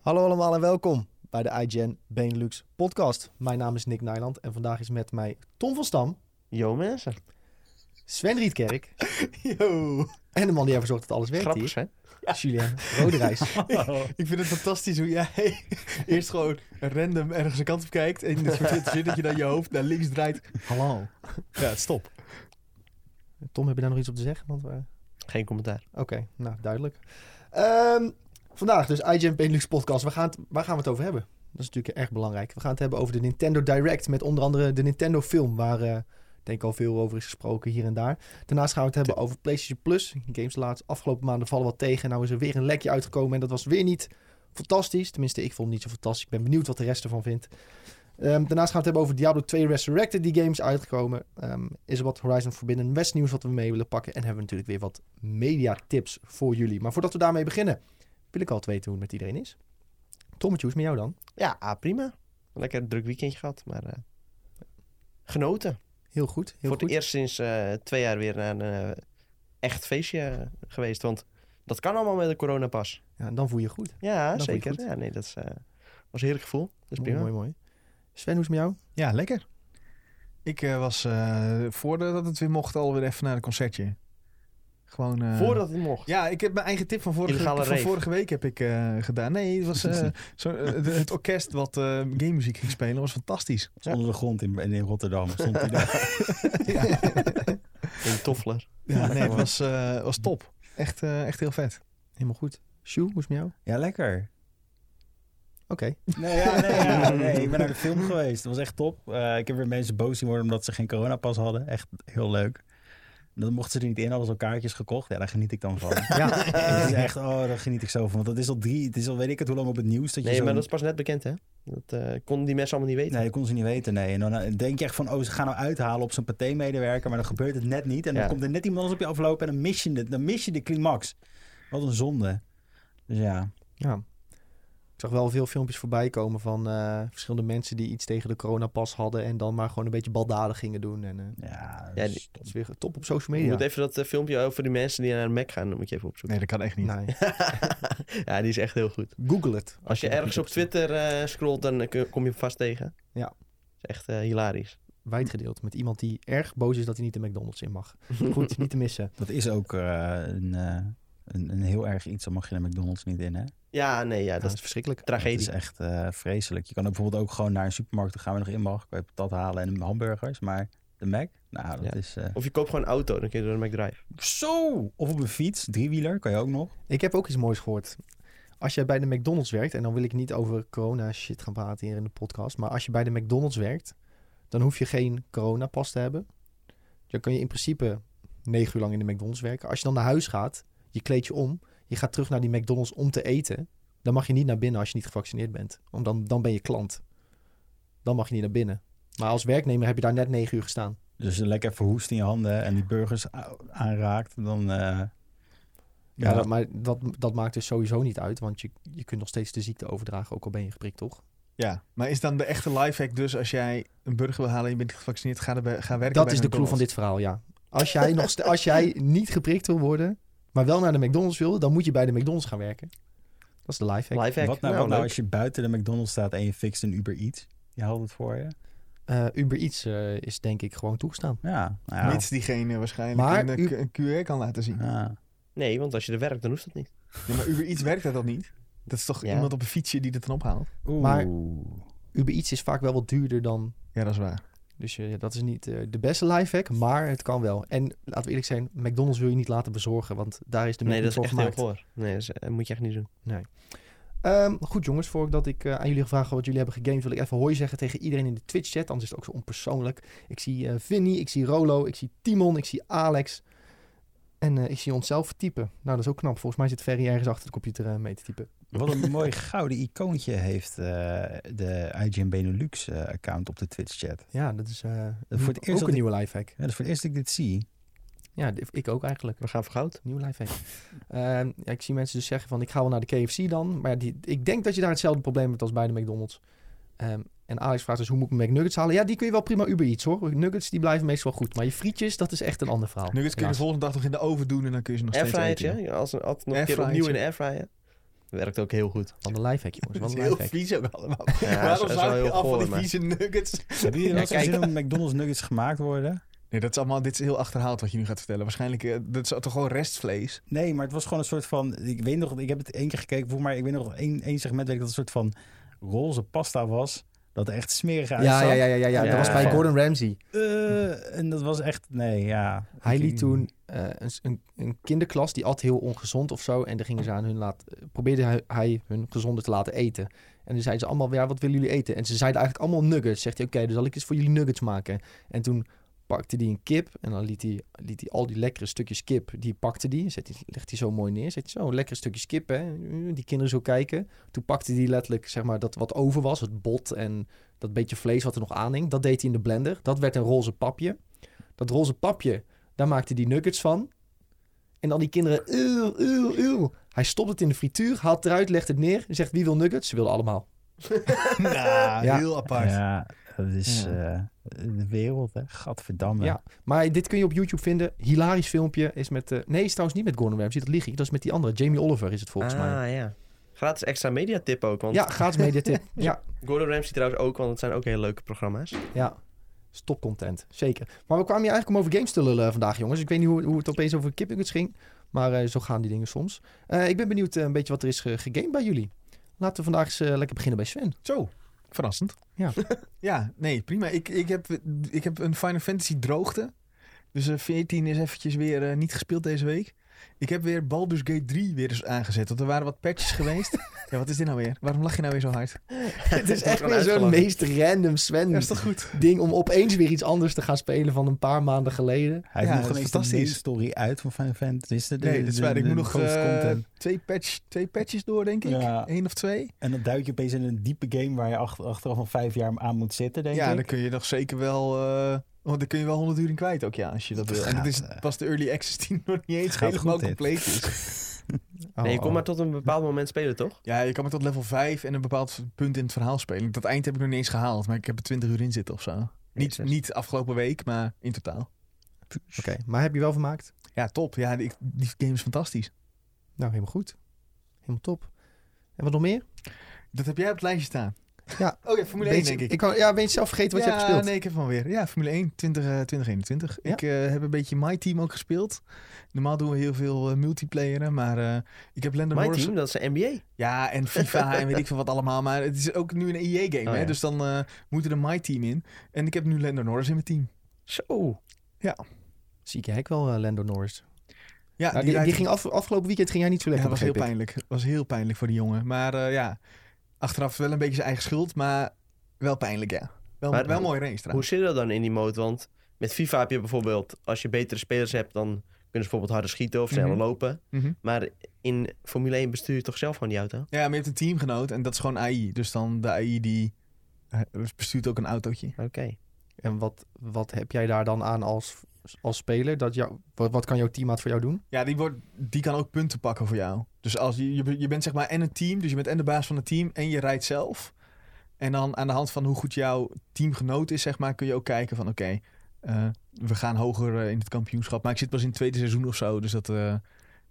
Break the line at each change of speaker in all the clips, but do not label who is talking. Hallo allemaal en welkom bij de iGen Benelux podcast. Mijn naam is Nick Nijland en vandaag is met mij Tom van Stam,
Yo mensen.
Sven Rietkerk
Yo.
en de man die ervoor zorgt dat alles werkt
Grappig hè?
hier, Julien Roderijs.
Ik vind het fantastisch hoe jij eerst gewoon random ergens een kant op kijkt en in een soort zin dat je dan je hoofd naar links draait.
Hallo.
Ja, stop.
Tom, heb je daar nog iets op te zeggen? Want, eh, we-
Geen commentaar.
Oké, nou duidelijk. Ehm, vandaag dus iGen Benelux podcast. We gaan het, waar gaan we het over hebben? Dat is natuurlijk erg belangrijk. We gaan het hebben over de Nintendo Direct met onder andere de Nintendo film waar eh, denk ik al veel over is gesproken hier en daar. Daarnaast gaan we het hebben over PlayStation Plus. Games laatst afgelopen maanden vallen wat tegen. Nou is er weer een lekje uitgekomen en dat was weer niet fantastisch. Tenminste, ik vond het niet zo fantastisch. Ik ben benieuwd wat de rest ervan vindt. Ehm, daarnaast gaan we het hebben over Diablo 2 Resurrected, die games uitgekomen. Ehm, is er wat Horizon Forbidden West nieuws wat we mee willen pakken. En hebben we natuurlijk weer wat media tips voor jullie. Maar voordat we daarmee beginnen, wil ik altijd weten hoe het met iedereen is. Tommetje, hoe is het met jou dan?
Ja, ah, prima. Lekker een druk weekendje gehad, maar eh, genoten.
Heel goed, heel
Voor
goed.
het eerst sinds eh, twee jaar weer naar een eh, echt feestje eh, geweest, want dat kan allemaal met de coronapas.
Ja, en dan voel je je goed.
Ja,
Dat vond je
zeker. Ja, nee, dat is, eh, was een heerlijk gevoel. Dat is
mooi,
prima.
mooi, mooi. Sven, hoe is het met jou?
Ja, lekker. Ik eh, was eh, voordat het weer mocht alweer even naar een concertje. Gewoon... eh,
Voordat het mocht.
Ja, ik heb mijn eigen tip van vorige,
Illegale
van
rave.
vorige week heb ik eh, gedaan. Nee, het was eh, zo, eh, de- het orkest wat eh game muziek ging spelen was fantastisch.
Het is onder de grond in, in Rotterdam. Stond hij daar.
In Toffler.
Ja, nee, het was, eh, was top. Echt, eh, echt heel vet.
Helemaal goed. Sjoe, hoe is het met jou?
Ja, lekker.
Oké.
Nee, ja, nee, ja, nee, ik ben naar de film geweest. Dat was echt top. Eh, ik heb weer mensen boos zien worden omdat ze geen coronapas hadden. Echt heel leuk. Dan mochten ze er niet in, hadden ze al kaartjes gekocht. Ja, daar geniet ik dan van.
Ja.
Het is echt, oh, daar geniet ik zo van. Want dat is al drie, het is al weet ik het hoe lang op het nieuws. Dat je
Nee,
zo
maar dat is pas net bekend hè? Dat eh, konden die mensen allemaal niet weten.
Nee, dat kon ze niet weten, nee. En dan eh, denk je echt van, oh, ze gaan nou uithalen op zo'n paté-medewerker, maar dan gebeurt het net niet. En dan
Ja.
komt er net iemand anders op je aflopen en dan mis je het. Dan mis je de climax. Wat een zonde. Dus ja,
ja. Ik zag wel veel filmpjes voorbij komen van eh, verschillende mensen die iets tegen de coronapas hadden. En dan maar gewoon een beetje baldadig gingen doen. En eh,
ja,
Ja,
dus-
die-
dat is weer top op social
Je
media.
moet even dat eh, filmpje over die mensen die naar de Mac gaan, dat moet je even opzoeken.
Nee, dat kan echt niet.
Nee.
ja, die is echt heel goed.
Google het.
Als je
dat
ergens
niet
op Twitter eh, scrolt, dan eh, kun- kom je hem vast tegen.
Ja.
Is echt eh, hilarisch.
Wijd gedeeld met iemand die erg boos is dat hij niet de McDonald's in mag. Goed, niet te missen.
Dat is ook eh, een, eh, een, een heel erg iets. Dan mag je de McDonald's niet in, hè?
Ja, nee, ja,
Ja,
dat
dat is
is
verschrikkelijk.
Het
tragedie.
is echt eh, vreselijk. Je kan ook bijvoorbeeld ook gewoon naar een supermarkt gaan waar je nog in mag. Kan je patat halen en hamburgers. Maar de Mac, nou, dat
Ja.
is... eh,
Of je koopt gewoon een auto, dan kun je door de McDrive.
zo! Of op een fiets, driewieler, kan je ook nog.
Ik heb ook iets moois gehoord. Als jij bij de McDonald's werkt, en dan wil ik niet over corona shit gaan praten hier in de podcast. Maar als je bij de McDonald's werkt, dan hoef je geen coronapas te hebben. Dan kun je in principe negen uur lang in de McDonald's werken. Als je dan naar huis gaat, je kleed je om, je gaat terug naar die McDonald's om te eten. Dan mag je niet naar binnen als je niet gevaccineerd bent. Want dan, dan ben je klant. Dan mag je niet naar binnen. Maar als werknemer heb je daar net negen uur gestaan.
Dus je lekker verhoest in je handen en die burgers a- aanraakt, dan... eh,
Ja,
ja,
dat, maar dat, dat maakt dus sowieso niet uit, want je, je kunt nog steeds de ziekte overdragen, ook al ben je geprikt, toch?
Ja, maar is dan de echte lifehack dus als jij een burger wil halen en je bent niet gevaccineerd, ga, erbij, ga werken
dat
bij
is de clue
McDonald's?
van dit verhaal, ja. Als jij, nog, ste- als jij niet geprikt wil worden, maar wel naar de McDonald's wil, dan moet je bij de McDonald's gaan werken. Dat is de lifehack.
Lifehack.
wat nou,
Nou,
wat nou
leuk.
als je buiten de McDonald's staat en je fixt een Uber Eats? Je haalt het voor je?
Eh, Uber Eats eh, is denk ik gewoon toegestaan.
Ja, nou ja.
Mits diegene waarschijnlijk
Maar
een, eh,
u-
Q- een QR kan laten zien.
Ja.
Nee, want als je er werkt, dan hoeft dat niet.
Ja, maar Uber Eats werkt dat dan niet? Dat is toch
Ja.
iemand op een fietsje die dat dan ophaalt?
Maar-
Oeh.
Uber Eats is vaak wel wat duurder dan...
Ja, dat is waar.
Dus eh, dat is niet eh, de beste lifehack, maar het kan wel. En laten we eerlijk zijn, McDonald's wil je niet laten bezorgen, want daar is de
Nee,
markt
dat is
voor
echt heel
gemaakt.
voor. Nee, dat is- eh, moet je echt niet doen.
Ehm, goed jongens, voordat ik eh, aan jullie gevraagd wat jullie hebben gegamed, wil ik even hoi zeggen tegen iedereen in de Twitch-chat. Anders is het ook zo onpersoonlijk. Ik zie eh Vinny, ik zie Rolo, ik zie Timon, ik zie Alex. En eh, ik zie onszelf typen. Nou, dat is ook knap. Volgens mij zit Ferry ergens achter de computer eh, mee te typen.
Wat een mooi gouden icoontje heeft eh, de IGN Benelux eh, account op de Twitch chat.
Ja, dat is eh,
voor het eerst
ook
dat
een
ik-
nieuwe lifehack.
Ja, dat is voor het eerst dat ik dit zie.
Ja, d- ik ook eigenlijk.
We gaan voor goud.
Nieuwe lifehack. Ehm, ja, ik zie mensen dus zeggen van, ik ga wel naar de KFC dan. Maar ja, die, ik denk dat je daar hetzelfde probleem hebt als bij de McDonald's. Ehm, en Alex vraagt dus, hoe moet ik mijn McNuggets halen? Ja, die kun je wel prima Uber Eats hoor. Nuggets, die blijven meestal goed. Maar je frietjes, dat is echt een ander verhaal.
Nu kun je de volgende dag nog in de oven doen en dan kun je ze nog steeds eten.
Airfryertje, ja, als een, altijd nog een keer
Airfryertje.
opnieuw in de airfryer. Werkt ook heel goed.
Wat een lifehack, jongens.
Dat
Wat
is
een
heel
lifehack.
vies ook allemaal.
Ja,
Waarom
is- is wel
zou je
heel
af van
goor,
die
maar-
vieze nuggets?
Hebben jullie er wel
Ja,
zin
kijk.
om McDonald's nuggets gemaakt worden?
Nee, dat is allemaal, dit is heel achterhaald wat je nu gaat vertellen. Waarschijnlijk, eh, dat is toch gewoon restvlees?
Nee, maar het was gewoon een soort van... Ik weet nog, ik heb het één keer gekeken, volgens mij, ik weet nog één, één segment weet ik dat het een soort van roze pasta was. Dat er echt smerig uitzag.
Ja, ja, ja, ja, ja, ja. Dat
Ja.
was bij Gordon Ramsay.
Eh, en dat was echt, nee, ja.
Hij
Ik-
liet toen eh, een, een, een kinderklas, die at heel ongezond of zo. En daar gingen ze aan hun laat, eh, probeerde hij, hij hun gezonder te laten eten. En toen zeiden ze allemaal, ja, wat willen jullie eten? En ze zeiden eigenlijk allemaal nuggets. Zegt hij, oké, dan zal ik eens voor jullie nuggets maken. En toen pakte hij een kip en dan liet hij, liet hij al die lekkere stukjes kip, die pakte die. Zet hij, legt hij zo mooi neer. Zet hij zo, lekkere stukjes kip, hè. Die kinderen zo kijken. Toen pakte hij letterlijk, zeg maar, dat wat over was. Het bot en dat beetje vlees wat er nog aanhing. Dat deed hij in de blender. Dat werd een roze papje. Dat roze papje daar maakte hij nuggets van. En dan die kinderen, uw, uw, uw. Hij stopt het in de frituur, haalt het eruit, legt het neer en zegt wie wil nuggets? Ze wilden allemaal.
Nou,
Ja.
heel apart.
Ja, dat is
Ja.
eh, de wereld, hè. Gadverdamme.
Ja. Maar dit kun je op YouTube vinden. Hilarisch filmpje is met, eh, nee is trouwens niet met Gordon Ramsay, dat lieg ik. Dat is met die andere, Jamie Oliver is het volgens mij.
Ah, ja. Gratis extra media tip ook, want
Ja, gratis mediatip. ja,
Gordon Ramsay trouwens ook, want het zijn ook hele leuke programma's.
ja. Stop content, zeker. Maar we kwamen hier eigenlijk om over games te lullen eh, vandaag, jongens. Ik weet niet hoe, hoe het opeens over kipnuggets ging, maar eh, zo gaan die dingen soms. Eh, ik ben benieuwd eh, een beetje wat er is ge- gegamed bij jullie. Laten we vandaag eens eh, lekker beginnen bij Sven.
Zo, verrassend.
Ja.
ja, nee, prima. Ik, ik, heb, ik heb een Final Fantasy droogte. Dus eh, 14 is eventjes weer eh, niet gespeeld deze week. Ik heb weer Baldur's Gate 3 weer eens aangezet. Want er waren wat patches geweest. Ja, wat is dit nou weer? Waarom lach je nou weer zo hard?
Het is echt
Gewoon
weer zo'n
uitgelachen.
meest random Sven
Ja, is toch goed?
ding om opeens weer iets anders te gaan spelen van een paar maanden geleden.
Hij heeft
Ja, dat
nog geen
is
eens de
fantastisch.
main story uit van Final Fantasy.
Nee, dat is waar. Ik moet nog eh, twee, patch, twee patches door, denk ik.
Ja.
Eén of twee.
En dan duik je opeens in een diepe game waar je ach- achteraf nog vijf jaar aan moet zitten, denk
ja,
ik.
dan kun je nog zeker wel... eh, want dan kun je wel 100 uur in kwijt ook, ja, als je dat
Dat
wil. En
gaat,
dat is
eh,
pas de early access die nog niet eens
gaat
helemaal
goed, dit.
compleet is.
nee,
Oh,
je kon
oh.
maar tot een bepaald moment spelen, toch?
Ja, je kan maar tot level 5 en een bepaald punt in het verhaal spelen. Dat eind heb ik nog niet eens gehaald, maar ik heb er 20 uur in zitten of zo. Niet,
Jezus.
niet afgelopen week, maar in totaal.
Oké, maar heb je wel vermaakt?
Ja, top. Ja, die, die game is fantastisch.
Nou, helemaal goed. Helemaal top. En wat nog meer?
Dat heb jij op het lijstje staan.
Ja.
Oh ja, Formule
Ben
1
je-
denk ik.
ik kan, ja, ben je zelf vergeten wat
ja,
je hebt gespeeld?
nee, ik heb hem weer. Ja, Formule 1 20, eh, 2021.
Ja.
Ik eh, heb een beetje My Team ook gespeeld. Normaal doen we heel veel eh, multiplayeren, maar eh, ik heb Lando
Mijn
Norris...
team, dat is de NBA.
Ja, en FIFA en weet ik veel wat allemaal. Maar het is ook nu een EA-game,
Oh,
hè?
ja.
Dus dan eh, moet er een My Team in. En ik heb nu Lando Norris in mijn team. Nou.
Zo.
Zie ik hek wel, eh, Lando Norris.
Ja,
Nou, die,
rijdt-
die ging af, afgelopen weekend ging jij niet zo
Ja,
lekker,
was heel
begreep ik.
pijnlijk. was heel pijnlijk voor die jongen. Maar eh, ja, achteraf wel een beetje zijn eigen schuld, maar wel pijnlijk, ja. Wel,
Maar
wel
hoe-
mooi race
Hoe
trouwens.
zit dat dan in die mode? Want met FIFA heb je bijvoorbeeld, als je betere spelers hebt, dan kunnen ze bijvoorbeeld harder schieten of sneller
Mhm.
lopen.
Mhm.
Maar in Formule 1 bestuur je toch zelf gewoon die auto?
Ja, maar je hebt een teamgenoot en dat is gewoon AI. Dus dan de AI die eh, bestuurt ook een autootje.
Oké.
En wat, wat heb jij daar dan aan als, als speler? Dat jou, wat, wat kan jouw teammaat voor jou doen?
Ja, die, wordt, die kan ook punten pakken voor jou. Dus als je, je, je bent zeg maar en een team, dus je bent en de baas van het team en je rijdt zelf. En dan aan de hand van hoe goed jouw teamgenoot is, zeg maar, kun je ook kijken van oké, eh, we gaan hoger eh, in het kampioenschap. Maar ik zit pas in het tweede seizoen of zo, dus dat eh,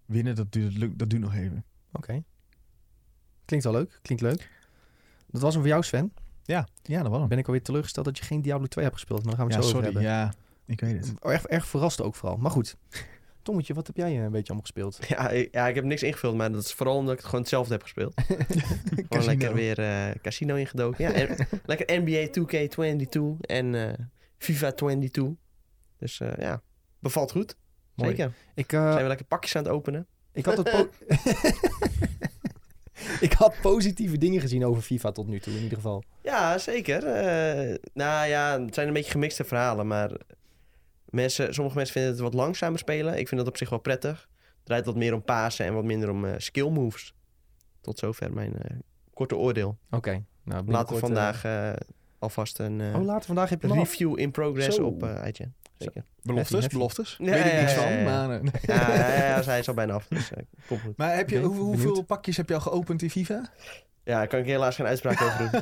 winnen, dat duurt, dat duurt nog even.
Oké. Klinkt wel leuk, klinkt leuk. Dat was hem voor jou, Sven.
Ja, dat was
Dan
hem.
ben ik alweer teleurgesteld dat je geen Diablo 2 hebt gespeeld. Maar daar gaan we
Ja,
het zo
sorry.
over hebben.
Ja, ik weet het.
Erg, oh, erg verrast ook vooral. Maar goed. Tommetje, wat heb jij eh, een beetje allemaal gespeeld?
Ja, ik- ja, ik heb niks ingevuld, maar dat is vooral omdat ik het gewoon hetzelfde heb gespeeld. Gewoon
Casino.
lekker weer eh, casino ingedoken. Ja, en lekker NBA 2K22 en eh, FIFA 22. Dus eh, ja, bevalt goed.
Mooi.
Zeker.
Ik, eh,
Zijn we lekker pakjes aan het openen?
ik, had het po- ik had positieve dingen gezien over FIFA tot nu toe, in ieder geval.
Ja, zeker. Eh, nou ja, het zijn een beetje gemixte verhalen, maar mensen, sommige mensen vinden het wat langzamer spelen. Ik vind dat op zich wel prettig. Het draait wat meer om pasen en wat minder om eh, skill moves. Tot zover mijn eh, korte oordeel.
Oké. Nou,
Later
binnenkort,
vandaag eh, alvast een eh,
eh, oh, later vandaag heb je live.
review in progress
Zo.
op eh IGN. Zeker.
Beloftes,
Heffie, heffie.
beloftes.
Ja,
weet ik
ja,
niks
ja,
van,
ja.
maar... eh, nee.
Ja, ja, ja, zij is al bijna af, dus eh, komt goed.
Maar heb je,
Oké,
hoe- hoeveel
benieuwd.
pakjes heb je al geopend in FIFA?
Ja, daar kan ik helaas geen uitspraak over doen.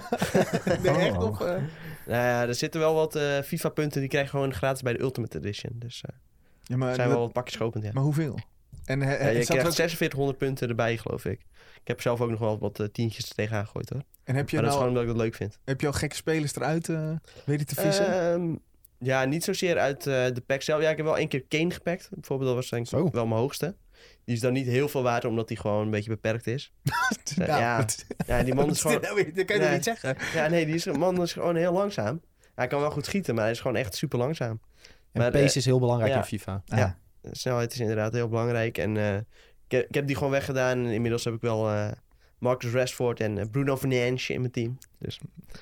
Nee,
Oh.
echt nog? eh,
Nou ja, er zitten wel wat eh, FIFA-punten, die krijg je gewoon gratis bij de Ultimate Edition. Dus eh,
Ja, maar,
er zijn
dat-
wel wat pakjes geopend, ja.
maar hoeveel? En eh,
Ja,
het
je
zat er
krijgt
ook-
4600 punten erbij, geloof ik. Ik heb zelf ook nog wel wat eh, tientjes er tegenaan gegooid hoor.
en heb, je
maar dat is gewoon
nou,
omdat ik dat leuk vind.
heb je al gekke spelers eruit eh weten te vissen?
Ehm, ja, niet zozeer uit eh, de pack zelf. Ja, ik heb wel één keer Kane gepakt. Bijvoorbeeld, dat was denk ik
Zo.
wel mijn hoogste. Die is dan niet heel veel waard, omdat die gewoon een beetje beperkt is.
Nou,
ja.
wat-
Ja, die man is
wat
gewoon...
dit nou weer? dat kan je
Nee.
toch niet zeggen?
Ja, nee, die is, man is gewoon heel langzaam. Hij kan wel goed schieten, maar hij is gewoon echt super langzaam.
En
Maar, eh,
pace is heel belangrijk
ja.
in FIFA.
Ja. snelheid is inderdaad heel belangrijk. En eh, ik, heb, ik heb die gewoon weggedaan. En inmiddels heb ik wel eh, Marcus Rashford en eh, Bruno Fernandes in mijn team.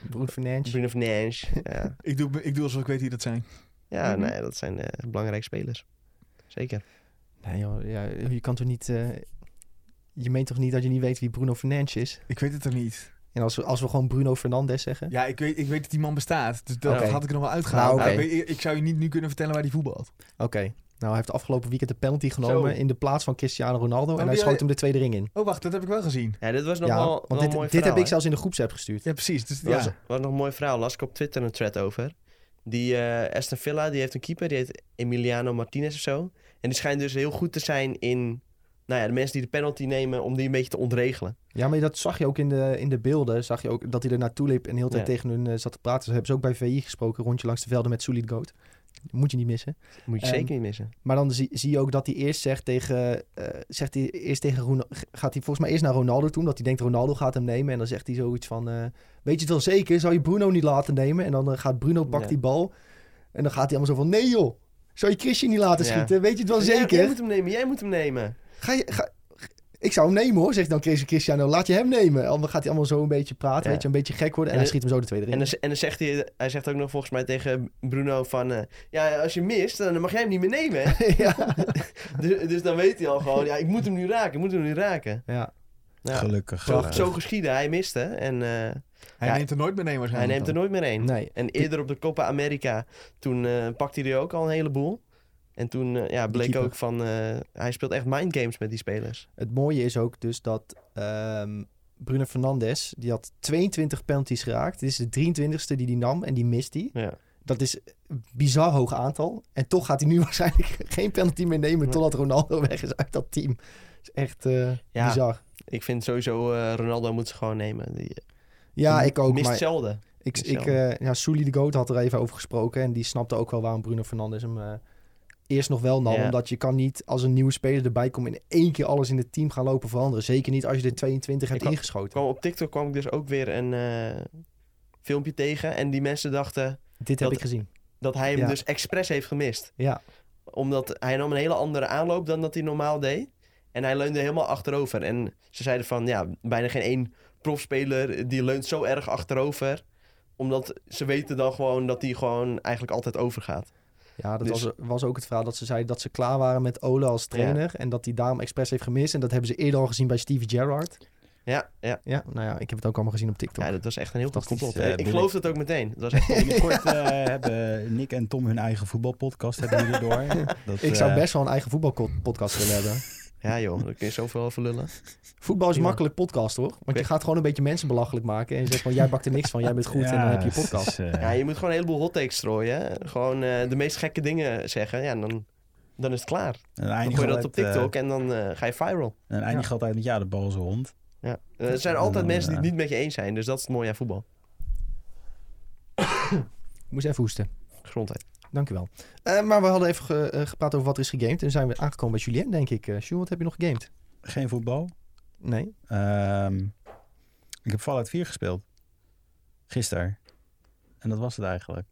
Broen Fernandes.
Bruno Fernandes. ja,
Ik, doe, ik doe alsof ik weet wie dat zijn.
ja
Mhm.
nee, dat zijn eh, belangrijke spelers. Zeker.
Nee joh, ja, je kan toch niet... eh, je meent toch niet dat je niet weet wie Bruno Fernandes is?
Ik weet het er niet.
En als we, als we gewoon Bruno Fernandes zeggen?
Ja, ik weet, ik weet dat die man bestaat. Dus dat
Oké.
had ik er nog wel uitgehaald.
Nou, oké.
Maar ik, weet- ik zou je niet nu kunnen vertellen waar die voetbalt.
Oké. Nou, hij heeft afgelopen weekend de penalty genomen
Zo.
in de plaats van Cristiano Ronaldo. en
die
hij
had-
schoot hem de tweede ring in.
Oh, wacht, dat heb ik wel gezien.
Ja, dit was nog
Ja,
wel,
want
wel
dit,
een mooi
dit
verhaal.
heb ik
hè?
zelfs in de groepsapp gestuurd.
Ja, precies. Dus,
Dat was,
ja.
was nog een mooi verhaal. Las ik op Twitter een thread over. Die eh, Aston Villa, die heeft een keeper. Die heet Emiliano Martinez of zo. En die schijnt dus heel goed te zijn in... Nou ja, de mensen die de penalty nemen om die een beetje te ontregelen.
Ja, maar dat zag je ook in de, in de beelden. Zag je ook dat hij er naartoe liep en heel de hele tijd
Ja.
tegen hun eh, zat te praten. Ze hebben ze ook bij VI gesproken, rondje langs de velden met Solid Goat. Moet je niet missen.
Moet je
Ehm,
zeker niet missen.
Maar dan zie, zie je ook dat hij eerst zegt tegen... eh, zegt hij eerst tegen Roen- gaat hij volgens mij eerst naar Ronaldo toe. Omdat hij denkt Ronaldo gaat hem nemen. En dan zegt hij zoiets van... eh, Weet je het wel zeker? Zou je Bruno niet laten nemen? En dan eh, gaat Bruno, pakt
Ja.
die bal. En dan gaat hij allemaal zo van... Nee joh, zou je Christian niet laten
Ja.
schieten? Weet je het wel
Jij-
zeker?
Jij moet hem nemen, jij moet hem nemen.
Ga je, ga, ik zou hem nemen hoor, zegt dan Chris Cristiano. Laat je hem nemen. Dan gaat hij allemaal zo een beetje praten,
Ja.
weet je, een beetje gek worden. En,
En
hij schiet hem zo de tweede
En
ring.
dan, en dan zegt hij, hij zegt ook nog volgens mij tegen Bruno van... eh, ja, als je mist, dan mag jij hem niet meer nemen. hè?
ja.
dus, dus dan weet hij al gewoon, ja, ik moet hem nu raken, ik moet hem nu raken.
ja.
Ja,
Gelukkig.
zo,
gelukkig.
zo geschieden, hij miste en eh,
Hij
Ja,
neemt er nooit meer een
hij
waarschijnlijk.
neemt er nooit meer een.
Nee.
En eerder op de Copa America, toen eh, pakte hij er ook al een heleboel. En toen eh, ja, bleek
keeper.
ook van, eh, hij speelt echt mindgames met die spelers.
Het mooie is ook dus dat ehm, Bruno Fernandes, die had 22 penalties geraakt. Dit is de 23ste die hij nam en die mist hij.
Ja.
Dat is een bizar hoog aantal. En toch gaat hij nu waarschijnlijk geen penalty meer nemen
Ja.
totdat Ronaldo weg is uit dat team. Dat is echt eh,
Ja.
bizar.
Ik vind sowieso, eh, Ronaldo moet ze gewoon nemen. Die eh,
Ja, ik ook.
mist
maar-
zelden.
Ik,
Dus
ik,
ja.
eh, ja, Soelie de Goat had er even over gesproken. En die snapte ook wel waarom Bruno Fernandes hem eh, eerst nog wel nam.
Ja.
Omdat je kan niet als een nieuwe speler erbij komt... in één keer alles in het team gaan lopen veranderen. Zeker niet als je er 22 hebt
Ik kwam-
ingeschoten.
kwam op TikTok kwam ik dus ook weer een eh, filmpje tegen. En die mensen dachten
Dit heb
dat-
ik gezien.
dat hij hem
Ja.
dus expres heeft gemist.
Ja.
Omdat hij nam een hele andere aanloop dan dat hij normaal deed. En hij leunde helemaal achterover. En ze zeiden van, ja, bijna geen één profspeler die leunt zo erg achterover. Omdat ze weten dan gewoon dat hij gewoon eigenlijk altijd overgaat.
Ja, dat
Dus-
was, was ook het verhaal dat ze zeiden dat ze klaar waren met Ole als trainer. En dat hij daarom expres heeft gemist. En dat hebben ze eerder al gezien bij Stevie Gerrard.
Ja, ja.
Ja, nou ja, ik heb het ook allemaal gezien op TikTok.
ja dat was echt een heel goed
Fantastisch.
complot.
Ja,
ik
ben
geloof
ik-
dat ook meteen. Dat was echt...
Binnenkort eh, hebben Nick en Tom hun eigen voetbalpodcast hebben jullie door. Dat,
ik zou
eh,
best wel een eigen voetbalpodcast willen hebben.
ja joh, daar kun je zoveel over lullen.
Voetbal is
Ja.
makkelijk podcast, hoor. Want je
Oké.
gaat gewoon een beetje mensen belachelijk maken. En je zegt van, jij bakt er niks van, jij bent goed.
ja,
en dan heb je je
het
podcast.
is, eh,
Ja, je moet gewoon een heleboel hot takes strooien. hè. Gewoon eh, de meest gekke dingen zeggen. Ja, en dan, dan is het klaar.
dan
Dan
eindigen
gooi je dat
altijd,
op TikTok en dan eh, ga je viral.
eh, dan eindig je altijd met ja, de bal is een hond.
Ja. Eh, Er zijn altijd
Ja.
mensen die het niet met je eens zijn. Dus dat is het mooie aan voetbal.
Ik moest even hoesten.
Gezondheid.
Dankjewel. Eh maar we hadden even ge- eh, gepraat over wat er is gegamed. En zijn we aangekomen bij Julien, denk ik. Eh Jules, wat heb je nog gegamed?
Geen voetbal.
Nee?
Ehm, ik heb Fallout 4 gespeeld. Gisteren. En dat was het eigenlijk.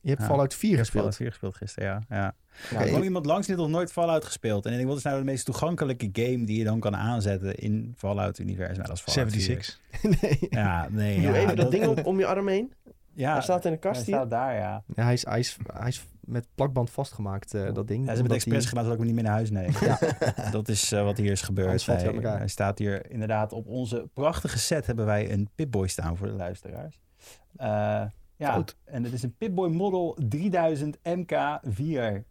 Je hebt
Ja.
Fallout 4
Ik heb Fallout
gespeeld.
4 gespeeld gisteren, ja. ja.
Oké,
Er kwam
ik-
iemand langs die had nog nooit Fallout gespeeld. En ik denk, wat is nou de meest toegankelijke game die je dan kan aanzetten in Fallout-universum? Nou, dat is Fallout 4.
76.
nee.
Ja, nee.
Doe
Ja,
even dat ding om, om je arm heen.
Ja,
Hij staat in de
hij
kast hier.
staat daar, ja.
Ja, hij, is, hij, is, hij is met plakband vastgemaakt, eh, dat ding.
Ja, ze hebben
Omdat
het expres
hij-
gedaan, zodat ik hem niet meer naar huis neem. Dat is eh, wat hier is gebeurd.
Anders valt hij uit
Hij,
elkaar.
hij staat hier inderdaad op onze prachtige set hebben wij een Pipboy staan voor de luisteraars. Eh, ja,
Fout.
en het is een Pipboy Model 3000 MK4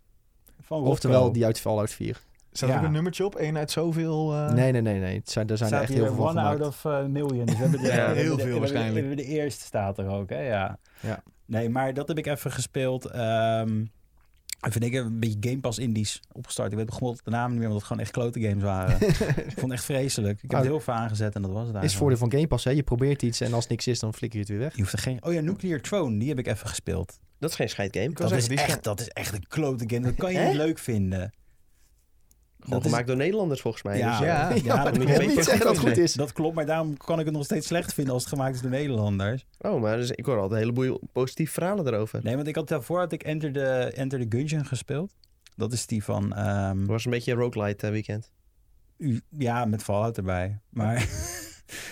van Rocco.
Oftewel, die uit Fallout 4.
Staat er
Ja.
ook een nummertje op? Eén uit zoveel? eh,
Nee, nee, nee, nee. Het zijn, er zijn er
staat
echt
hier
heel veel van
one out
gemaakt.
of eh, million. Dus we hebben de,
Ja,
we hebben
heel
de-
veel
we hebben de-
waarschijnlijk.
we hebben de eerste staat er ook, hè? Ja.
Ja.
Nee, maar dat heb ik even gespeeld. Ehm, Even ik heb een beetje Game Pass Indies opgestart. Ik weet begon de naam niet meer, omdat het gewoon echt klote games waren. ik vond het echt vreselijk. Ik heb
Nou,
het heel veel aangezet en dat was het
Is het
eigenlijk.
voordeel van Game Pass, hè? Je probeert iets en als het niks is, dan flikker je het weer weg.
Je hoeft er geen... Oh ja, Nuclear Throne, die heb ik even gespeeld.
Dat is geen scheidgame.
wou
Dat is,
zeggen, die is
echt, dat is echt een klote game. Dat kan je
Hè?
niet leuk vinden.
Gewoon
is-
gemaakt door Nederlanders volgens mij.
Ja,
Dus,
ja.
Ja,
ja, dat
dat
moet
klopt.
wil
je weet
niet
je
zeggen dat het goed is.
Dat klopt, maar daarom kan ik het nog steeds slecht vinden als het gemaakt is door Nederlanders.
oh, maar dus, ik hoor altijd een heleboel positieve verhalen daarover.
Nee, want ik had daarvoor had ik Enter the, Enter the Gungeon gespeeld. Dat is die van... ehm,
Het was een beetje een roguelite eh, weekend.
U- Ja, met Fallout erbij. Maar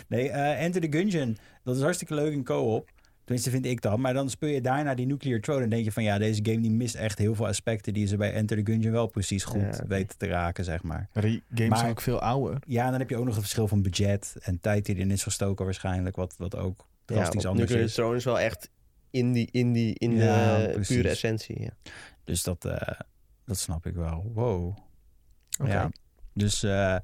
nee, eh Enter the Gungeon, dat is hartstikke leuk in co-op. Tenminste vind ik dat. Maar dan speel je daarna die Nuclear Throne en denk je van... ja, deze game die mist echt heel veel aspecten... die ze bij Enter the Gungeon wel precies goed
Ja, oké.
weten te raken, zeg maar.
Maar die games
Maar-
zijn ook veel ouder.
Ja, en dan heb je ook nog het verschil van budget en tijd die erin is gestoken waarschijnlijk... wat, wat ook drastisch
ja, want
anders
Nuclear
is.
Throne is wel echt in die, in die, in
Ja,
de
precies.
pure essentie. Ja.
Dus dat, eh, dat snap ik wel. Wow.
Oké.
Ja. Dus eh,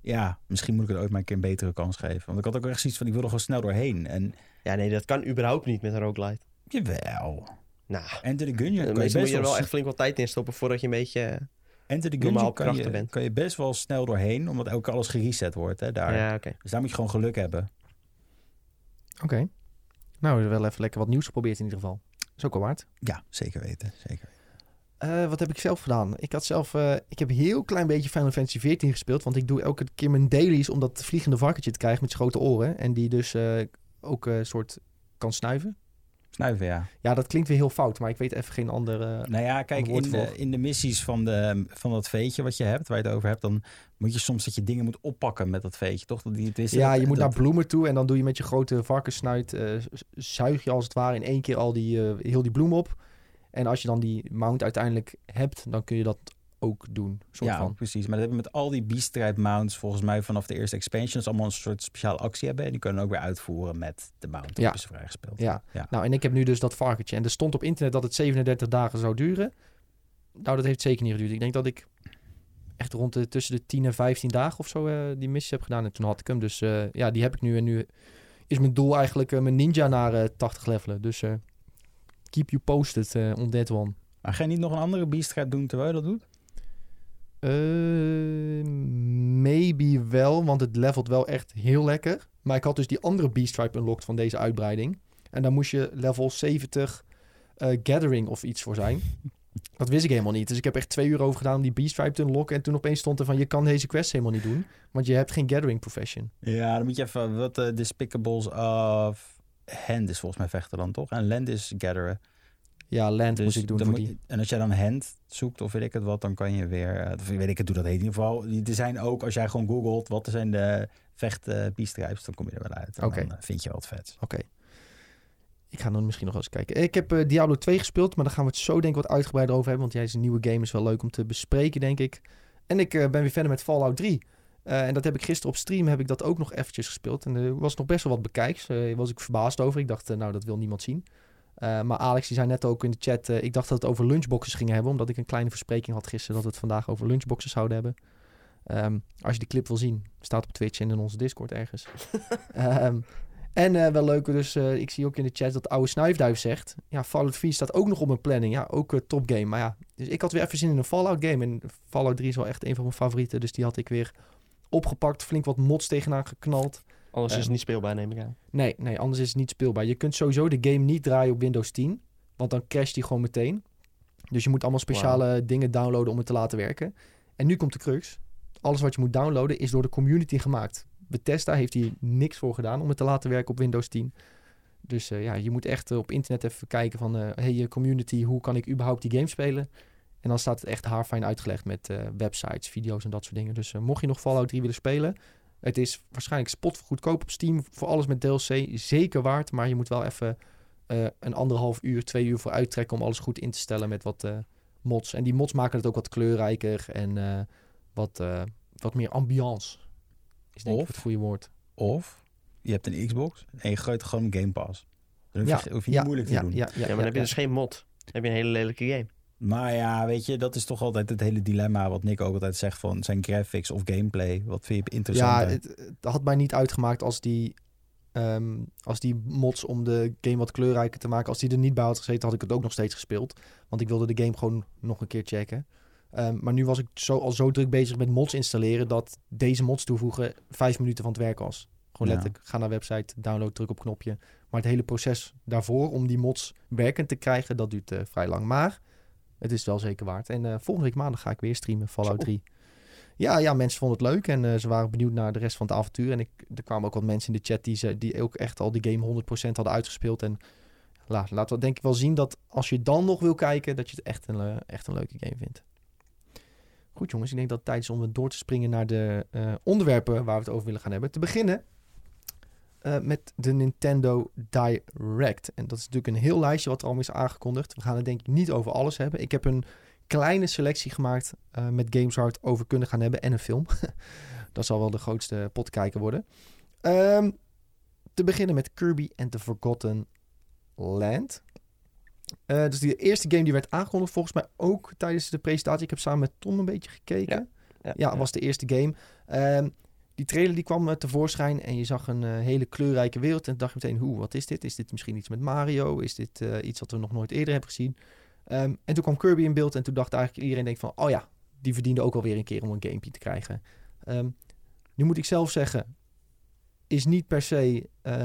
ja, misschien moet ik het ooit maar een keer een betere kans geven. Want ik had ook echt zoiets van, ik wil er gewoon snel doorheen. En
ja, nee, dat kan überhaupt niet met een roguelite.
jawel...
Nou,
Enter the Gungeon
eh,
kan je
meestal moet
best
je er
wel
wel echt flink wat tijd in stoppen voordat je een beetje... eh,
Enter the
normaal
Gungeon
op
kan
krachten
je,
bent.
kan je best wel snel doorheen, omdat elke keer alles gereset wordt hè, daar.
Ja, oké.
Dus daar moet je gewoon geluk hebben.
Oké. Nou, we hebben wel even lekker wat nieuws geprobeerd in ieder geval. Is ook al waard.
Ja, zeker weten. Zeker.
Eh, wat heb ik zelf gedaan? Ik had zelf, eh, ik heb een heel klein beetje Final Fantasy XIV gespeeld. Want ik doe elke keer mijn dailies om dat vliegende varkentje te krijgen met zijn grote oren. En die dus eh, ook een soort kan snuiven.
Snuiven, ja.
Ja, dat klinkt weer heel fout, maar ik weet even geen andere.
Nou ja, kijk,
Een woord
in de,
voor.
in de missies van, de, van dat veetje wat je hebt, waar je het over hebt, dan moet je soms dat je dingen moet oppakken met dat veetje, toch? Dat die, het is-
ja,
dat-
je moet
dat-
naar bloemen toe en dan doe je met je grote varkenssnuit, eh, z- zuig je als het ware in één keer al die, eh, heel die bloem op. En als je dan die mount uiteindelijk hebt, dan kun je dat ook doen, soort
Ja,
van.
precies. Maar dat hebben we met al die Beast Tribe mounts volgens mij vanaf de eerste expansions allemaal een soort speciale actie hebben. En die kunnen ook weer uitvoeren met de mount.
Ja.
Ja. Is vrijgespeeld.
Ja.
Ja.
nou en ik heb nu dus dat varkentje. En er stond op internet dat het 37 dagen zou duren. Nou, dat heeft zeker niet geduurd. Ik denk dat ik echt rond de, tussen de 10 en 15 dagen of zo eh, die missies heb gedaan. En toen had ik hem. Dus eh, ja, die heb ik nu. En nu is mijn doel eigenlijk eh, mijn ninja naar eh, 80 levelen. Dus eh, keep you posted eh on that one.
Maar ga je niet nog een andere Beast Tribe doen terwijl je dat doet?
Eh, maybe wel, want het levelt wel echt heel lekker. Maar ik had dus die andere Beast Tribe unlocked van deze uitbreiding. En daar moest je level 70 eh, Gathering of iets voor zijn. Dat wist ik helemaal niet. Dus ik heb echt twee uur over gedaan om die Beast Tribe te unlocken. En toen opeens stond er van, je kan deze quest helemaal niet doen. Want je hebt geen Gathering Profession.
Ja, dan moet je even wat de Despicables of Hand is volgens mij vechten dan toch? En Land is gatheren.
Ja, land
Dus
moest ik doen
dan
voor
moet
die.
je- en als jij dan Hand zoekt of weet ik het wat, dan kan je weer, eh, of weet ik het, doe dat heet in ieder geval. Die- Er zijn ook, als jij gewoon googelt, wat zijn de vecht eh beestrijders, dan kom je er wel uit. En
Oké.
Dan eh, vind je wel het vet.
Oké. Ik ga dan misschien nog eens kijken. Ik heb eh, Diablo 2 gespeeld, maar daar gaan we het zo denk ik wat uitgebreider over hebben. Want jij is een nieuwe game, is wel leuk om te bespreken, denk ik. En ik eh, ben weer verder met Fallout 3. Eh, en dat heb ik gisteren op stream heb ik dat ook nog eventjes gespeeld. En er was nog best wel wat bekijks. Eh, Daar was ik verbaasd over. Ik dacht, eh, nou, dat wil niemand zien. Eh, maar Alex die zei net ook in de chat, eh, ik dacht dat we het over lunchboxes gingen hebben. Omdat ik een kleine verspreking had gisteren dat we het vandaag over lunchboxes zouden hebben. Ehm, als je die clip wil zien, staat op Twitch en in onze Discord ergens. Ehm, en eh, wel leuk, dus eh, ik zie ook in de chat dat oude snuifduif zegt... Ja, Fallout 4 staat ook nog op mijn planning. Ja, ook eh, topgame. Maar ja, dus ik had weer even zin in een Fallout game. En Fallout 3 is wel echt een van mijn favorieten. Dus die had ik weer opgepakt. Flink wat mods tegenaan geknald.
Anders
Eh.
is het niet speelbaar, neem ik aan.
Nee, nee, anders is het niet speelbaar. Je kunt sowieso de game niet draaien op Windows 10. Want dan crasht die gewoon meteen. Dus je moet allemaal speciale dingen downloaden om het te laten werken. En nu komt de crux. Alles wat je moet downloaden is door de community gemaakt. Bethesda heeft hier niks voor gedaan om het te laten werken op Windows 10. Dus eh, ja, je moet echt eh, op internet even kijken van... eh hey, eh, community, hoe kan ik überhaupt die game spelen? En dan staat het echt haarfijn uitgelegd met eh, websites, video's en dat soort dingen. Dus eh, mocht je nog Fallout 3 willen spelen... Het is waarschijnlijk spot goedkoop op Steam. Voor alles met DLC zeker waard. Maar je moet wel even eh, een anderhalf uur, twee uur voor uittrekken om alles goed in te stellen met wat eh, mods. En die mods maken het ook wat kleurrijker en eh, wat, eh, wat meer ambiance. Is denk ik
Of-
het goede woord.
Of je hebt een Xbox en je gooit gewoon Game Pass. Dan hoef je, hoef je
ja,
niet moeilijk
ja,
te doen.
Ja, ja,
Ja, maar
ja,
dan heb je
ja.
dus geen mod. Dan heb je een hele lelijke game.
Maar ja, weet je, dat is toch altijd het hele dilemma wat Nick ook altijd zegt van zijn graphics of gameplay. Wat vind je interessant?
Ja, het, het had mij niet uitgemaakt als die ehm, als die mods om de game wat kleurrijker te maken, als die er niet bij had gezeten, had ik het ook nog steeds gespeeld. Want ik wilde de game gewoon nog een keer checken. Ehm, maar nu was ik zo, al zo druk bezig met mods installeren dat deze mods toevoegen vijf minuten van het werk was. Gewoon
Ja.
letterlijk, ga naar website, download, druk op knopje. Maar het hele proces daarvoor om die mods werkend te krijgen, dat duurt eh, vrij lang. Maar het is wel zeker waard. En eh, volgende week maandag ga ik weer streamen, Fallout
Zo.
3. Ja, ja, mensen vonden het leuk en eh, ze waren benieuwd naar de rest van het avontuur. En ik, er kwamen ook wat mensen in de chat die, ze, die ook echt al die game 100% hadden uitgespeeld. En la, laten we denk ik wel zien dat als je dan nog wil kijken, dat je het echt een, eh, echt een leuke game vindt. Goed jongens, ik denk dat het tijd is om door te springen naar de eh, onderwerpen waar we het over willen gaan hebben. Te beginnen eh, met de Nintendo Direct. En dat is natuurlijk een heel lijstje wat er allemaal is aangekondigd. We gaan het denk ik niet over alles hebben. Ik heb een kleine selectie gemaakt eh, met games waar we het over kunnen gaan hebben en een film. dat zal wel de grootste potkijker worden. Ehm, te beginnen met Kirby and the Forgotten Land. Eh dus die eerste game die werd aangekondigd volgens mij ook tijdens de presentatie. Ik heb samen met Tom een beetje gekeken. Ja, was de eerste game. Ehm, die trailer die kwam eh, tevoorschijn en je zag een eh, hele kleurrijke wereld. En toen dacht je meteen, hoe, wat is dit? Is dit misschien iets met Mario? Is dit eh, iets wat we nog nooit eerder hebben gezien? Ehm, en toen kwam Kirby in beeld en toen dacht eigenlijk iedereen denkt van... oh ja, die verdiende ook alweer een keer om een gamepje te krijgen. Ehm, nu moet ik zelf zeggen, is niet per se ehm,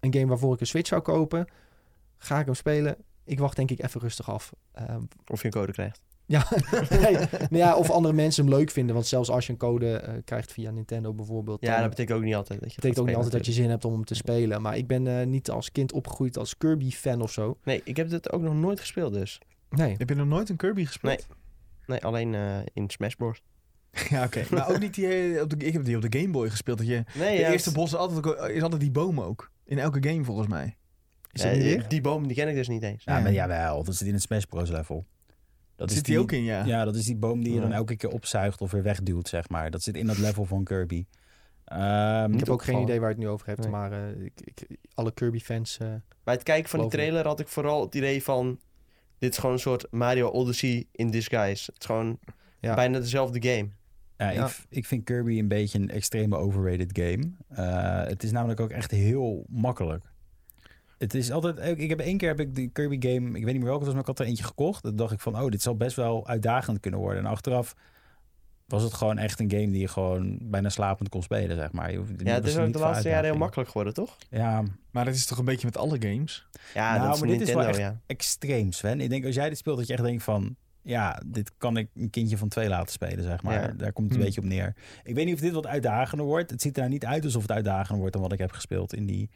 een game waarvoor ik een Switch zou kopen. Ga ik hem spelen? Ik wacht denk ik even rustig af. Ehm,
Of je een code krijgt.
ja, nee. Nou ja, of andere mensen hem leuk vinden. Want zelfs als je een code eh, krijgt via Nintendo bijvoorbeeld...
Ja,
dan-
dat betekent ook niet altijd dat je het
betekent ook niet
gaat
altijd dat je
spelen
zin hebt om hem te spelen. Maar ik ben eh, niet als kind opgegroeid als Kirby-fan of zo.
natuurlijk. Nee, ik heb dit ook nog nooit gespeeld dus.
Nee.
Heb je nog nooit een Kirby gespeeld?
Nee, alleen eh, in Smash Bros.
Ja, oké. maar ook niet die... eh, Op de, ik heb die op de Game Boy gespeeld. Dat je,
Nee,
de
ja,
eerste
het-
bos is altijd, ook- eh, is altijd die boom ook. In elke game volgens mij.
Is
ja,
dat niet
die-
weer?
eh, Die boom, die ken ik dus niet eens.
Ja,
Ja.
maar jawel, dat zit in het Smash Bros. level. Dat
Zit die ook in, ja.
Ja, dat is die boom die je dan
Ja.
elke keer opzuigt of weer wegduwt, zeg maar. Dat zit in dat level van Kirby. Ehm,
Ik heb ook geen
opgevallen.
idee waar je het nu over hebt.
Nee.
Maar eh, ik, ik, alle Kirby-fans... eh,
Bij het kijken van die
Geloof me.
trailer had ik vooral het idee van... Dit is gewoon een soort Mario Odyssey in disguise. Het is gewoon
Ja.
bijna dezelfde game.
ja,
Ja.
Ik, v- ik vind Kirby een beetje een extreme overrated game. Eh, het is namelijk ook echt heel makkelijk. Het is altijd... Ik, ik heb één keer heb ik de Kirby game... Ik weet niet meer welke het was, maar ik had er eentje gekocht. Dan dacht ik van, oh, dit zal best wel uitdagend kunnen worden. En achteraf was het gewoon echt een game die je gewoon bijna slapend kon spelen, zeg maar. Je hoeft-
Ja, het
was
is ook
niet
de
veel
laatste jaren heel
uitdaging.
makkelijk geworden, toch?
Ja,
Maar dat is toch een beetje met alle games?
Ja,
Nou,
dat is
maar dit is wel
Nintendo,
echt-
ja.
extreem, Sven. Ik denk als jij dit speelt, dat je echt denkt van... Ja, dit kan ik een kindje van twee laten spelen, zeg
Ja.
maar. Daar komt het een
Hmm.
beetje op neer. Ik weet niet of dit wat uitdagender wordt. Het ziet er nou niet uit alsof het uitdagender wordt dan wat ik heb gespeeld in die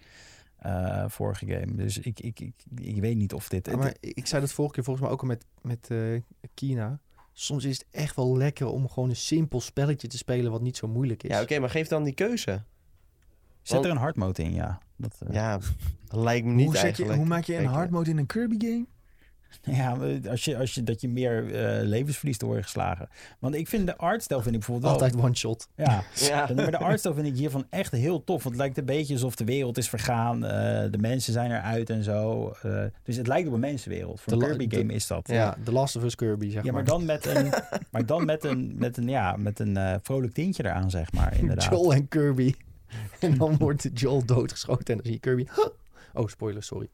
eh, vorige game. Dus ik, ik, ik, ik weet niet of dit...
Ja, maar ik zei dat vorige keer volgens mij ook al met, met eh, Kina. Soms is het echt wel lekker om gewoon een simpel spelletje te spelen wat niet zo moeilijk is.
Ja, oké, maar geef dan die keuze.
zet er een hard mode in, ja. Dat, eh, ja.
Ja, lijkt me niet
hoe, zet je,
eigenlijk.
hoe maak je een
Zeker.
hard mode in een Kirby game?
maar als je, als je, dat je meer eh, levensverlies te worden geslagen. Want ik vind de artstijl vind ik bijvoorbeeld wel...
Altijd one shot.
Ja,
eh, Ja.
Ja, Maar de artstijl vind ik hiervan echt heel tof. Want het lijkt een beetje alsof de wereld is vergaan. eh, de mensen zijn eruit en zo. eh, dus het lijkt op een mensenwereld.
De
Voor een
la-
Kirby
de-
game is dat.
Ja. The Last of Us Kirby, zeg
Ja, maar
maar.
dan met een, maar dan met een, met een, ja, met een eh, vrolijk tintje eraan, zeg maar. Inderdaad.
Joel en Kirby. en dan wordt Joel doodgeschoten en dan zie je Kirby... Oh, spoiler, sorry.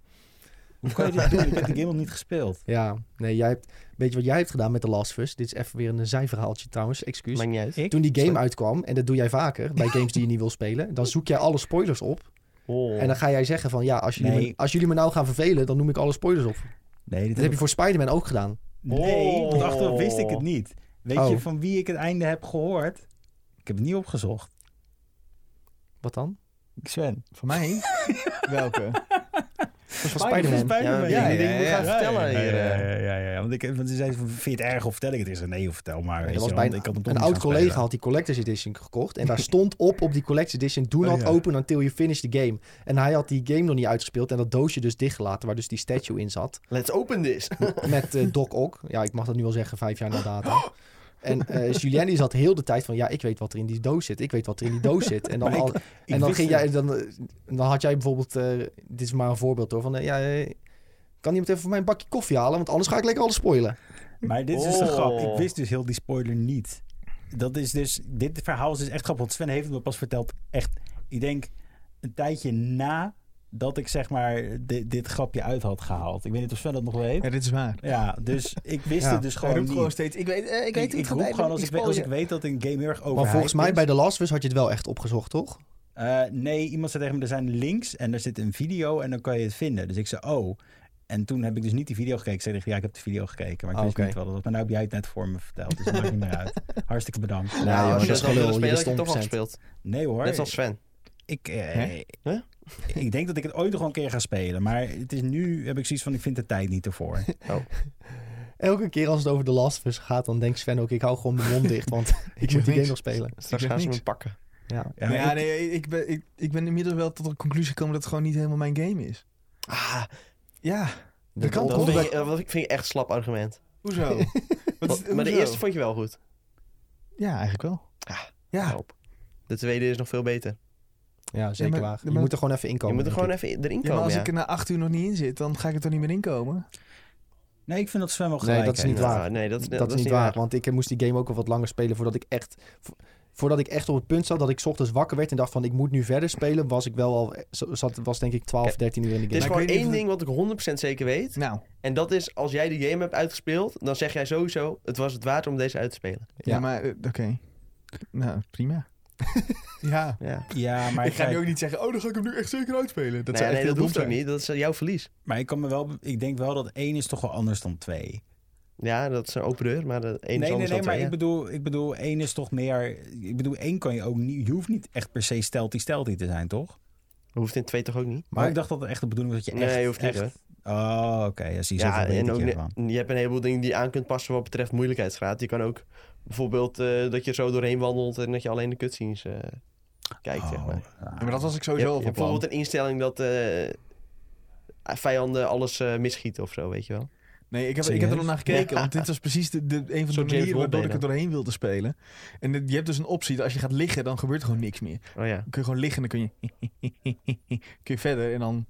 Hoe kan je dit doen? Ik heb de game nog niet gespeeld.
Ja, nee, jij hebt... Weet je wat jij hebt gedaan met The Last of Us? Dit is even weer een zijverhaaltje trouwens, excuus.
Maakt niet uit.
Ik?
Toen die game
Sorry.
uitkwam, en dat doe jij vaker bij games die je niet wil spelen, dan zoek jij alle spoilers op.
Oh.
En dan ga jij zeggen van ja, als jullie,
Nee.
me, als jullie me nou gaan vervelen, dan noem ik alle spoilers op.
Nee, dit
Dat heb je voor Spider-Man ook gedaan.
nee want
Oh.
achteraf wist ik het niet. Weet
Oh.
je van wie ik het einde heb gehoord? Ik heb het niet opgezocht.
Wat dan?
Sven.
Voor mij? Welke?
Van Spider-Man.
Ja,
Spider-Man.
die dingen moet gaan vertellen
ja,
hier,
Ja,
eh.
ja, ja, ja, Want, ik, want ze zei, van, vind je het erg of vertel ik het? Ik zei, nee, joh, vertel maar. weet
Er was
je,
bij
want
een,
ik kan hem toch
een
niet
oud
gaan
collega
spelen.
had die Collector's Edition gekocht. En daar stond op, op die Collector's Edition, do
Oh,
not
ja.
open until you finish the game. En hij had die game nog niet uitgespeeld en dat doosje dus dichtgelaten, waar dus die statue in zat.
Let's open this.
Met eh, Doc Ock. Ja, ik mag dat nu al zeggen, vijf jaar na data. En eh Julien die zat heel de tijd van, ja, ik weet wat er in die doos zit. Ik weet wat er in die doos zit. En dan,
Maar ik-
al,
Ik
en dan,
wist
ging
het.
jij, dan, eh, dan had jij bijvoorbeeld, eh, dit is maar een voorbeeld hoor, van eh, ja, eh, kan iemand even voor mij een bakje koffie halen? Want anders ga ik lekker alles spoilen.
Maar dit is dus de
Oh.
grap. Ik wist dus heel die spoiler niet. Dat is dus... Dit verhaal is dus echt grappig. Want Sven heeft het me pas verteld. Echt, ik denk... een een tijdje na dat ik zeg maar dit, dit grapje uit had gehaald. Ik weet niet of Sven dat nog weet.
Ja, dit is waar.
Ja, dus ik wist
Ja,
het dus
Hij
gewoon
roept
niet.
gewoon steeds, ik weet, eh, ik weet
ik,
het
ik roep gewoon als ik, weet, als ik weet dat een game heel erg over
Maar volgens mij bij de Last of Us had je het wel echt opgezocht, toch?
Eh, nee, iemand zei tegen me, er zijn links en er zit een video en dan kan je het vinden. Dus ik zei, oh. En toen heb ik dus niet die video gekeken. Ik zei tegen, ja, ik heb de video gekeken, maar ik
Ah,
wist
oké.
niet wat het was. Maar nu heb jij het net voor me verteld, dus dat maakt niet meer uit. Hartstikke bedankt.
Ja,
nou,
jongen,
als je
dat
dat
is
had willen
gelul, je bent
spelen, had je het toch al
stom
gespeeld.
Nee hoor,
Net als Sven.
ik, eh,
Hè?
Huh?
ik denk dat ik het ooit nog wel een keer ga spelen. Maar het is nu, heb ik zoiets van, ik vind de tijd niet ervoor.
Elke keer als het over de Last of Us gaat, dan denkt Sven ook... ik hou gewoon mijn mond dicht, want ik moet die game
niks.
nog spelen.
Straks
zeg
gaan ze me
niks.
pakken.
Ja.
Ja,
maar ja,
ik-
nee, ik ben, ik, ik ben inmiddels wel tot de conclusie gekomen dat het gewoon niet helemaal mijn game is.
Ah,
Ja,
Dat
kan
dat
toch?
vind, ik, dat vind ik echt een slap argument.
hoezo? Wat is-
Maar de
hoezo?
eerste vond je wel goed.
Ja, eigenlijk wel.
Ah,
ja,
help. De tweede is nog veel beter.
Ja, zeker
maar-
waar. Je
maar-
moet er gewoon even
je
inkomen.
moet er gewoon
denk
even in- erin
Ja, maar
komen.
als
Ja,
ik er na acht uur nog niet in zit, dan ga ik er toch niet meer in komen?
nee, ik vind dat Sven wel
Nee,
gelijk
dat is
heeft.
niet waar.
Nou, nee, dat,
ik. Dat is niet waar, want ik eh, moest die game ook al wat langer spelen... voordat ik echt, vo- voordat ik echt op het punt zat dat ik 's ochtends wakker werd... en dacht van, ik moet nu verder spelen... was ik wel al, eh, zo- zat, was denk ik 12,
Kijk,
13 uur in de
Het
game.
is
Maar ik
gewoon
weet niet
één
of-
ding wat ik 100% zeker weet.
Nou,
En dat is, als jij die game hebt uitgespeeld, dan zeg jij sowieso, het was het waard om deze uit te spelen.
ja,
Ja.
maar eh, oké. Nou, prima. ja.
Ja.
Ja, maar
ik ga
kijk-
nu ook niet zeggen, oh, dan ga ik hem nu echt zeker uitspelen. Dat
Dat nee,
zou echt
nee, dat
heel dom
hoeft ook
zijn.
niet. Dat is eh, jouw verlies.
Maar ik, kan me wel, ik denk wel dat één is toch wel anders dan twee.
Ja, dat is een open deur, maar de een is
nee, nee,
anders
nee,
dan
maar
twee,
ik bedoel, ik bedoel, één is toch meer... Ik bedoel, één kan je ook niet... Je hoeft niet echt per se steltie steltie te zijn, toch?
ja. Hoeft in twee toch ook niet?
Maar, ik dacht dat het echt de bedoeling was dat je
Nee,
echt...
hoeft niet,
echt-
hoor.
Oh, oké. ja, zie je ja,
Ja, en ook,
je
ne-
ervan.
je hebt een heleboel dingen die je aan kunt passen wat betreft moeilijkheidsgraad. Je kan ook bijvoorbeeld eh, dat je zo doorheen wandelt en dat je alleen de cutscenes eh, kijkt, zeg
Oh,
maar.
Ja, maar dat was ik
Je hebt- je
sowieso al
hebt
van plan.
bijvoorbeeld een instelling dat eh, vijanden alles eh, misschieten of zo, weet je wel.
Nee, ik heb, ik heb er nog
Serieus?
naar gekeken,
Ja.
want dit was precies de, de, een van de
James
manieren
Bond
waardoor ik
ben
er doorheen wilde spelen. En dit- je hebt dus een optie, dat als je gaat liggen, dan gebeurt er gewoon niks meer.
Oh ja.
Dan kun je gewoon liggen en dan kun je, kun je verder en dan...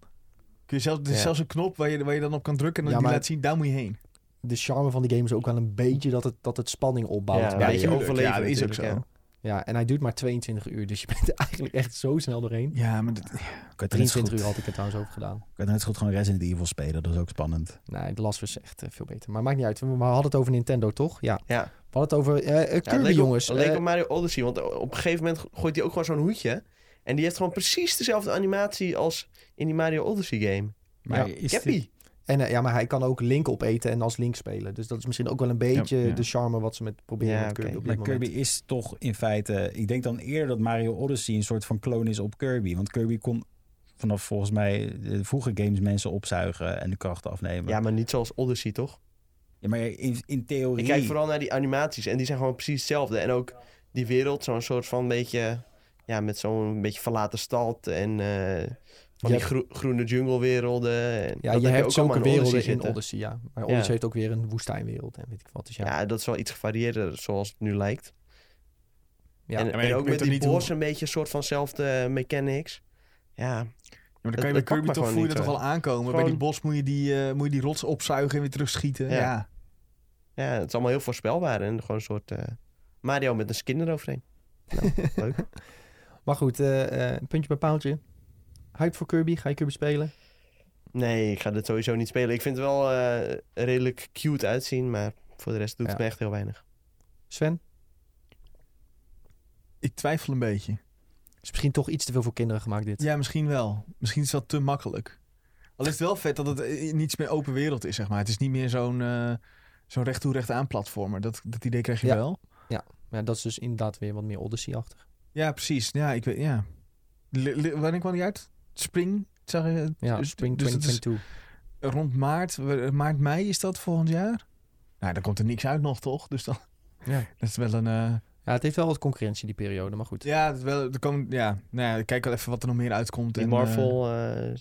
Kun je zelfs, er is
Ja.
zelfs een knop waar je, waar je dan op kan drukken en
Ja,
dan die
maar-
laat zien, daar moet je heen.
De charme van die game is ook wel een beetje dat het, dat het spanning opbouwt.
Ja,
bij
weet je
je.
ook. overleven
Ja, dat is ook zo.
natuurlijk,
ja, en hij duurt maar 22 uur, dus je bent er eigenlijk echt zo snel doorheen.
Ja, maar dat,
Ik had er net zo
23
goed-
uur had ik het trouwens over gedaan.
ik had er net zo goed gewoon Resident Evil spelen. Dat is ook spannend.
Nee, de Last of Us is echt eh, veel beter. Maar maakt niet uit. We we hadden het over Nintendo, toch? Ja.
Ja.
We hadden het over eh, eh,
Ja, het
Kirby,
leek op-
jongens.
het leek
Eh,
op Mario Odyssey, want op een gegeven moment gooit hij ook gewoon zo'n hoedje. En die heeft gewoon precies dezelfde animatie als in die Mario Odyssey game.
Maar
Ja,
is dit-
Cappy.
en eh, ja, maar hij kan ook Link opeten en als Link spelen. Dus dat is misschien ook wel een beetje
Ja, ja.
de charme wat ze met proberen
Ja,
met Kirby
oké.
op
Maar
dit moment.
Kirby is toch in feite... Ik denk dan eerder dat Mario Odyssey een soort van kloon is op Kirby. Want Kirby kon vanaf volgens mij de vroege games mensen opzuigen en de krachten afnemen.
Ja, maar niet zoals Odyssey, toch?
Ja, maar in, in theorie...
Ik kijk vooral naar die animaties en die zijn gewoon precies hetzelfde. En ook die wereld, zo'n soort van beetje... Ja, met zo'n beetje verlaten stad en... eh, van
Je
die groe- groene junglewerelden. En
Ja,
dat
je
heb
hebt
allemaal
zulke werelden in
zitten.
Odyssey, ja. Maar Odyssey
Ja.
heeft ook weer een woestijnwereld en weet ik wat. Dus ja,
Ja, dat is wel iets gevarieerder zoals het nu lijkt.
Ja.
en
Ja,
maar
en
ik
ook
weet
met
ook
die
niet hoe-
bossen een beetje een soort vanzelfde mechanics. Ja,
Ja, maar
Dat-
dan kan je
dat
bij
pakt
Kirby
me
toch
gewoon
voel je
niet,
dat toch wel aankomen. Bij
Gewoon-
die bos moet je die, eh, moet je die rots opzuigen en weer terugschieten.
Ja.
Ja.
Ja, het is allemaal heel voorspelbaar en gewoon een soort eh, Mario met een skin eroverheen. Nou, leuk.
maar goed, eh, eh, puntje bij paaltje. Hype voor Kirby. Ga je Kirby spelen?
Nee, ik ga dit sowieso niet spelen. Ik vind het wel eh, redelijk cute uitzien, maar voor de rest doet het
Ja.
me echt heel weinig.
Sven?
Ik twijfel een beetje.
Is misschien toch iets te veel voor kinderen gemaakt dit.
Ja, misschien wel. Misschien is het wel te makkelijk. Al is het wel vet dat het eh, niets meer open wereld is, zeg maar. Het is niet meer zo'n eh zo'n recht toe recht aan platformer. Dat, dat idee krijg je
Ja.
wel.
Maar dat is dus inderdaad weer wat meer Odyssey-achtig.
Ja, precies. Ja, ik weet, ja. Li- li- wanneer kwam die uit? Spring? Zag je?
Ja,
Dus-
Spring
dus dat is-
2022.
Rond maart, eh, maart, mei is dat volgend jaar? Nou, dan komt er niks uit nog, toch? Dus dan,
Ja.
dat is wel een... eh,
Ja, het heeft wel wat concurrentie die periode, maar goed.
Ja, het wel, er komen, ja, nou ja, kijk wel even wat er nog meer uitkomt.
Die
en,
Marvel eh,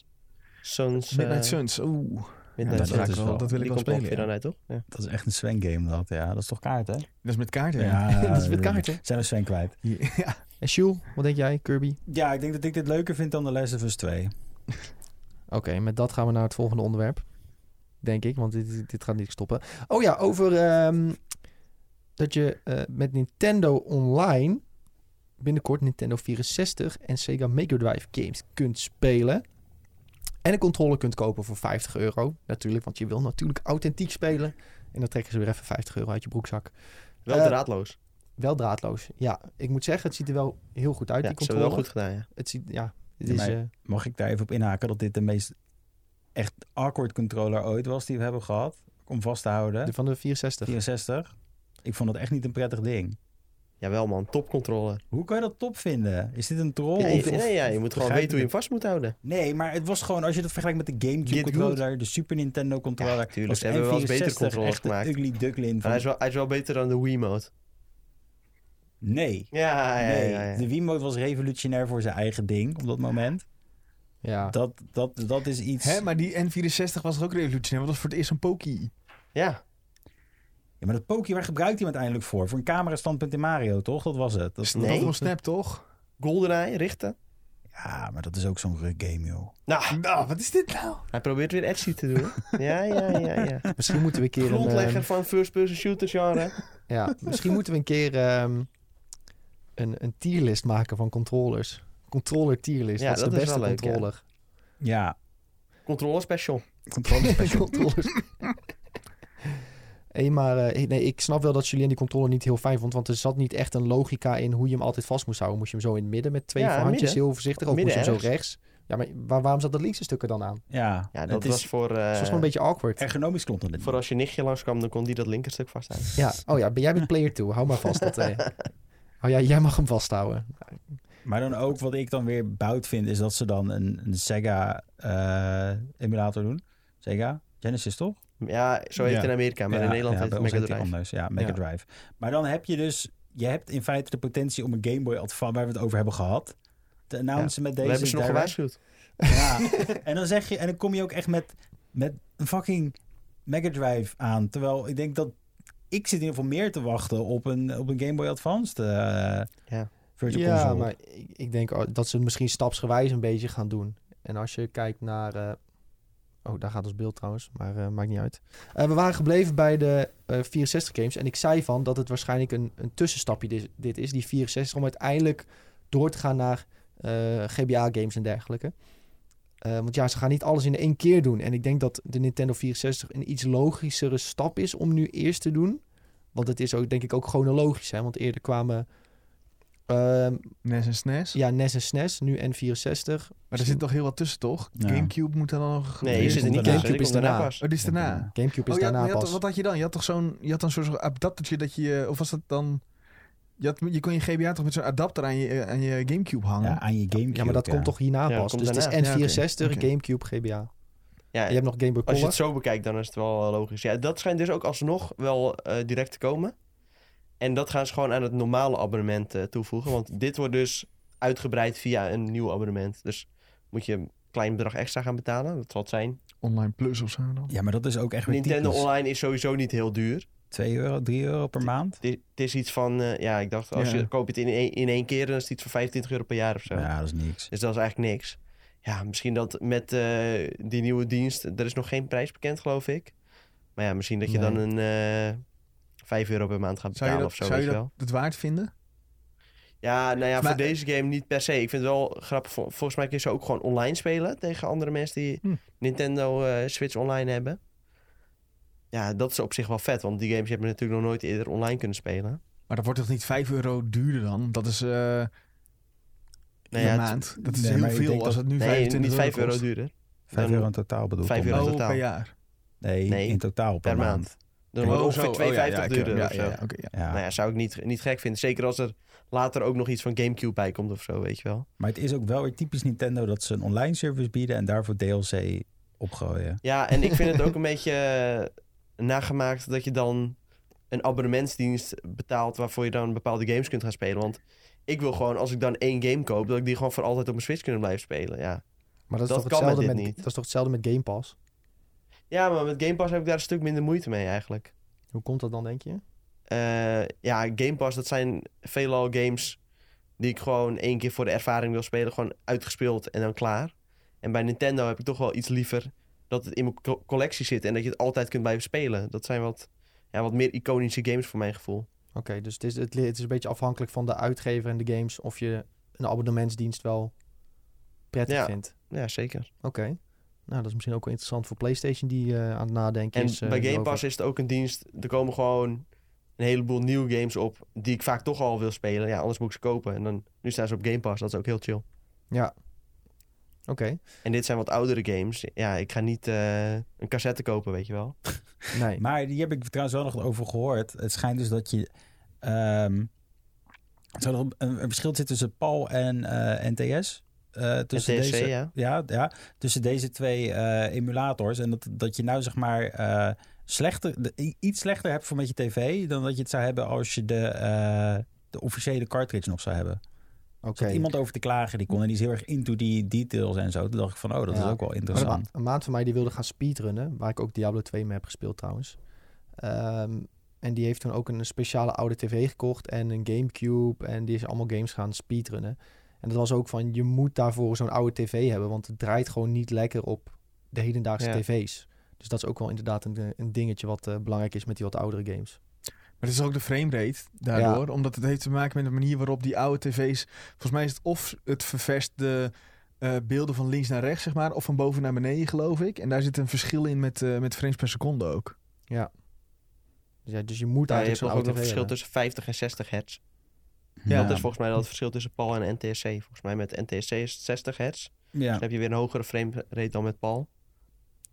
Suns.
eh, Midnight
eh,
Suns, oeh.
Midnight
Ja, dat
Suns.
is wel-
dat wil ik
Die
wel
komt er ook
spelen,
weer
ja.
aan uit, toch? Ja.
Dat is echt een Sven game dat, ja. Dat is toch kaart, hè?
Dat is met kaarten.
dat is met kaarten.
Zijn we Sven kwijt.
ja.
Ehm, En Sjoel, wat denk jij? Kirby?
Ja, ik denk dat ik dit leuker vind dan The Last of Us 2.
Oké, met dat gaan we naar het volgende onderwerp. Denk ik, want dit, dit gaat niet stoppen. Oh ja, over ehm, dat je eh, met Nintendo Online binnenkort Nintendo 64 en Sega Mega Drive games kunt spelen. En een controller kunt kopen voor 50 euro. Natuurlijk, want je wil natuurlijk authentiek spelen. En dan trekken ze weer even 50 euro uit je broekzak.
Wel
Eh,
draadloos.
Wel draadloos. Ja, ik moet zeggen, het ziet er wel heel goed uit,
Ja,
die
dat hebben we
controller.
wel goed gedaan, ja.
Het ziet, ja, het
Ja,
is...
maar-
eh,
Mag ik daar even op inhaken dat dit de meest echt awkward controller ooit was die we hebben gehad? Om vast te houden.
de van de 64.
64. Ik vond het echt niet een prettig ding.
Jawel man, topcontroller.
Hoe kan je dat top vinden? Is dit een troll?
ja,
of-
je,
Oh, of-
nee, ja, je moet gewoon
begrijp
weten hoe je hem vast moet houden.
Nee, maar het was gewoon, als je dat vergelijkt met de
Get
GameCube
good.
controller, de Super Nintendo controller.
Ja, tuurlijk.
was
Ze hebben wel eens betere
N64
controllers
echt de
gemaakt.
ugly ducklin
Maar
van...
hij, is wel, hij is wel beter dan de Wiimote.
Nee.
Ja, ja,
nee.
ja, ja.
De Wiimote was revolutionair voor zijn eigen ding op dat moment.
Ja.
Dat, dat, dat is iets...
Hè, maar die N64 was er ook revolutionair, want dat was voor het eerst een Poki.
Ja,
Ja, maar dat pookje, waar gebruikt hij hem uiteindelijk voor? Voor een camerastandpunt in Mario, toch? Dat was het. Dat,
Dat
Nee.
was Snap, toch?
GoldenEye, richten.
Ja, maar dat is ook zo'n ruk game, joh.
Nou,
Nou, wat is dit nou?
hij probeert weer edgy te doen. Ja, ja, ja, ja.
Misschien moeten we een keer een... ehm,
Grondlegger van first-person shooters genre.
ja, misschien moeten we een keer ehm, een, een tierlist maken van controllers. Controller tierlist.
Ja,
dat is
dat
de
is
beste
wel leuk, ja.
controller.
Ja.
Controller special.
Controle special.
controllers. Hey, maar eh, nee, ik snap wel dat Julien die controller niet heel fijn vond. Want er zat niet echt een logica in hoe je hem altijd vast moest houden. Moest je hem zo in het midden met twee
Ja,
voorhandjes
midden.
heel voorzichtig. Of moest
Midden
je hem zo rechts. Ja, maar waar- waarom zat dat linkse stuk er dan aan?
Ja,
Ja,
het
dat
is
was voor, eh,
Het was gewoon een beetje awkward.
ergonomisch klopt dat niet.
voor als je nichtje langskwam, dan kon die dat linkerstuk vasthouden.
Ja, oh ja, ben jij bent player toe. Hou maar vast. Dat, eh. Oh ja, jij mag hem vasthouden.
Maar dan ook wat ik dan weer bout vind, is dat ze dan een, een Sega eh, emulator doen. Sega? Genesis toch?
Ja, zo heet
Ja.
het in Amerika, maar in Nederland
ja,
heet
bij
het Mega
ons heet die
Drive.
anders. Ja, Mega
Ja.
Drive. Maar dan heb je dus, je hebt in feite de potentie om een Game Boy Advance, waar we het over hebben gehad, te announcen met
We
deze
hebben ze nog
direct.
gewaarschuwd.
Ja. en dan zeg je, en dan kom je ook echt met, met een fucking Mega Drive aan. Terwijl ik denk dat ik zit in ieder geval meer te wachten op een, op een Game Boy Advance eh
Ja.
Virtual
ja,
Console.
maar ik, ik denk oh, dat ze het misschien stapsgewijs een beetje gaan doen. En als je kijkt naar... eh, Oh, daar gaat ons beeld trouwens, maar eh, maakt niet uit. Eh, we waren gebleven bij de eh, 64 games. En ik zei van dat het waarschijnlijk een, een tussenstapje dit, dit is, die 64... om uiteindelijk door te gaan naar eh, GBA games en dergelijke. Eh, want ja, ze gaan niet alles in één keer doen. En ik denk dat de Nintendo 64 een iets logischere stap is om nu eerst te doen. Want het is ook, denk ik, ook chronologisch. Hè? Want eerder kwamen ehm,
NES en SNES.
ja, NES en SNES, nu N64.
Maar er zit nog heel wat tussen, toch?
Ja.
Gamecube moet daar dan nog...
Nee, je
Die
zit er
komt
niet
daarna.
tussen. Die
GameCube is
komt daarna
daarna.
pas.
Oh, die is daarna.
Gamecube is
Oh, je had-
daarna
je had-
pas.
wat had je dan? Je had toch zo'n je had dan zo'n soort adaptertje dat je... eh, Of was dat dan... Je, had, je kon je GBA toch met zo'n adapter aan je, eh, aan je Gamecube hangen?
Ja, aan je Gamecube.
ja, maar dat
ja.
komt toch hierna
Ja,
pas.
komt
Dus het is
daarna.
Ja, oké.
N64,
Oké.
Gamecube, GBA.
Ja,
Je hebt nog Game Boy
als
Color.
je het zo bekijkt, dan is het wel eh, logisch. Ja, dat schijnt dus ook alsnog wel eh, direct te komen. En dat gaan ze gewoon aan het normale abonnement eh, toevoegen. Want dit wordt dus uitgebreid via een nieuw abonnement. Dus moet je een klein bedrag extra gaan betalen. Dat zal het zijn.
Online Plus of zo dan?
Ja, maar dat is ook echt weer
Nintendo
typisch.
Online is sowieso niet heel duur.
2 euro, 3 euro per maand.
Het is- het is iets van, eh, ja, ik dacht, als
Ja.
je koopt het in één, in één keer, dan is het iets van 25 euro per jaar of zo.
Ja, dat is niks.
Dus dat is eigenlijk niks. Ja, misschien dat met eh, die nieuwe dienst, er is nog geen prijs bekend, geloof ik. Maar ja, misschien dat je
Nee.
dan een eh 5 euro per maand gaat
Zou je
betalen
dat,
of zo,
zou
weet
je
je
dat
wel.
het waard vinden?
Ja, nou ja,
Maar-
voor deze game niet per se. Ik vind het wel grappig. vol- Volgens mij kun je ze ook gewoon online spelen tegen andere mensen die
Hm.
Nintendo eh, Switch online hebben. Ja, dat is op zich wel vet, want die games hebben natuurlijk nog nooit eerder online kunnen spelen.
Maar dat wordt toch niet 5 euro duurder dan? Dat is eh
Nou
per
ja, het-
maand. Dat is
nee, maar
heel
ik
veel
denk
als
dat-
het nu
nee,
25
niet 5 euro
kost.
duurder.
5
Dan-
euro in totaal bedoel ik.
Vijf
dan.
euro.
Oh,
totaal.
per jaar.
Nee,
Nee,
in totaal per,
per
maand.
maand. Dan wordt
Oh,
het
zo.
ongeveer 2,50
Oh, ja, ja, ik-
duurder
ja,
of zo.
ja, oké, ja.
Ja.
Nou ja, zou ik niet, niet gek vinden. Zeker als er later ook nog iets van Gamecube bij komt of zo, weet je wel.
Maar het is ook wel weer typisch Nintendo dat ze een online service bieden en daarvoor DLC opgooien.
Ja, en ik vind het ook een beetje eh, nagemaakt dat je dan een abonnementsdienst betaalt waarvoor je dan bepaalde games kunt gaan spelen. Want ik wil gewoon, als ik dan één game koop, dat ik die gewoon voor altijd op mijn Switch kunnen blijven spelen. Ja,
maar dat is, toch
dat kan met
hetzelfde
dit
met,
niet.
dat is toch hetzelfde met Game Pass?
ja maar met Game Pass heb ik daar een stuk minder moeite mee eigenlijk.
Hoe komt dat dan, denk je?
Eh, ja, Game Pass, dat zijn veelal games die ik gewoon één keer voor de ervaring wil spelen. Gewoon uitgespeeld en dan klaar. En bij Nintendo heb ik toch wel iets liever dat het in mijn co- collectie zit en dat je het altijd kunt blijven spelen. Dat zijn wat, ja, wat meer iconische games voor mijn gevoel.
Oké. dus het is, het, li- het is een beetje afhankelijk van de uitgever en de games of je een abonnementsdienst wel prettig
Ja.
vindt.
Ja, zeker.
Oké. Nou, dat is misschien ook wel interessant voor PlayStation die eh, aan het nadenken
En
is. eh,
bij Game
hierover.
Pass is het ook een dienst. Er komen gewoon een heleboel nieuwe games op die ik vaak toch al wil spelen. Ja, anders moet ik ze kopen. En dan, nu staan ze op Game Pass. Dat is ook heel chill.
Oké.
En dit zijn wat oudere games. Ja, ik ga niet eh, een cassette kopen, weet je wel.
Nee.
Maar die heb ik trouwens wel nog over gehoord. Het schijnt dus dat je... ehm er zou nog een, een verschil zitten tussen PAL en eh, NTS. Eh, tussen
en TSC,
deze,
ja.
Ja, ja, tussen deze twee eh, emulators. En dat, dat je nou zeg maar eh, slechter, de- i- iets slechter hebt voor met je tv... dan dat je het zou hebben als je de, eh, de officiële cartridge nog zou hebben.
Oké.
Er zat iemand over te klagen die kon. En die is heel erg into die details en zo. Toen dacht ik van, oh, dat
Ja.
is ook wel
Maar Een,
interessant.
ma- een maat van mij die wilde gaan speedrunnen, waar ik ook Diablo 2 mee heb gespeeld trouwens. Ehm, en die heeft toen ook een speciale oude tv gekocht en een Gamecube en die is allemaal games gaan speedrunnen. En dat was ook van, je moet daarvoor zo'n oude tv hebben, want het draait gewoon niet lekker op de hedendaagse
Ja.
tv's. Dus dat is ook wel inderdaad een, een dingetje wat eh, belangrijk is met die wat oudere games.
Maar het is ook de framerate daardoor. Omdat het heeft te maken met de manier waarop die oude tv's... Volgens mij is het of het ververst de eh, beelden van links naar rechts, zeg maar. Of van boven naar beneden, geloof ik. En daar zit een verschil in met, eh, met frames per seconde ook.
Dus, ja, dus je moet
Ja, je
eigenlijk
hebt
zo'n
nog ook
oude
een
tv
verschil
hebben.
tussen 50 en 60 hertz.
Ja.
Dat is volgens mij wel het verschil tussen PAL en NTSC. Volgens mij met NTSC is het 60 hertz.
ja.
Dan heb je weer een hogere frame rate dan met PAL.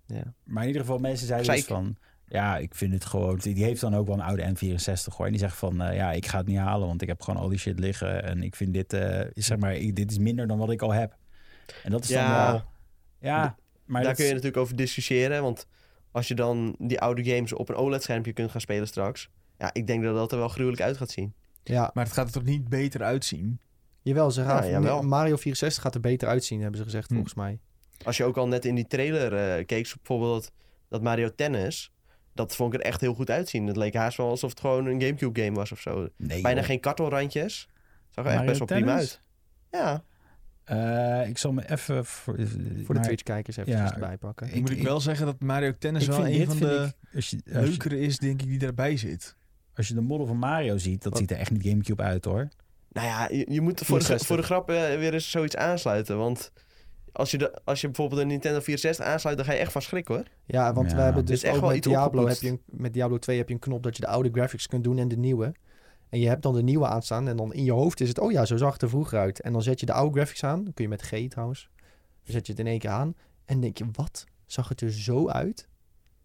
Ja.
Maar in ieder geval, mensen zeiden
Zei
dus
ik-
van... Ja, ik vind het gewoon... Die die heeft dan ook wel een oude N64 hoor. En die zegt van, eh, ja, ik ga het niet halen... want ik heb gewoon al die shit liggen. En ik vind dit, eh, is zeg maar, ik- dit is minder dan wat ik al heb. En dat is
Ja.
dan wel... Ja, maar
Daar
dat
kun je
is-
natuurlijk over discussiëren. Want als je dan die oude games op een OLED-schermpje kunt gaan spelen straks. Ja, ik denk dat dat er wel gruwelijk uit gaat zien.
Ja,
Maar het gaat er toch niet beter uitzien?
jawel, ze gaan,
jawel.
Mario 64 gaat er beter uitzien, hebben ze gezegd
Hm.
volgens mij.
Als je ook al net in die trailer eh, keek, zo bijvoorbeeld dat, dat Mario Tennis. Dat vond ik er echt heel goed uitzien. Het leek haast wel alsof het gewoon een Gamecube-game was of zo.
Nee,
Bijna
joh.
geen kartelrandjes. Zag er echt
Mario
best wel prima
Tennis?
uit. Ja,
Eh, ik zal me even... Voor,
Voor de
maar
Twitch-kijkers even
Ja.
erbij pakken.
Ik-
Moet ik,
ik-
wel zeggen dat Mario Tennis
Ik
wel
vind
een
dit,
van
vind
de
ik, als, je, als, je,
leukere is, denk ik, die daarbij zit.
als je de model van Mario ziet... dat
Wat?
ziet er echt niet Gamecube uit hoor.
Nou ja, je, je moet voor de, gra-
64.
voor de grap eh, weer eens zoiets aansluiten. Want als je, de, als je bijvoorbeeld een Nintendo 64 aansluit, dan ga je echt van schrikken hoor.
Ja, want
Ja.
we hebben
Dit
is
dus
echt
ook
wel
met
iets
Diablo, heb
opgepoetst.
je een, met Diablo 2 heb je een knop dat je de oude graphics kunt doen en de nieuwe. En je hebt dan de nieuwe aanstaan en dan in je hoofd is het, oh ja, zo zag het er vroeger uit. En dan zet je de oude graphics aan, dan kun je met G trouwens, dan zet je het in één keer aan en denk je, wat? Zag het er zo uit?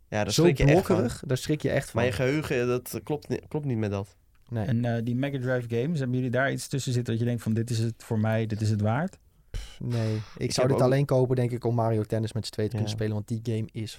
Ja, daar
zo Oh.
schrik je echt van.
blokkerig? Daar schrik je echt van.
Maar je geheugen, eh, dat klopt, ni- klopt niet met dat.
Nee.
En eh, die Mega Drive games, hebben jullie daar iets tussen zitten... dat je denkt van, dit is het voor mij, dit is het waard?
nee, ik zou
heb
dit
ook-
alleen kopen denk ik om Mario Tennis met z'n tweeën te
Ja.
kunnen spelen, want die game is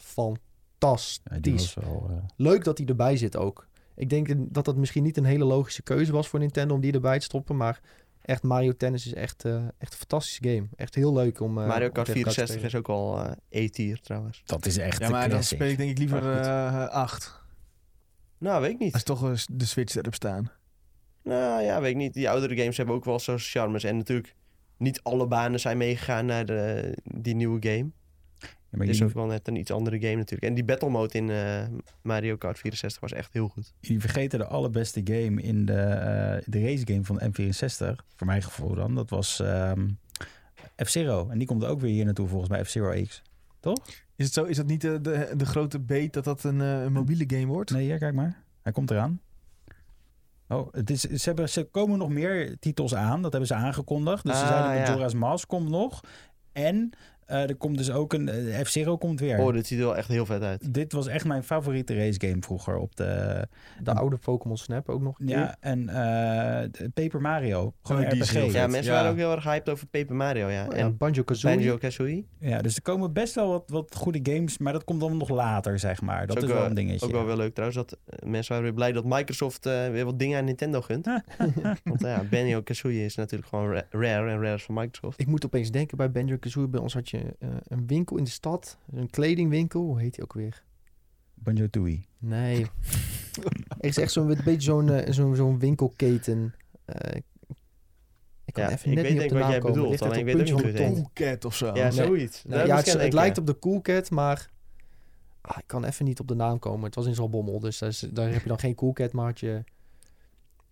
Ja, die
fantastisch.
was wel... eh,
Leuk dat die erbij zit ook. Ik denk dat dat misschien niet een hele logische keuze was voor Nintendo om die erbij te stoppen. Maar echt Mario Tennis is echt, eh, echt een fantastische game. Echt heel leuk om. eh,
Mario
om
Kart
tegen elkaar te
64 is ook al eh E-tier trouwens.
Dat is echt
Ja, maar dan speel ik denk ik liever
Maar goed.
eh, acht.
Nou, weet ik
Als
niet.
toch eh, de Switch erop staan.
Nou ja, weet ik niet. Die oudere games hebben ook wel zo'n charmes. En natuurlijk, niet alle banen zijn meegegaan naar de, die nieuwe game.
Ja, maar
Het is
jullie,
ook wel net een iets andere game natuurlijk. En die battle mode in eh, Mario Kart 64 was echt heel goed.
jullie vergeten de allerbeste game in de, eh, de race game van de M64. Voor mijn gevoel dan. Dat was ehm, F-Zero. En die komt ook weer hier naartoe volgens mij. F-Zero X.
Is het zo? Is dat niet de, de, de grote beet dat dat een, eh, een mobiele game wordt?
Nee, ja, kijk maar. Hij komt eraan. Oh, het is, ze, hebben, ze komen nog meer titels aan. Dat hebben ze aangekondigd. Dus ze
Ah,
zeiden dat
ja.
Majora's Mask komt nog. En eh, er komt dus ook een... eh, F-Zero komt weer.
Oh, dit ziet er wel echt heel vet uit.
Dit was echt mijn favoriete race game vroeger op de...
spelen. De oude Pokémon Snap ook nog. een keer.
Ja, en eh, de Paper Mario. Gewoon
Oh,
een
die is heel
RPG.
vet.
Ja, mensen
Ja.
waren ook heel erg hyped over Paper Mario, ja.
Oh ja,
en
Banjo Kazooie.
Banjo Kazooie.
Ja, dus er komen best wel wat, wat goede games, maar dat komt dan nog later, zeg maar. Dat is,
ook,
wel
eh,
een dingetje.
Ook wel weer leuk trouwens. Dat, eh, mensen waren weer blij dat Microsoft eh, weer wat dingen aan Nintendo gunt. Want eh, ja, Banjo Kazooie is natuurlijk gewoon ra- rare en rare is van Microsoft.
Ik moet opeens denken bij Banjo Kazooie. Bij ons had je eh, een winkel in de stad. Een kledingwinkel. Hoe heet die ook weer?
Banjo Tooie.
Nee. er is echt zo'n beetje zo'n eh, zo'n zo'n winkelketen. Eh, ik kan
Ja,
even
ik
net
weet
niet
denk
op de
wat
naam
jij
komen.
bedoelt,
Ligt het
alleen
op
ik weet ook
puntje
niet
van
hoe
de
het
tong?
heet.
Coolcat of zo.
ja,
nee.
zoiets.
Nee,
Daar
ja, het,
heb ik aan
het
denken.
lijkt op de Cool Cat, maar ah, ik kan even niet op de naam komen. Het was in Zalbommel, dus daar, is- daar heb je dan geen Cool Cat, maar had je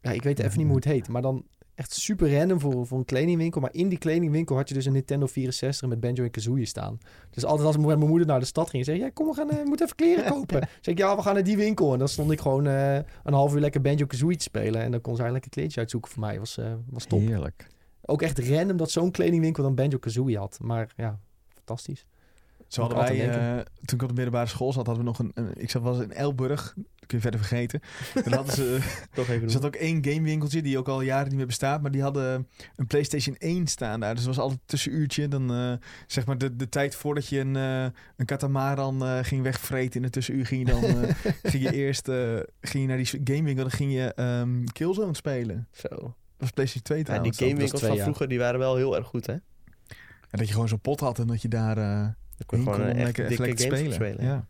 ja, ik weet even niet hoe het heet, maar dan echt super random voor, voor een kledingwinkel. Maar in die kledingwinkel had je dus een Nintendo 64 met Banjo en Kazooie staan. Dus altijd als mijn moeder naar de stad ging, zei ik, ja, kom, we gaan, eh, we moeten even kleren kopen. Zeg ik, ja, we gaan naar die winkel. En dan stond ik gewoon eh, een half uur lekker Banjo Kazooie te spelen. En dan kon zij lekker kleedje uitzoeken voor mij. Was, eh, was top.
Heerlijk.
Ook echt random dat zo'n kledingwinkel dan Banjo Kazooie had. Maar ja, fantastisch.
Zo
Moet ik
hadden wij,
altijd denken.
eh, toen ik op de middelbare school zat, hadden we nog een... een- ik zat was in Elburg, dat kun je verder vergeten. En dan hadden ze, eh,
Toch even
er
doen.
zat ook één gamewinkeltje, die ook al jaren niet meer bestaat. Maar die hadden een Playstation 1 staan daar. Dus het was altijd een tussenuurtje. Dan, eh, zeg maar de, de tijd voordat je een, eh een katamaran eh, ging wegvreten in het tussenuur... ging je dan eh, ging je eerst eh, ging je naar die gamewinkel en dan ging je ehm, Killzone spelen.
Zo.
Dat was Playstation 2
Ja,
trouwens.
die
dat.
gamewinkels
twee
van
jaar.
vroeger die waren wel heel erg goed, hè?
En dat je gewoon zo'n pot had en dat je daar... eh
Dan kon je
heen
gewoon
kon
een
om
echt dikke
lekker
games
te
spelen.
Ja.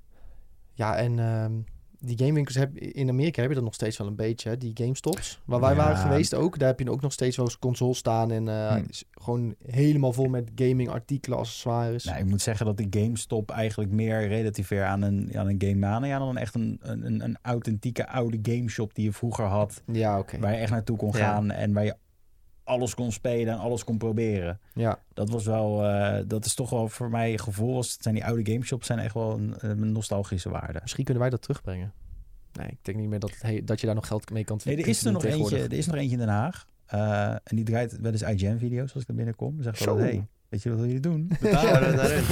Ja, en ehm, die gamewinkels heb, in Amerika heb je dat nog steeds wel een beetje, hè? die GameStops. Waar wij
Ja. Hm.
waren geweest ook, daar heb je ook nog steeds wel eens console staan en eh,
Hmm.
is gewoon helemaal vol met gaming artikelen, accessoires.
Nou, ik moet zeggen dat de GameStop eigenlijk meer relativeer aan een, aan een Game Mania dan echt een, een, een authentieke oude gameshop die je vroeger had.
Ja, oké.
Waar je echt naartoe kon
Ja.
gaan en waar je alles kon spelen en alles kon proberen.
Ja.
Dat was wel, eh, dat is toch wel voor mij gevoel. Was, het zijn die oude gameshops zijn echt wel een, een nostalgische waarde.
Misschien kunnen wij dat terugbrengen. Nee, ik denk niet meer dat, het he- dat je daar nog geld mee kan
Nee, er is er,
verdienen
nog eentje,
tegenwoordig.
er is nog eentje in Den Haag. Eh, en die draait wel eens IGN-video's als ik er binnenkom. Zegt wel,
Zo.
hey, weet je wat jullie doen?
Daar, daar, daarin.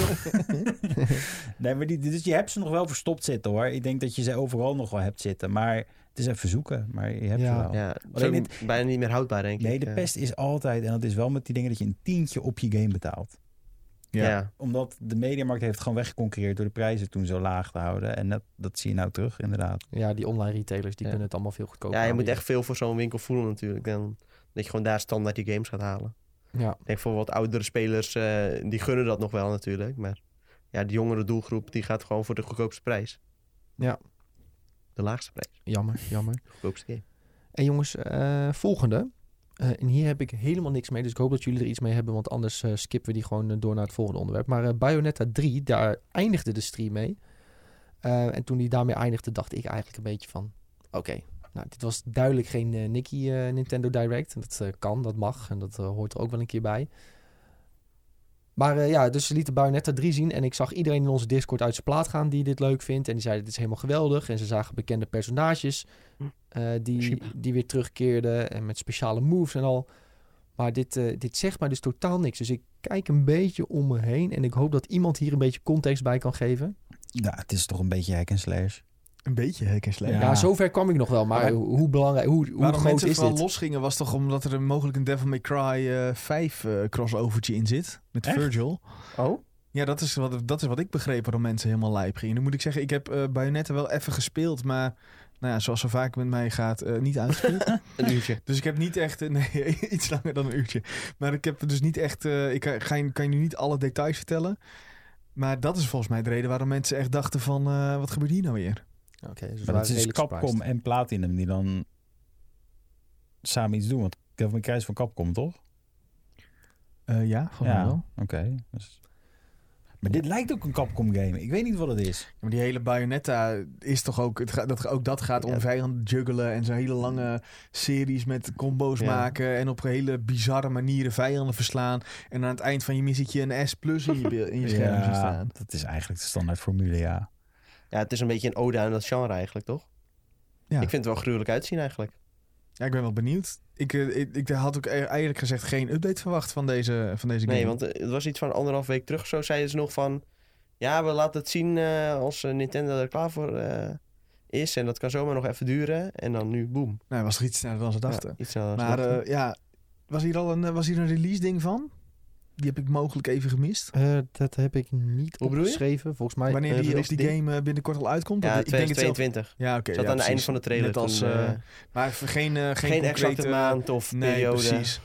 nee, maar die, dus je hebt ze nog wel verstopt zitten hoor. Ik denk dat je ze overal nog wel hebt zitten. Maar het is even zoeken, maar je hebt
Ja.
ze wel.
Ja, dat is
Alleen
ook bijna niet meer houdbaar, denk eh, ik.
Nee, de
Ja.
pest is altijd, en dat is wel met die dingen dat je een tientje op je game betaalt.
Ja.
Omdat de mediamarkt heeft gewoon weggeconcureerd door de prijzen toen zo laag te houden. En dat, dat zie je nou terug, inderdaad.
Ja, die online retailers, die
Ja.
kunnen het allemaal veel goedkoper
ja, je moet
aanbieden.
echt veel voor zo'n winkel voelen natuurlijk. Dan, dat je gewoon daar standaard die games gaat halen.
Ja,
Ik denk voor wat oudere spelers, eh, die gunnen dat nog wel natuurlijk. Maar ja, de jongere doelgroep, die gaat gewoon voor de goedkoopste prijs.
Ja.
De laagste prijs,
jammer, jammer.
de goedkoopste game.
En jongens, eh, volgende. Eh, en hier heb ik helemaal niks mee, dus ik hoop dat jullie er iets mee hebben, want anders eh, skippen we die gewoon eh, door naar het volgende onderwerp. Maar eh, Bayonetta 3, daar eindigde de stream mee. Eh, en toen die daarmee eindigde, dacht ik eigenlijk een beetje van, oké, nou dit was duidelijk geen eh, Nicky eh, Nintendo Direct. En Dat eh, kan, dat mag en dat eh, hoort er ook wel een keer bij. Maar eh, ja, dus ze lieten Bayonetta 3 zien. En ik zag iedereen in onze Discord uit zijn plaat gaan die dit leuk vindt. En die zei, dit is helemaal geweldig. En ze zagen bekende personages eh, die,
Shiba.
die weer terugkeerden. En met speciale moves en al. Maar dit, eh, dit zegt mij dus totaal niks. Dus ik kijk een beetje om me heen. En ik hoop dat iemand hier een beetje context bij kan geven.
Ja, het is toch een beetje hack en slash.
Een beetje hack en slash.
Ja,
Ja.
zover kwam ik nog wel. Maar
Maar-
hoe hoe belangrijk, hoe, hoe
Waarom
groot
mensen
is
vooral
dit?
losgingen was toch omdat er een mogelijk een Devil May Cry eh 5 eh, crossovertje in zit. Met
Echt?
Virgil.
Oh?
Ja, dat is, wat, dat is wat ik begreep waarom mensen helemaal lijp gingen. Nu moet ik zeggen, ik heb eh Bayonetta wel even gespeeld. Maar nou ja, zoals zo vaak met mij gaat, eh, niet uitgespeeld.
Een uurtje.
dus ik heb niet echt... eh, nee, iets langer dan een uurtje. Maar ik heb dus niet echt... eh, ik kan, ga je- kan je nu niet alle details vertellen. Maar dat is volgens mij de reden waarom mensen echt dachten van... eh, wat gebeurt hier nou weer?
Oké, dus we
Maar
waren
het is
redelijk
Capcom
surprised.
en Platinum die dan samen iets doen. Want Devil May Cry is van Capcom, toch?
Eh, ja, volgens mij
Ja.
wel.
Oké. dus- Maar dit lijkt ook een Capcom game. Ik weet niet wat het is.
Ja, maar die hele Bayonetta is toch ook... Het ga- dat, ook dat gaat om
Ja. Mm.
vijanden juggelen en zo'n hele lange series met combo's
Ja.
maken... en op hele bizarre manieren vijanden verslaan. En aan het eind van je missie zie ik je een S plus in je, be- in je scherm zien staan.
dat is eigenlijk de standaard formule, ja.
Ja, het is een beetje een ode aan dat genre eigenlijk, toch?
Ja.
Ik vind het wel gruwelijk uitzien eigenlijk.
Ja, ik ben wel benieuwd. Ik, eh, ik, ik had ook e- eigenlijk gezegd geen update verwacht van deze, van deze game.
Nee, want eh, het was iets van anderhalf week terug. Zo zeiden ze nog van... Ja, we laten het zien eh, als eh, Nintendo er klaar voor eh, is. En dat kan zomaar nog even duren. En dan nu, boem.
Nou, was er iets sneller dan ze dachten.
Ja, iets sneller dan ze
maar
dachten.
eh, ja, was hier al een, eh, was hier een release ding van? Die heb ik mogelijk even gemist.
Eh, dat heb ik niet
Hoe bedoel je?
opgeschreven. Volgens mij
Wanneer
een
die, of
release
die
ding?
game eh, binnenkort al uitkomt?
ja,
Want ik denk het zelf-
2022.
Ja, oké.
Zat
ja,
aan het
precies.
einde van de trailer.
Net als,
toen, eh,
eh, Maar v- geen, eh, geen,
geen
concrete-
exacte maand of
Nee,
periode.
precies.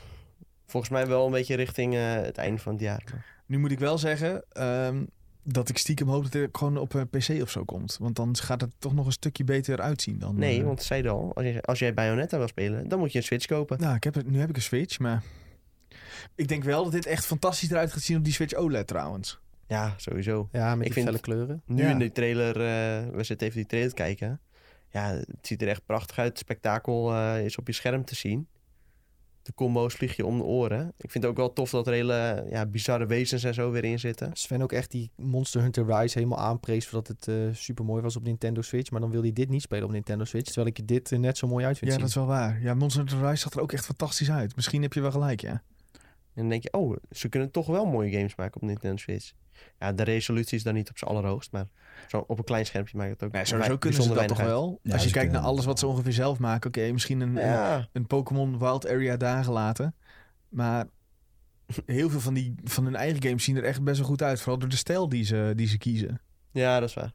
Volgens mij wel een beetje richting eh, het einde van het jaar.
Nu moet ik wel zeggen ehm, dat ik stiekem hoop dat het gewoon op een PC of zo komt. Want dan gaat het toch nog een stukje beter uitzien dan.
Nee,
eh,
want ze zeiden al, als, je, als jij Bayonetta wil spelen, dan moet je een Switch kopen.
Nou, ik heb het, nu heb ik een Switch, maar... Ik denk wel dat dit echt fantastisch eruit gaat zien op die Switch OLED trouwens.
Ja, sowieso.
Ja, met
Ik
die
vind-
felle kleuren.
Nu
Ja.
in die trailer, eh, we zitten even die trailer te kijken. Ja, het ziet er echt prachtig uit. Het spektakel eh, is op je scherm te zien. De combo's vlieg je om de oren. Ik vind het ook wel tof dat er hele ja, bizarre wezens en zo weer in zitten.
Sven ook echt die Monster Hunter Rise helemaal aanprees voordat het super mooi was op Nintendo Switch. Maar dan wil hij dit niet spelen op Nintendo Switch, terwijl ik dit eh, net zo mooi uit vind
Ja,
zien.
dat is wel waar. Ja, Monster Hunter Rise zag er ook echt fantastisch uit. Misschien heb je wel gelijk, ja.
En dan denk je, oh, ze kunnen toch wel mooie games maken op Nintendo Switch. Ja, de resolutie is dan niet op zijn allerhoogst, maar zo op een klein schermpje maakt het ook.
Nee,
vrij-
sowieso kunnen ze
bijzonder
dat toch
weinig
wel?
Ja,
Als je kijkt
ze kunnen
naar alles wat ze ongeveer zelf maken. Oké, misschien een,
uit.
een,
Ja.
een Pokémon Wild Area daar gelaten. Maar heel veel van, die, van hun eigen games zien er echt best wel goed uit. Vooral door de stijl die ze, die ze kiezen.
ja, dat is waar.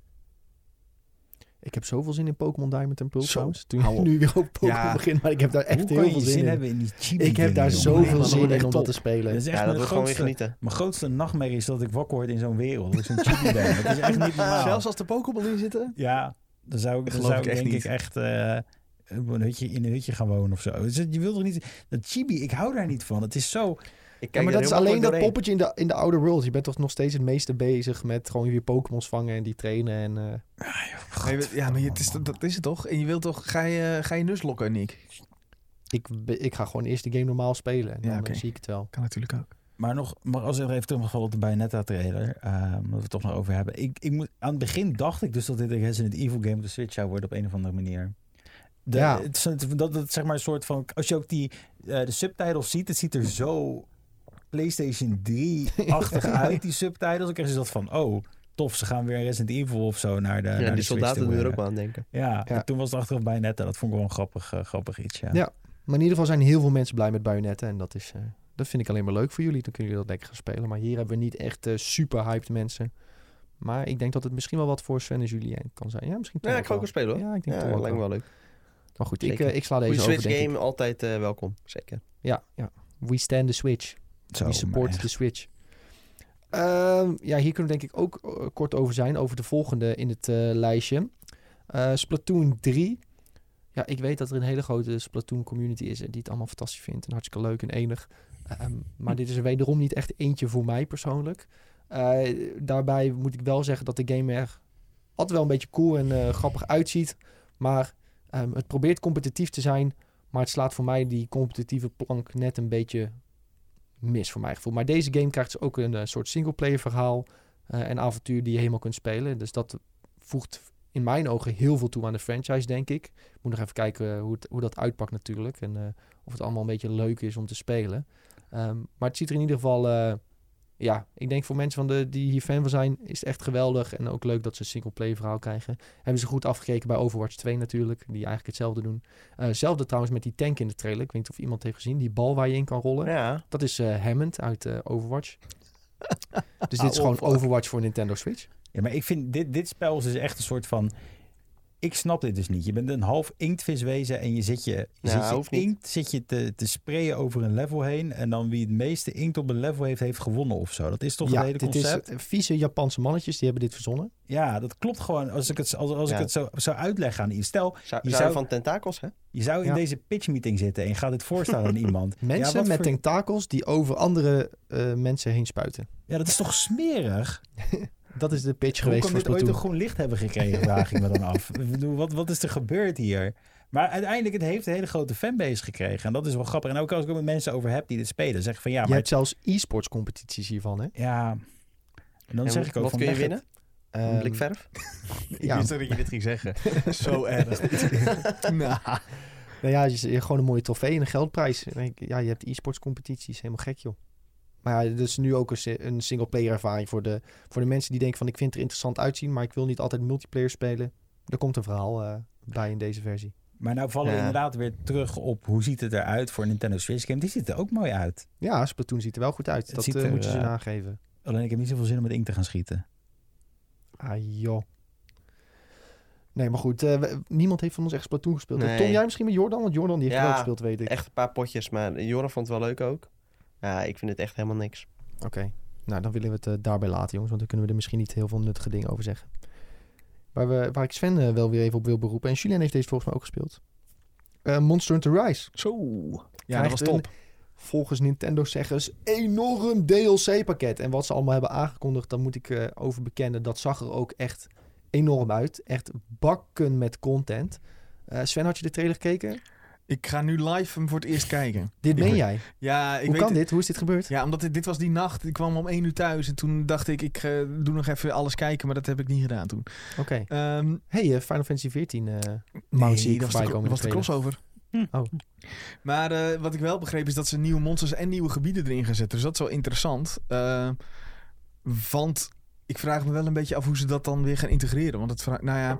Ik heb zoveel zin in Pokémon Diamond en Pearl
Zo,
trouwens. Toen
hou
je
op.
nu weer op Pokémon
Ja.
begint, maar ik heb daar
Hoe
echt
kan
heel
je
veel
zin,
zin in.
hebben Dus in die chibi
Ik heb daar
dingen,
Nee,
zoveel
man,
jongen?
dat
zin
wordt
in
echt
om dat te
top.
spelen.
Dat is echt
Ja, dat
mijn,
wordt gewoon weer
grootste,
genieten.
mijn grootste nachtmerrie is dat ik wakker word in zo'n wereld. Dat is een chibi ben. Dat is echt niet normaal.
Zelfs als de Pokémon in zitten.
Ja, dan zou ik, dan
geloof
zou
ik
ik
echt
denk
niet.
ik echt eh, op een hutje, in een hutje gaan wonen of zo. Dus je wilt toch niet... Dat chibi, ik hou daar niet van. Het is zo...
Ik kijk
Ja, maar
er
dat is
heel
alleen
makkelijk
dat
doorheen.
poppetje in de, in de oude world. Je bent toch nog steeds het meeste bezig met gewoon weer Pokémon's vangen en die trainen. En, eh,
Nee, we- Ja, maar je- het is, dat is het toch? En je wilt toch... Ga je, ga je nuslokken, Nick?
ik, be- ik ga gewoon eerst de game normaal spelen. En
Ja,
dan eh,
oké.
zie ik het wel.
Kan natuurlijk ook.
Maar nog, maar als we nog even terugvallen op de Bayonetta-trailer, eh, omdat we het toch nog over hebben. Ik, ik moet, aan het begin dacht ik dus dat dit een Resident Evil game op de Switch zou worden op een of andere manier. De,
Ja.
het, is- dat, dat zeg maar een soort van, als je ook die, eh, de subtitles ziet, het ziet er zo PlayStation 3-achtig uit, die subtitles. Ik krijg je dat van, oh, tof, ze gaan weer Resident Evil of zo naar de naar
Ja,
de
die
Switch
soldaten
toe
doen er ook
brengen.
wel aan denken.
Ja,
Ja.
en toen was het achteraf Bayonetta. Dat vond ik wel een grappig, eh, grappig iets, ja.
Ja. Maar in ieder geval zijn heel veel mensen blij met Bayonetten. En dat, is, eh, dat vind ik alleen maar leuk voor jullie. Dan kunnen jullie dat lekker gaan spelen. Maar hier hebben we niet echt eh, super hyped mensen. Maar ik denk dat het misschien wel wat voor Sven en Julien kan zijn. Ja, misschien toch
Ja,
ook
ik ga ook wel spelen hoor.
Ja, ik denk
Ja,
toch ook
lijkt me
wel.
wel leuk.
Maar goed, ik,
Zeker.
eh, ik sla
Voor
deze
je
over,
Switch
denk
game
ik.
altijd eh, welkom, zeker.
Ja, ja. We stand the Switch.
Zo,
die
maar
support
echt.
de Switch. Ehm, ja, hier kunnen we denk ik ook eh, kort over zijn. Over de volgende in het eh, lijstje. Eh, Splatoon 3. Ja, ik weet dat er een hele grote Splatoon community is. eh, die het allemaal fantastisch vindt. En hartstikke leuk en enig. Ehm, maar dit is er wederom niet echt eentje voor mij persoonlijk. Eh, daarbij moet ik wel zeggen dat de game er altijd wel een beetje cool en eh, grappig uitziet. Maar ehm, het probeert competitief te zijn. Maar het slaat voor mij die competitieve plank net een beetje mis voor mijn gevoel. Maar deze game krijgt dus ook een eh, soort singleplayer verhaal eh, en avontuur die je helemaal kunt spelen. Dus dat voegt in mijn ogen heel veel toe aan de franchise, denk ik. Moet nog even kijken eh, hoe, het- hoe dat uitpakt natuurlijk. En eh, of het allemaal een beetje leuk is om te spelen. Ehm, maar het ziet er in ieder geval... eh, ja, ik denk voor mensen van de, die hier fan van zijn, is het echt geweldig. En ook leuk dat ze een singleplayer verhaal krijgen. Hebben ze goed afgekeken bij Overwatch 2 natuurlijk, die eigenlijk hetzelfde doen. Eh, Hetzelfde trouwens met die tank in de trailer. Ik weet niet of iemand heeft gezien, die bal waar je in kan rollen.
Ja,
Dat is eh Hammond uit eh, Overwatch. dus dit is gewoon
Overwatch.
Overwatch voor Nintendo Switch.
Ja, maar ik vind dit, dit spel is dus echt een soort van. Ik snap dit dus niet. Je bent een half inktviswezen en je zit je, je
Nou,
zit je
hoeft niet.
inkt zit je te, te sprayen over een level heen. En dan wie het meeste inkt op een level heeft, heeft gewonnen of zo. Dat is toch het hele
dit
concept?
is eh, vieze Japanse mannetjes, die hebben dit verzonnen.
Ja, dat klopt gewoon. Als ik het, als, als
Ja.
ik het zo, zou uitleggen aan iemand. Stel,
zou,
Je
zou
zou-
van tentakels, hè?
je zou in
Ja.
deze pitchmeeting zitten en je gaat dit voorstellen aan iemand. ja,
Mensen
wat
met
voor-
tentakels die over andere eh, mensen heen spuiten.
ja, dat is toch smerig?
Dat is de pitch
Hoe
geweest
kan
voor
dit ooit een
Splatoon.
groen licht hebben gekregen, vraag ik me dan af. Ik bedoel, wat, wat is er gebeurd hier? Maar uiteindelijk, het heeft een hele grote fanbase gekregen. En dat is wel grappig. En ook als ik het met mensen over heb die dit spelen, zeg ik van ja,
Je
maar...
hebt zelfs e-sports competities hiervan, hè?
Ja, en dan
En
zeg ik ook
wat
van... nou
kun je
leg het-
winnen?
Ehm,
Een blik verf?
Ja.
wist dat je dit ging zeggen. Zo erg. nou,
nou ja, je- je- gewoon een mooie trofee en een geldprijs. En ik- Ja, je hebt e-sports competities, helemaal gek joh. Maar ja, dat is nu ook een, si- een single-player ervaring voor de, voor de mensen die denken van... ik vind het er interessant uitzien, maar ik wil niet altijd multiplayer spelen. Er komt een verhaal eh, bij in deze versie.
Maar nou vallen we
Ja.
inderdaad weer terug op hoe ziet het eruit voor een Nintendo Switch game. Die ziet er ook mooi uit.
Ja, Splatoon ziet er wel goed uit.
Het
dat
ziet
eh,
er,
moeten ze
eh,
nageven.
Alleen ik heb niet zoveel zin om met inkt te gaan schieten.
Ah joh. Nee, maar goed. eh, we- niemand heeft van ons echt Splatoon gespeeld.
Nee.
Tom, jij misschien met Jordan? Want Jordan die heeft
Ja,
wel gespeeld, weet ik.
Echt een paar potjes, maar Joran vond het wel leuk ook. Ja, ik vind het echt helemaal niks.
Oké. Nou, dan willen we het eh, daarbij laten, jongens. Want dan kunnen we er misschien niet heel veel nuttige dingen over zeggen. Waar, we, waar ik Sven eh, wel weer even op wil beroepen. En Julien heeft deze volgens mij ook gespeeld. Eh, Monster Hunter Rise.
zo. Ja, dat
Krijgt
was
een-
top.
Volgens Nintendo zeggers enorm DLC-pakket. En wat ze allemaal hebben aangekondigd, dat moet ik eh, over bekennen. Dat zag er ook echt enorm uit. Echt bakken met content. Eh, Sven, had je de trailer gekeken?
Ik ga nu live hem voor het eerst kijken.
Dit
Ik
ben
weet-
jij.
Ja, ik
Hoe
weet
kan
het-
dit? Hoe is dit gebeurd?
Ja, omdat dit, dit was die nacht. Ik kwam om één uur thuis. En toen dacht ik, ik eh, doe nog even alles kijken. Maar dat heb ik niet gedaan toen.
Oké.
Ehm
Hey, eh, Final Fantasy 14. eh
nee,
Mount zie ik
dat was
voorbij
de,
komen in
was de
de trailer.
crossover.
Oh.
Maar eh, wat ik wel begreep is dat ze nieuwe monsters en nieuwe gebieden erin gaan zetten. Dus dat is wel interessant. Eh, want ik vraag me wel een beetje af hoe ze dat dan weer gaan integreren. Want het vraag, nou ja,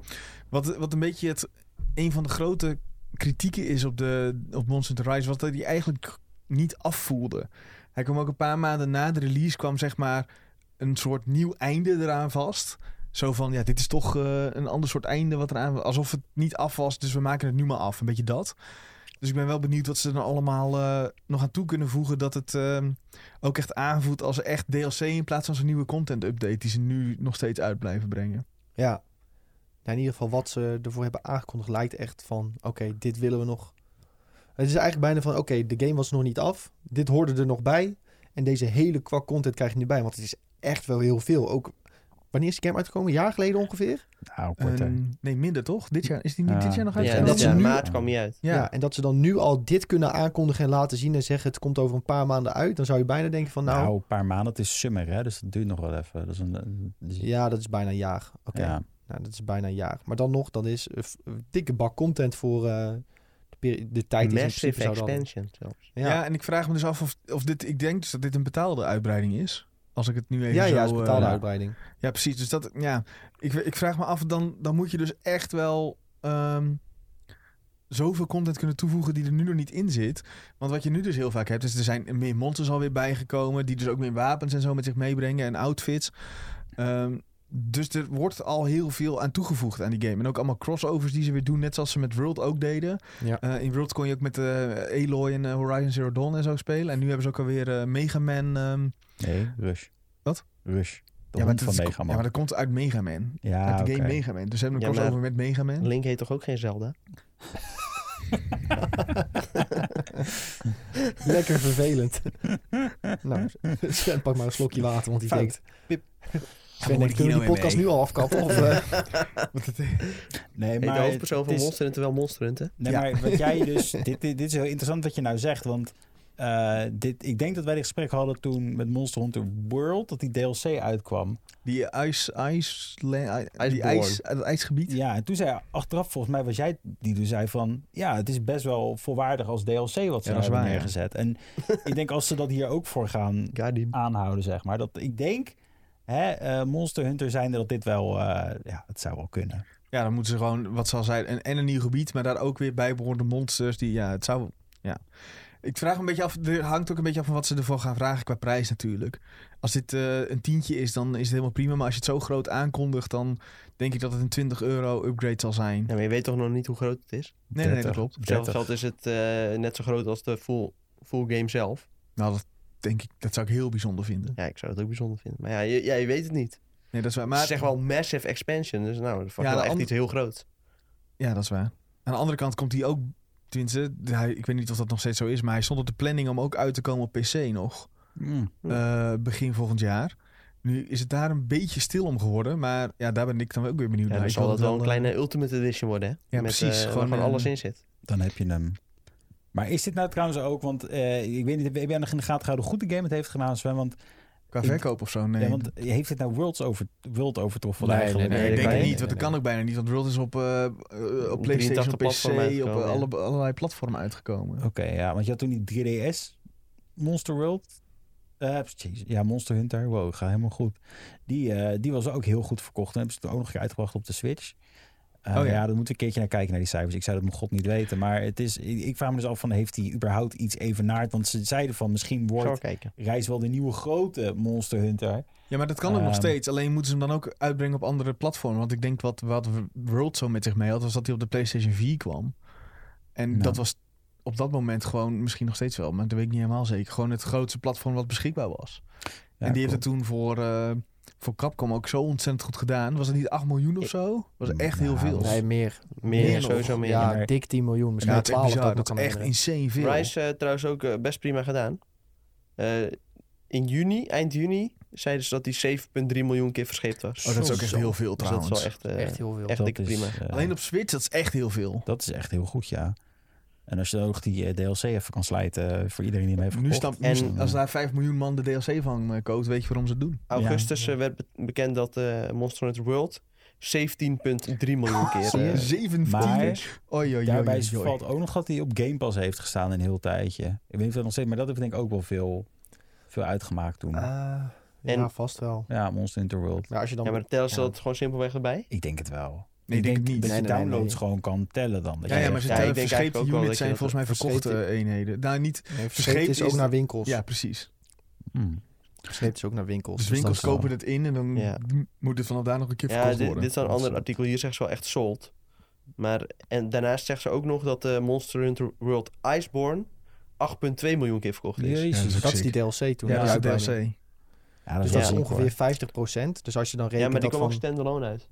wat, wat een beetje het, een van de grote kritieken is op, de, op Monster Hunter Rise... was dat hij eigenlijk niet afvoelde. Hij kwam ook een paar maanden na de release... kwam zeg maar een soort nieuw einde eraan vast. Zo van, ja, dit is toch eh, een ander soort einde wat eraan... Alsof het niet af was, dus we maken het nu maar af. Een beetje dat. Dus ik ben wel benieuwd wat ze er dan allemaal eh, nog aan toe kunnen voegen... dat het ehm, ook echt aanvoelt als echt DLC... in plaats van zo'n nieuwe content-update... die ze nu nog steeds uit blijven brengen.
Ja. Nou, in ieder geval wat ze ervoor hebben aangekondigd lijkt echt van... Oké, dit willen we nog. Het is eigenlijk bijna van... Oké, de game was nog niet af. Dit hoorde er nog bij. En deze hele kwak content krijg je nu bij. Want het is echt wel heel veel. Ook wanneer is die game uitgekomen? Een jaar geleden ongeveer?
Nou, korter.
Ehm, nee, minder toch? Dit jaar is die niet
Ja.
dit jaar nog
Ja,
uit?
Ja,
En
dit
dat ze
jaar
nu-
maart kwam hij uit.
Ja,
En dat ze dan nu al dit kunnen aankondigen en laten zien... en zeggen het komt over een paar maanden uit. Dan zou je bijna denken van... Nou,
nou, een paar maanden. Het is summer, hè? Dus dat duurt nog wel even. Dat is een, een- dus-
ja, dat is bijna een jaar. Oké.
ja.
Nou, dat is bijna een jaar. Maar dan nog, dan is een f- een dikke bak content voor eh, de, peri- de tijd. die ze in
Massive
principe zouden-
expansion zelfs.
Ja,
ja.
ja,
en ik vraag me dus af of, of dit... Ik denk dus dat dit een betaalde uitbreiding is. Als ik het nu even
ja,
zo...
het is betaalde
eh,
uitbreiding.
Ja, precies. Dus dat, ja, ik, ik vraag me af, dan, dan moet je dus echt wel ehm, zoveel content kunnen toevoegen die er nu nog niet in zit. Want wat je nu dus heel vaak hebt, is er zijn meer monsters alweer bijgekomen, die dus ook meer wapens en zo met zich meebrengen en outfits. Ehm, dus er wordt al heel veel aan toegevoegd aan die game. En ook allemaal crossovers die ze weer doen, net zoals ze met World ook deden.
Ja.
Eh, in World kon je ook met eh Aloy en eh, Horizon Zero Dawn en zo spelen. En nu hebben ze ook alweer eh, Mega Man. ehm,
Nee, Rush.
Wat?
Rush. De
ja, maar
hond
dat
van
is-
Mega
ja,
Man.
maar dat komt uit Mega Man.
Ja,
Uit de game
Ah, oké.
Mega Man. Dus ze hebben een
Ja, maar-
crossover met Mega Man.
Link heet toch ook geen Zelda?
Lekker vervelend. nou, Sven, pak maar een slokje water, want die
Fout.
denkt...
Pip.
Sven denkt,
nou
kunnen we die podcast nu al afkappen? Of, eh,
Nee,
Heet de
maar
hoofdpersoon
het
van
is-
Monster Hunter wel Monster Hunter?
Nee,
Ja.
maar wat jij dus... dit, dit, dit is heel interessant wat je nou zegt, want... eh, dit, ik denk dat wij dit gesprek hadden toen met Monster Hunter World, dat die DLC uitkwam.
Die ijs... ijs, le- i- die
Iceborne.
ijs het ijsgebied.
Ja, en toen zei achteraf, volgens mij was jij die toen zei van... Ja, het is best wel volwaardig als DLC wat ze
Ja, dat
daar
is
hebben
waar, ja.
neergezet. En ik denk als ze dat hier ook voor gaan
Guardian.
aanhouden, zeg maar. Dat, ik denk, hè, eh, Monster Hunter zijnde, dat dit wel... eh, ja, het zou wel kunnen.
Ja, dan moeten ze gewoon, wat zal zijn, en, en een nieuw gebied, maar daar ook weer bijbehorende monsters. Die, ja, het zou... Ja. Ik vraag me een beetje af, er hangt ook een beetje af van wat ze ervoor gaan vragen qua prijs natuurlijk. Als dit eh, een tientje is, dan is het helemaal prima. Maar als je het zo groot aankondigt, dan denk ik dat het een 20 euro upgrade zal zijn.
Ja, maar je weet toch nog niet hoe groot het is?
Nee, nee, nee, dat klopt.
Hetzelfde
30.
geld is het eh, net zo groot als de full, full game zelf.
Nou, dat denk ik, dat zou ik heel bijzonder vinden.
Ja, ik zou het ook bijzonder vinden. Maar ja, je, ja, je weet het niet.
Nee, dat is
Maar,
waar. Maar
Ze zeggen wel massive expansion, dus nou, dat is wel
de
echt
ander-
iets heel groot.
Ja, dat is waar. Aan de andere kant komt hij ook, tenminste, hij, ik weet niet of dat nog steeds zo is, maar hij stond op de planning om ook uit te komen op PC nog.
Mm.
Hm.
eh, begin volgend jaar. Nu is het daar een beetje stil om geworden, maar ja, daar ben ik dan ook weer benieuwd
Ja,
naar.
dan
Ik
zal
wil
dat wel een
eh,
kleine Ultimate Edition worden, hè? Met,
Ja, precies.
eh, waar
Gewoon,
gewoon
eh,
alles in zit.
Dan heb je hem. Maar is dit nou trouwens ook, want eh, ik weet niet, heb jij nog in de gaten gehouden hoe goed de game het heeft gedaan, Sven? Want,
eh, Qua
Ik-
verkoop of zo, nee.
ja, want heeft dit nou Worlds over, World overtroffen
Nee,
eigenlijk?
Nee,
Nee,
ik
dat
denk
kan
het
niet.
niet, want dat
Nee,
kan ook bijna niet. Want World is op, eh, eh,
83
op PlayStation, op PC,
platformen
op
uitgekomen,
eh,
ja.
alle, allerlei platformen uitgekomen.
Oké, ja, want je had toen die 3DS Monster World. eh, jeez, ja, Monster Hunter. Wow, gaat helemaal goed. Die, eh, die was ook heel goed verkocht. En hebben ze het ook nog een keer uitgebracht op de Switch. Eh,
Oh ja.
ja. daar moeten we een keertje naar kijken naar die cijfers. Ik zou dat mijn god niet weten. Maar het is, ik, ik vraag me dus af van, heeft hij überhaupt iets evenaard? Want ze zeiden van, misschien
Ik zal wel
wordt
kijken.
Reis wel de nieuwe grote Monster Hunter.
Ja, maar dat kan ook nog
Ehm.
steeds. Alleen moeten ze hem dan ook uitbrengen op andere platformen. Want ik denk wat, wat World zo met zich mee had, was dat hij op de PlayStation 4 kwam. En
Nou.
dat was op dat moment gewoon misschien nog steeds wel, maar dat weet ik niet helemaal zeker. Gewoon het grootste platform wat beschikbaar was. en die heeft het toen voor, eh, voor Capcom ook zo ontzettend goed gedaan. Was het niet 8 miljoen of
Ik-
zo? Was echt
Nou,
heel veel.
dat
nee, meer.
Meer,
Meer nog.
sowieso meer.
Ja,
maar-
dik 10 miljoen.
ja,
Misschien
dat is echt
12
bizar.
daar,
Dat is
kan ik
echt
me herinneren.
insane veel.
Rise eh, trouwens ook eh, best prima gedaan. Eh, in juni, eind juni, zeiden ze dat die 7,3 miljoen keer verscheept was.
Oh, dat is ook echt
Zo.
heel veel
dus dat
trouwens.
is wel echt, eh,
Echt heel veel.
echt
Dat
dikke
is,
prima.
eh,
Alleen op Switch, dat is echt heel veel.
Dat is echt heel goed, ja. En als je dan ook die eh, DLC even kan slijten eh, voor iedereen die hem heeft
Nu
gekocht.
snap, nu
En-
snap- als daar 5 miljoen man de DLC van eh, koopt, weet je waarom ze het doen.
Augustus eh, werd be- bekend dat eh, Monster Hunter World 17,3
Ah,
miljoen keer.
Zie je?
eh,
17.
Maar
Oi, oi,
daarbij
oi, oi.
valt ook nog dat hij op Game Pass heeft gestaan een heel tijdje. Ik weet niet of dat nog steeds, maar dat heeft denk ik ook wel veel, veel uitgemaakt toen.
Ah,
En-
ja, vast wel.
Ja, Monster Hunter World.
Maar als je dan...
ja, maar tellen ze
ja.
dat gewoon simpelweg erbij?
Ik denk het wel.
Nee, ik denk het
dat
niet.
je
Nee, nee, nee,
downloads
nee.
gewoon kan tellen dan. Dat
Ja,
je
ja,
zegt,
maar ze
Ja, ik
tellen
denk eigenlijk
verscheepte
ook wel
units
dat
zijn
je
volgens mij
dat-
verkochte
verscheepte-
eh, eenheden. Daar niet...
Nee, verscheept
verscheept
is
is
ook
het-
naar winkels.
Ja, precies.
hmm.
Verscheept is ook naar winkels.
Dus
dus
winkels
dat is wel-
kopen het in en dan
Ja.
moet het vanaf daar nog een keer
Ja,
verkocht
dit,
worden.
dit is een
Dat
ander artikel. Hier zegt ze wel echt sold. Maar, en daarnaast zegt ze ook nog dat eh, Monster Hunter World Iceborne 8,2 miljoen keer verkocht is.
Jezus.
Ja, dat is
Dat is die DLC toen.
Ja,
hè,
Ja,
die
dat is de
uitbreiding.
DLC.
Ja, dat
Dus
is
dat
wel
is
ziek, hoor.
ongeveer 50%. Dus als je dan
Ja,
rekent
maar die
dat
kwam ook
van...
standalone uit.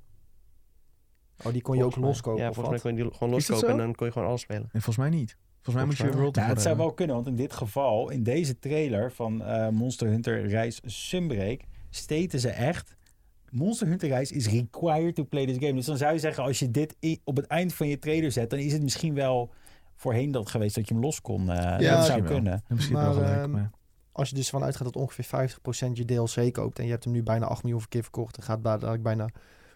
Oh, die kon je ook
Volgens mij.
loskopen
Ja,
of
volgens mij
wat?
kon je die gewoon
Is dat
loskopen en
zo?
dan kon je gewoon alles spelen.
Nee, volgens mij niet. Volgens mij moet je
Volgens mij
World
Ja,
ervoor
het zou
hebben.
wel kunnen, want in dit geval, in deze trailer van eh, Monster Hunter Reis Sunbreak, steten ze echt. Monster Hunter Reis is required to play this game. Dus dan zou je zeggen, als je dit i- op het eind van je trailer zet, dan is het misschien wel voorheen dat geweest dat je hem los kon. eh, dat zou
misschien wel.
kunnen.
Ja, Misschien
Maar,
wel gelijk,
ehm,
maar...
Als je dus vanuit gaat dat ongeveer 50% je DLC koopt... en je hebt hem nu bijna 8 miljoen keer verkocht... dan gaat ba- dadelijk bijna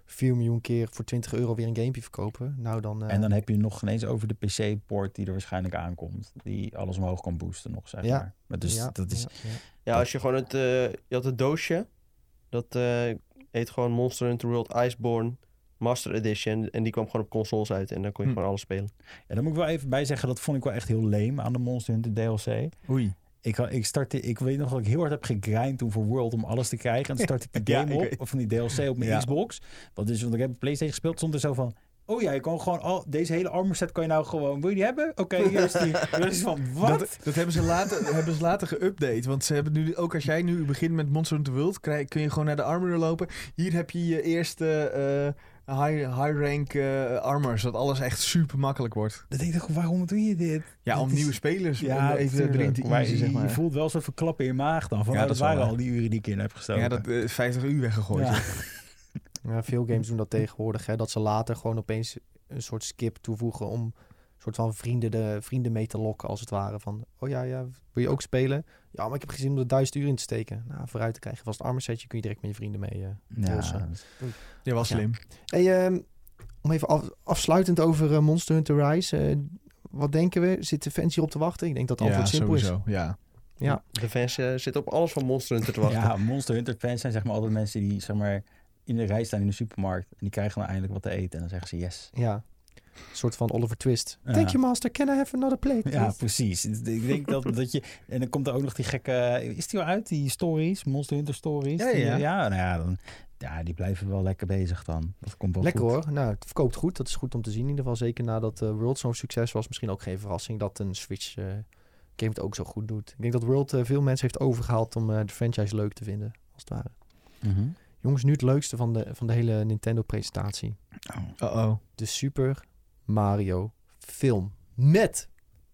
4 miljoen keer voor 20 euro weer een gamepje verkopen. Nou, dan... eh,
En dan heb je nog ineens over de PC-port die er waarschijnlijk aankomt, die alles omhoog kan boosten nog, zeg
Ja.
maar. maar. Dus
ja,
dat is
ja, ja.
Ja, als je gewoon het... eh, je had het doosje. Dat eh, heet gewoon Monster Hunter World Iceborne Master Edition. En die kwam gewoon op consoles uit. En dan kon je
Hm.
gewoon alles spelen.
Ja, daar moet ik wel even bij zeggen, dat vond ik wel echt heel leem aan de Monster Hunter DLC.
Oei.
Ik, had- ik, startte, ik weet nog dat ik heel hard heb gegrind toen voor World om alles te krijgen. En toen startte ik die
Ja,
game
ik
op,
weet-
of van die DLC op mijn
Ja.
Xbox. Wat is, want ik heb op PlayStation gespeeld, stond er zo van... Oh ja, je kan gewoon al, deze hele armor set kan je nou gewoon... Wil je die hebben? Oké, hier is die. Dat is van, wat?
Dat, dat hebben ze later, hebben ze later geüpdate. Want ze hebben nu, ook als jij nu begint met Monster Hunter World, krijg, kun je gewoon naar de armorer lopen. Hier heb je je eerste eh, high, high rank eh, armor, zodat alles echt super makkelijk wordt.
Dat denk ik, toch, waarom doe je dit?
Ja,
Dat
om
is-
nieuwe spelers
Ja,
even erin
tuurlijk.
te
Maar
easen,
je-
zeg
Je
maar.
voelt wel een soort van klap in je maag dan. Van,
Ja, dat
oh, dat
is wel
waren
waar.
al die uren die ik in heb gestoken.
Ja, dat eh, 50 uur weggegooid.
Ja.
Ja.
Ja, veel games doen dat tegenwoordig. Hè, dat ze later gewoon opeens een soort skip toevoegen om een soort van vrienden, de, vrienden mee te lokken, als het ware. Van, oh ja, ja, wil je ook spelen? Ja, maar ik heb gezien om er duizend uur in te steken. Nou, vooruit te krijgen. Vast een armor setje kun je direct met je vrienden mee. eh.
Ja,
Wilson.
dat is-
Je was
Ja.
slim.
Hey, ehm, om even af- afsluitend over eh, Monster Hunter Rise. eh, wat denken we? Zit de fans hierop te wachten? Ik denk dat het antwoord simpel
sowieso. Ja.
Ja.
De fans eh, zitten op alles van Monster Hunter te wachten.
Ja, Monster Hunter fans zijn zeg maar altijd mensen die zeg maar, in de rij staan in de supermarkt. En die krijgen dan eindelijk wat te eten. En dan zeggen ze yes.
is. Ja, een soort van Oliver Twist.
Ja.
Thank you, master. Can I have another plate?
Ja, precies. Ik denk dat, dat je... En dan komt er ook nog die gekke... Is die al uit, die stories? Monster Hunter stories?
Ja,
Die,
ja.
ja, nou ja, dan, ja, die blijven wel lekker bezig dan. Dat komt wel
Lekker
goed.
hoor. Nou, het verkoopt goed. Dat is goed om te zien. In ieder geval zeker nadat eh, World zo'n succes was. Misschien ook geen verrassing dat een Switch eh, game het ook zo goed doet. Ik denk dat World eh, veel mensen heeft overgehaald om eh, de franchise leuk te vinden. Als het ware.
Mhm.
Jongens, nu het leukste van de, van de hele Nintendo presentatie.
Uh-oh.
De Super Mario film. Met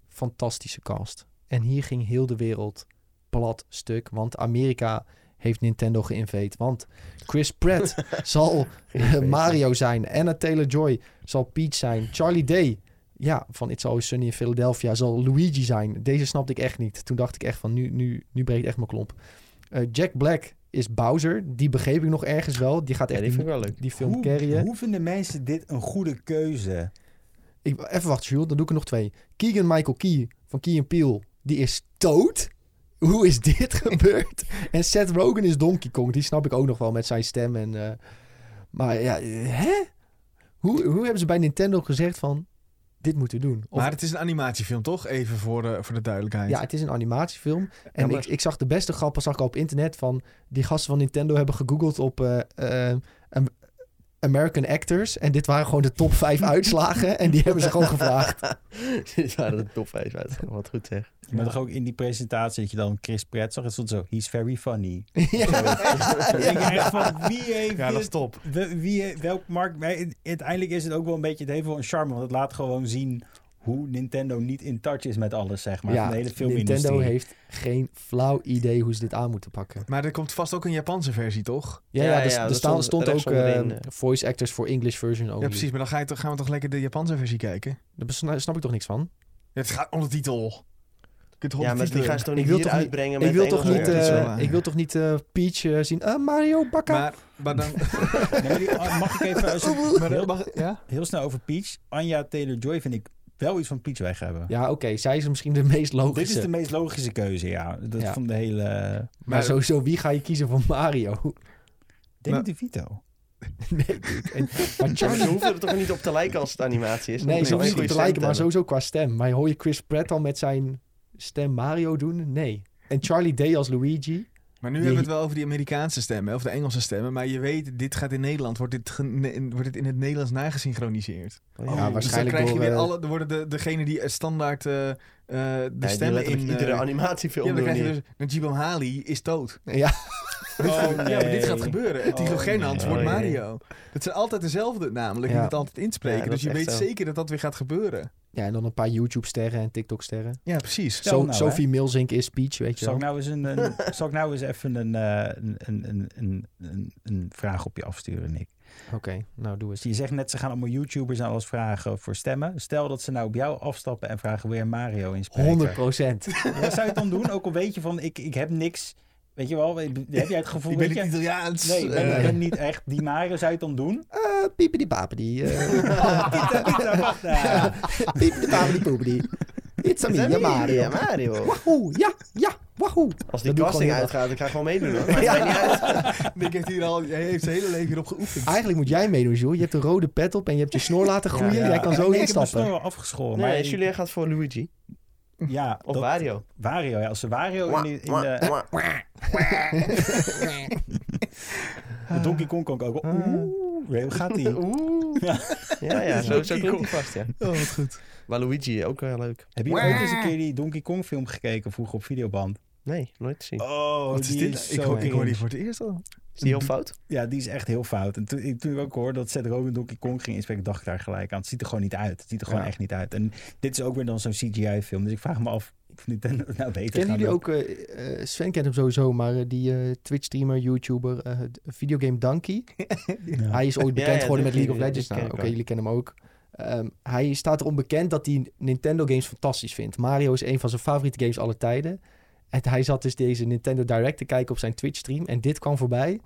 fantastische cast. En hier ging heel de wereld plat stuk. Want Amerika heeft Nintendo geïnveed. Want Chris Pratt zal eh, Mario zijn. Anna Taylor-Joy zal Peach zijn. Charlie Day, ja, van It's Always Sunny in Philadelphia, zal Luigi zijn. Deze snapte ik echt niet. Toen dacht ik echt van, nu, nu, nu breekt echt mijn klomp. Eh, Jack Black is Bowser. Die begreep ik nog ergens wel. Die gaat
Ja,
echt
die vind ik
die,
wel leuk.
die film
Hoe,
carryen.
hoe vinden mensen dit een goede keuze?
Ik, even wachten, Jules. Dan doe ik er nog twee. Keegan Michael Key van Key and Peele. Die is dood. Hoe is dit gebeurd? En Seth Rogen is Donkey Kong. Die snap ik ook nog wel met zijn stem. En, eh, maar ja, eh, hè? Hoe, hoe hebben ze bij Nintendo gezegd van... Dit moeten we doen. Of-
Maar het is een animatiefilm, toch? Even voor de, voor de duidelijkheid.
ja, het is een animatiefilm. En
Ja, maar-
ik, ik zag de beste grappen zag ik al op internet van... Die gasten van Nintendo hebben gegoogeld op eh, eh, Am- American Actors. En dit waren gewoon de top 5 uitslagen. En die hebben ze gewoon gevraagd.
Dit waren de top 5 uit. Wat goed zeg.
Je bent toch ook in die presentatie dat je dan Chris Pratt zag. Het stond zo, he's very funny.
Ja.
Dan denk je echt van, wie heeft
Ja, dat
dit
is top.
We- wie, welk markt... maar u- Uiteindelijk is het ook wel een beetje... Het heeft wel een charme, want het laat gewoon zien... hoe Nintendo niet in touch is met alles, zeg maar.
ja,
van de hele filmindustrie.
Nintendo heeft geen flauw idee hoe ze dit aan moeten pakken.
Maar er komt vast ook een Japanse versie, toch?
Ja, ja,
Ja,
er,
ja,
er
dat
staan,
stond
stond ook
rechtsonderin,
eh,
eh.
voice actors voor English version only.
Ja, precies. Maar dan ga je toch, gaan we toch lekker de Japanse versie kijken?
Daar besna- snap ik toch niks van?
Ja, het gaat om de titel. Je kunt
Ja, maar die gaan ze toch niet
Ik wil
hier
toch niet-
uitbrengen met
Ik wil,
de
toch
Engelse
niet,
ja, dat is
eh,
wel waar.
ik wil toch niet eh, Peach eh, zien? Ah, Mario, bakka!
Maar, maar dan...
Nee, die- oh, mag ik even eh, zo-
maar dan
heel,
mag, ja?
heel snel over Peach? Anja Taylor-Joy vind ik wel iets van Peach weg hebben.
Ja, oké. zij is misschien de meest
Dit is
logische.
de meest logische keuze, ja. Dat
Ja.
van de hele...
Maar sowieso, wie ga je kiezen voor Mario?
Danny
Maar-
DeVito.
nee, niet. En- maar
Maar ze
Charlie...
hoeven er toch niet op te lijken als het animatie is?
Nee,
Dan
ze
moet
hoeft niet
je een
te
goede
lijken, maar
stem
sowieso qua stem. Maar hoor je Chris Pratt al met zijn stem Mario doen? Nee. En Charlie Day als Luigi?
Maar nu hebben we het wel over die Amerikaanse stemmen, of de Engelse stemmen. Maar je weet, dit gaat in Nederland, wordt dit, gene- wordt dit in het Nederlands nagesynchroniseerd.
hebben.
Ja,
Oh,
Dus dan
waarschijnlijk
krijg je
door,
weer
eh,
alle, dan worden de, degene die eh, standaard eh, eh, de
ja, die
stemmen in...
letterlijk iedere
eh,
animatiefilm
ja, dan
doen
krijg je
hier.
dus, Najib Amhali is dood.
Ja,
Dit
Oh,
gaat- Ja, maar dit
nee.
gaat gebeuren. Het Tilo
Oh,
Gernand
nee.
wordt
Oh, nee.
Mario. Dat zijn altijd dezelfde namelijk. Je
Ja.
moet het altijd
Ja,
inspreken.
dat
dus je
is echt
weet
zo.
zeker dat dat weer gaat gebeuren.
ja, en dan een paar YouTube-sterren en TikTok-sterren.
Ja, precies.
Stel
So-
nou, hè.
Sophie Milzink is Peach, weet je
Zal
wel.
ik nou eens, een, een- zal ik nou eens even een, eh, een, een, een- een, een, een vraag op je afsturen, Nick?
Oké, nou doe
Dus
eens.
je zegt net, ze gaan allemaal YouTubers nou als vragen voor stemmen. Stel dat ze nou op jou afstappen en vragen weer Mario in spreker.
100 procent.
Ja, zou je het dan doen? Ook al weet je van, ik, ik heb niks. Weet je wel, heb jij het gevoel...
Ik ben
weet
niet
je,
Italiaans.
Nee, ik ben,
Eh,
ik ben niet echt. Die Mario, zou je het dan doen?
Piepity papity.
Oh, Pieter, Pieter, wacht nou, daar.
Piepity papity poepity. It's a
dus-
me,
Ja,
ja, Mario.
Mario.
Wahoo, ja, ja, wahoo.
Als die
Dat doe ik gewoon
casting
heel
uitgaat, dan ga ik gewoon meedoen. hoor.
Ja.
Maakt mij niet uit.
Nick heeft hier al hij heeft zijn hele leven hierop geoefend.
Eigenlijk moet jij meedoen, Jules. Je hebt een rode pet op en je hebt je snor laten groeien.
Ja.
Jij kan zo
Nee, Ik heb mijn snor
instappen.
wel afgeschoren. maar
Nee, Julien gaat voor Luigi.
Ja,
Of
dat-
Mario.
Wario, ja. Als ze Wario in, die- in de... Met Donkey Kong kan ik ook wel. Oeh, hoe gaat die?
Oeh.
Ja.
Ja, ja, zo, zo klinkt
Donkey Kong.
die vast, ja.
Oh, wat goed.
Maar Luigi, ook wel leuk.
Heb je ooit eens een keer die Donkey Kong film gekeken vroeger op videoband?
Nee, nooit gezien.
Oh,
Wat is
die
dit?
is
ik,
zo
hoor, ik hoor die
cringe.
voor het eerst al.
Is die heel fout?
Ja, die is echt heel fout. En toen, ik- toen ik ook hoorde dat Seth Rogen Donkey Kong ging inspreken, dacht ik daar gelijk aan. Het ziet er gewoon niet uit. Het ziet er gewoon
Ja.
echt niet uit. En dit is ook weer dan zo'n CGI-film. Dus ik vraag me af of Nintendo het nou beter
Kennen
gaat
jullie ook,
doen.
eh, eh, Sven kent hem sowieso, maar eh, die eh, Twitch-streamer, YouTuber, eh, d- videogame Donkey.
Ja.
Hij is ooit bekend
ja,
geworden met
die-
League of
die-
Legends.
die
Nou,
ken ik
Oké,
wel.
jullie kennen hem ook. Ehm, hij staat erom bekend dat hij Nintendo games fantastisch vindt. Mario is een van zijn favoriete games aller tijden. En hij zat dus deze Nintendo Direct te kijken op zijn Twitch stream. En dit kwam voorbij.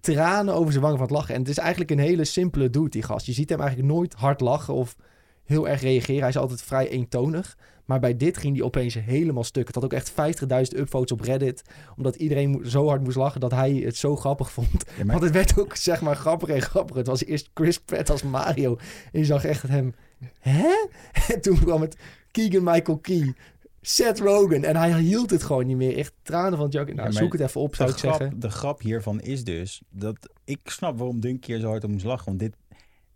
Tranen over zijn wangen van het lachen. En het is eigenlijk een hele simpele dude, die gast. Je ziet hem eigenlijk nooit hard lachen of heel erg reageren. Hij is altijd vrij eentonig. Maar bij dit ging hij opeens helemaal stuk. Het had ook echt 50.000 upvotes op Reddit. Omdat iedereen mo- zo hard moest lachen dat hij het zo grappig vond.
Ja, maar-
Want het werd ook, zeg maar, grappiger en grappiger. Het was eerst Chris Pratt als Mario. En je zag echt hem... Hè? En toen kwam het Keegan-Michael Key. Seth Rogen. En hij hield het gewoon niet meer. Echt tranen van het janken. Nou,
Ja, maar
zoek het even op, zou
de,
ik zeggen.
grap, de grap hiervan is dus dat ik snap waarom Dunky er zo hard om moest lachen. Want dit,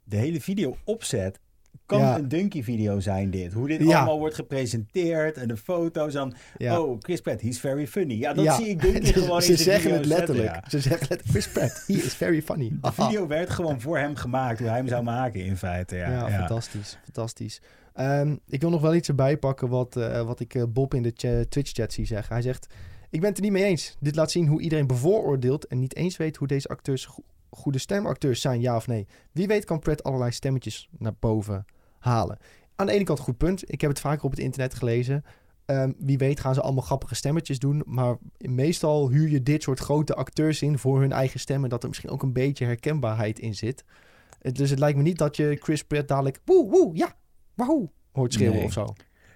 de hele video opzet kan
Ja.
een Dunky-video zijn. Dit. Hoe dit
Ja.
allemaal wordt gepresenteerd en de foto's. Dan,
Ja.
Oh, Chris Pratt, he's very funny. Ja, dat
Ja. Dus
zie ik Dunky gewoon
Ze
in zijn
zeggen
video
het letterlijk.
zetten, ja.
Ze zeggen letterlijk. Chris Pratt, he is very funny.
De video werd gewoon voor hem gemaakt, hoe hij hem zou maken in feite. Ja,
Ja,
ja,
fantastisch. fantastisch. Ehm, ik wil nog wel iets erbij pakken wat, eh, wat ik eh, Bob in de cha- Twitch-chat zie zeggen. Hij zegt, ik ben het er niet mee eens. Dit laat zien hoe iedereen bevooroordeelt en niet eens weet hoe deze acteurs go- goede stemacteurs zijn, ja of nee. Wie weet kan Pret allerlei stemmetjes naar boven halen. Aan de ene kant goed punt. Ik heb het vaker op het internet gelezen. Ehm, wie weet gaan ze allemaal grappige stemmetjes doen. Maar meestal huur je dit soort grote acteurs in voor hun eigen stemmen. Dat er misschien ook een beetje herkenbaarheid in zit. Het- Dus het lijkt me niet dat je Chris Pratt dadelijk... Woe, woe, ja, woe hoort schreeuwen
Nee.
of zo.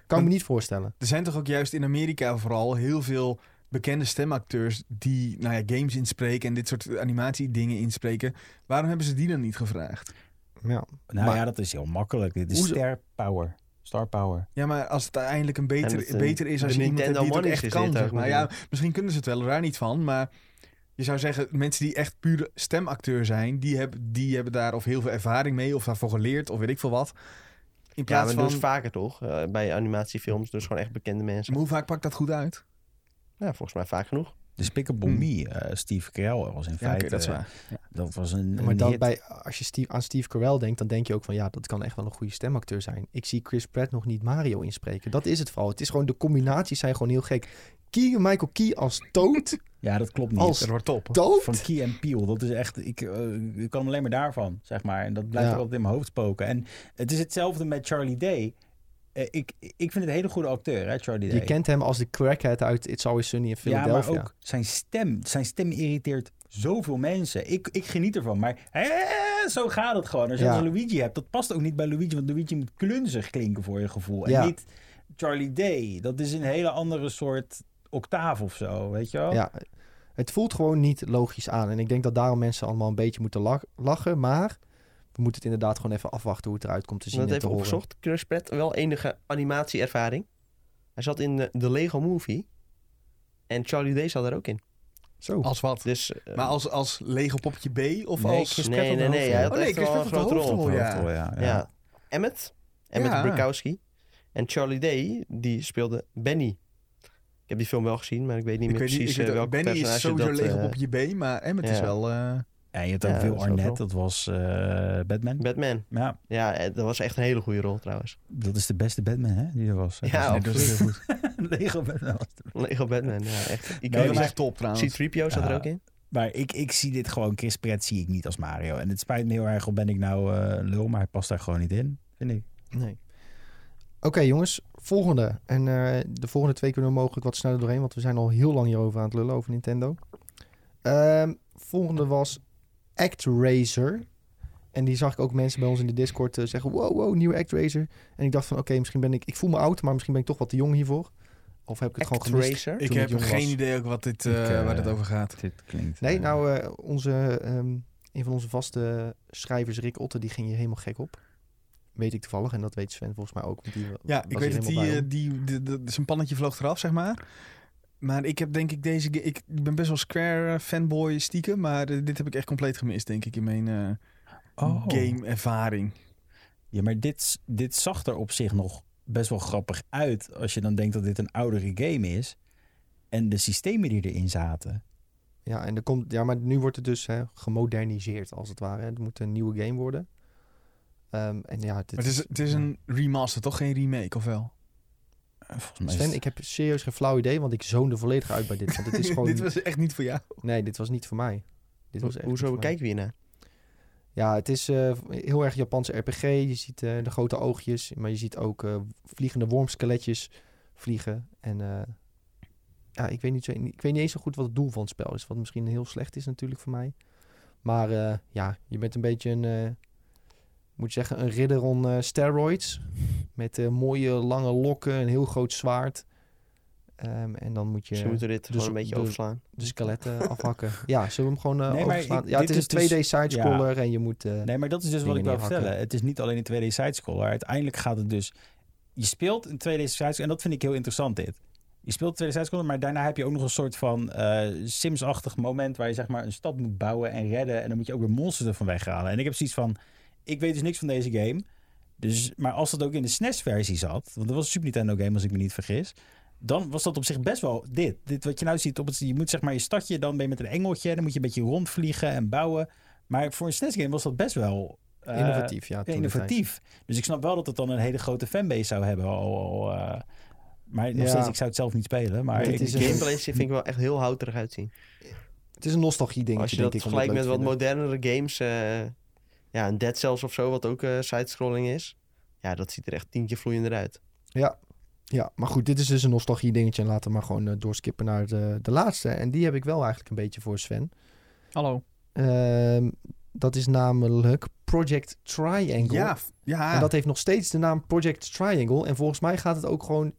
Kan ik me niet voorstellen.
Er zijn toch ook juist in Amerika vooral heel veel bekende stemacteurs die nou ja, games inspreken en dit soort animatiedingen inspreken. Waarom hebben ze die dan niet gevraagd?
Ja.
Nou
Maar-
ja, dat is heel makkelijk. Dit is
Hoezo-
star power. Star power.
Ja, maar als het uiteindelijk een beter,
En het, eh,
beter is als
de
je iemand hebt die het ook
Nintendo
echt
Money's
kan.
is dit
Zeg maar.
ook
ja, misschien kunnen ze het wel daar niet van, maar je zou zeggen mensen die echt pure stemacteur zijn, die hebben, die hebben daar of heel veel ervaring mee of daarvoor geleerd of weet ik veel wat.
Ja,
In plaats
maar
van,
dat is vaker toch? eh, bij animatiefilms, dus gewoon echt bekende mensen.
maar hoe vaak pakt dat goed uit?
Ja, volgens mij vaak genoeg.
Despicable
Hmm.
Me, eh, Steve Carell was in
Ja,
feite...
oké, dat is waar.
dat was een,
Ja,
een
maar dat
hit.
bij, als je Steve, aan Steve Carell denkt, dan denk je ook van ja, dat kan echt wel een goede stemacteur zijn. Ik zie Chris Pratt nog niet Mario inspreken. Dat is het vooral. Het is gewoon, de combinaties zijn gewoon heel gek. Key, Michael Key als dood.
Ja, dat klopt niet.
Als-
Dat wordt top.
Dood?
Van Key en Peel. Dat is echt. Ik, eh, ik kan alleen maar daarvan, zeg maar. En dat blijft
Ja.
ook altijd in mijn hoofd spoken. En het is hetzelfde met Charlie Day. Eh, ik, ik vind het een hele goede acteur, hè, Charlie Day.
Je kent hem als de crackhead uit It's Always Sunny in
ja,
Philadelphia.
maar ook zijn stem. Zijn stem irriteert zoveel mensen. Ik, ik geniet ervan. Maar eh, zo gaat het gewoon. Als je
Ja.
als Luigi hebt, dat past ook niet bij Luigi. Want Luigi moet klunzig klinken voor je gevoel. En
Ja.
niet Charlie Day. Dat is een hele andere soort octaaf of zo, weet je wel?
Ja, het voelt gewoon niet logisch aan. En ik denk dat daarom mensen allemaal een beetje moeten lach- lachen. Maar we moeten het inderdaad gewoon even afwachten hoe het eruit komt te zien.
dat
en te
even
horen.
opgezocht. Chris Pratt, wel enige animatieervaring. Hij zat in de, de Lego Movie. En Charlie Day zat daar ook in.
Zo.
Als wat?
Dus, eh,
Maar als, als Lego poppetje B of
Nee,
als...
Chris Pratt
nee,
had
nee,
een
nee.
hoofdrol.
Hij had
Oh, nee,
echt
Chris
wel een
Pratt had
grote
een
rol.
hoofdrol, ja.
Hoofdrol, ja,
Ja. Emmet. Emmet
Ja.
Brykowski. En Charlie Day, die speelde Benny. Ik heb die film wel gezien, maar ik weet niet
Ik
meer
weet niet,
precies
ik weet
eh,
ook-
welk
Benny is
personage
sowieso
dat...
Lego
eh,
poppetje B, maar Emmet is
ja.
wel... eh,
En je had ook
Ja,
Will
dat is
Arnett,
overal.
dat was eh, Batman.
Batman.
Ja,
Ja, eh, dat was echt een hele goede rol trouwens.
dat is de beste Batman hè, die er was.
Ja,
nee, dat is heel goed.
Lego Batman. was er.
Lego Batman, ja, echt. Ik
Nee,
weet
Dat is
maar-
niet.
echt top trouwens.
C-3PO zat
Ja.
er ook in.
Maar ik, ik zie dit gewoon, Chris Pratt zie ik niet als Mario. En het spijt me heel erg, al ben ik nou eh, lul, maar hij past daar gewoon niet in, vind ik.
Nee. Oké jongens, volgende. En eh, de volgende twee kunnen we mogelijk wat sneller doorheen, want we zijn al heel lang hierover aan het lullen over Nintendo. Ehm, volgende was ActRaiser. En die zag ik ook mensen bij ons in de Discord eh, zeggen, wow, wow, nieuwe ActRaiser. En ik dacht van, oké, misschien ben ik, ik voel me oud, maar misschien ben ik toch wat te jong hiervoor. Of heb ik het gewoon gemist?
Racer.
Ik
toen
heb
ik jong
geen
was.
idee ook wat dit, eh,
Ik, eh,
waar dit over gaat.
Dit klinkt...
Nee,
eh,
nou, eh, onze, ehm, een van onze vaste schrijvers, Rick Otte, die ging hier helemaal gek op. Weet ik toevallig, en dat weet Sven volgens mij ook. want die was
Ja, ik
hier
weet dat
helemaal
die,
bij om.
eh, die, die, die- zijn pannetje vloog eraf, zeg maar. Maar ik heb denk ik deze... ge- Ik ben best wel Square eh, fanboy stiekem, maar eh, dit heb ik echt compleet gemist, denk ik, in mijn eh,
oh.
game-ervaring.
Ja, maar dit, dit zag er op zich nog best wel grappig uit. Als je dan denkt dat dit een oudere game is. En de systemen die erin zaten.
Ja, en er komt, ja, maar nu wordt het dus hè, gemoderniseerd, als het ware. Het moet een nieuwe game worden. Ehm, en ja, dit
Maar het is, het is een remaster, toch? Geen remake, of wel?
eh, Volgens mij is
Sven,
het-
ik heb serieus geen flauw idee, want ik zoonde volledig uit bij dit. Want het is gewoon...
dit was echt niet voor jou.
Nee, dit was niet voor mij. Dit was echt niet
Hoezo
voor mij.
kijken we hiernaar?
Ja, het is eh, heel erg Japanse RPG. Je ziet eh, de grote oogjes, maar je ziet ook eh, vliegende wormskeletjes vliegen. En eh, ja, ik weet, niet zo, ik weet niet eens zo goed wat het doel van het spel is. Wat misschien heel slecht is natuurlijk voor mij. Maar eh, ja, je bent een beetje een, eh, moet je zeggen, een ridder on eh, steroids. Met eh, mooie lange lokken, een heel groot zwaard. Ehm, en dan moet
Ze
je
moeten dit
Dus
gewoon een
op
beetje
de-
overslaan.
de skeletten afhakken. Ja, zullen we hem gewoon eh,
Nee, maar
overslaan?
ik-
ja, het
dit
is
is
een
dus-
2D sidescroller en je moet... eh,
Nee, maar dat is dus wat
dingen
ik wil
neerhakken.
vertellen. Het is niet alleen een 2D sidescroller. Uiteindelijk gaat het dus... Je speelt een 2D sidescroller. En dat vind ik heel interessant dit. Je speelt een 2D sidescroller, maar daarna heb je ook nog een soort van eh, Sims-achtig moment... waar je zeg maar een stad moet bouwen en redden. En dan moet je ook weer monsters ervan weghalen. En ik heb zoiets van... Ik weet dus niks van deze game. Dus, maar als dat ook in de SNES-versie zat... want dat was een Super Nintendo-game als ik me niet vergis... Dan was dat op zich best wel dit. Dit wat je nou ziet. Op het, je moet zeg maar je stadje, dan ben je met een engeltje. Dan moet je een beetje rondvliegen en bouwen. Maar voor een SNES-game was dat best wel... eh,
Innovatief, ja. toen de
innovatief. Dus ik snap wel dat het dan een hele grote fanbase zou hebben. Al, al, eh, maar nog
Ja.
steeds, ik zou het zelf niet spelen. Maar
Dit
ik,
is
De
een-
ik-
gameplay vind ik wel echt heel houterig uitzien.
tijd. Het is een nostalgie ding.
Als je dat vergelijkt met wat modernere games... eh, ja, een Dead Cells of zo, wat ook eh sidescrolling is. Ja, dat ziet er echt tientje vloeiender uit.
Ja, maar goed, dit is dus een nostalgie dingetje. En laten we maar gewoon eh, doorskippen naar de, de laatste. En die heb ik wel eigenlijk een beetje voor Sven.
Hallo.
Ehm, dat is namelijk Project Triangle.
Ja, f- ja.
En dat heeft nog steeds de naam Project Triangle. En volgens mij gaat het ook gewoon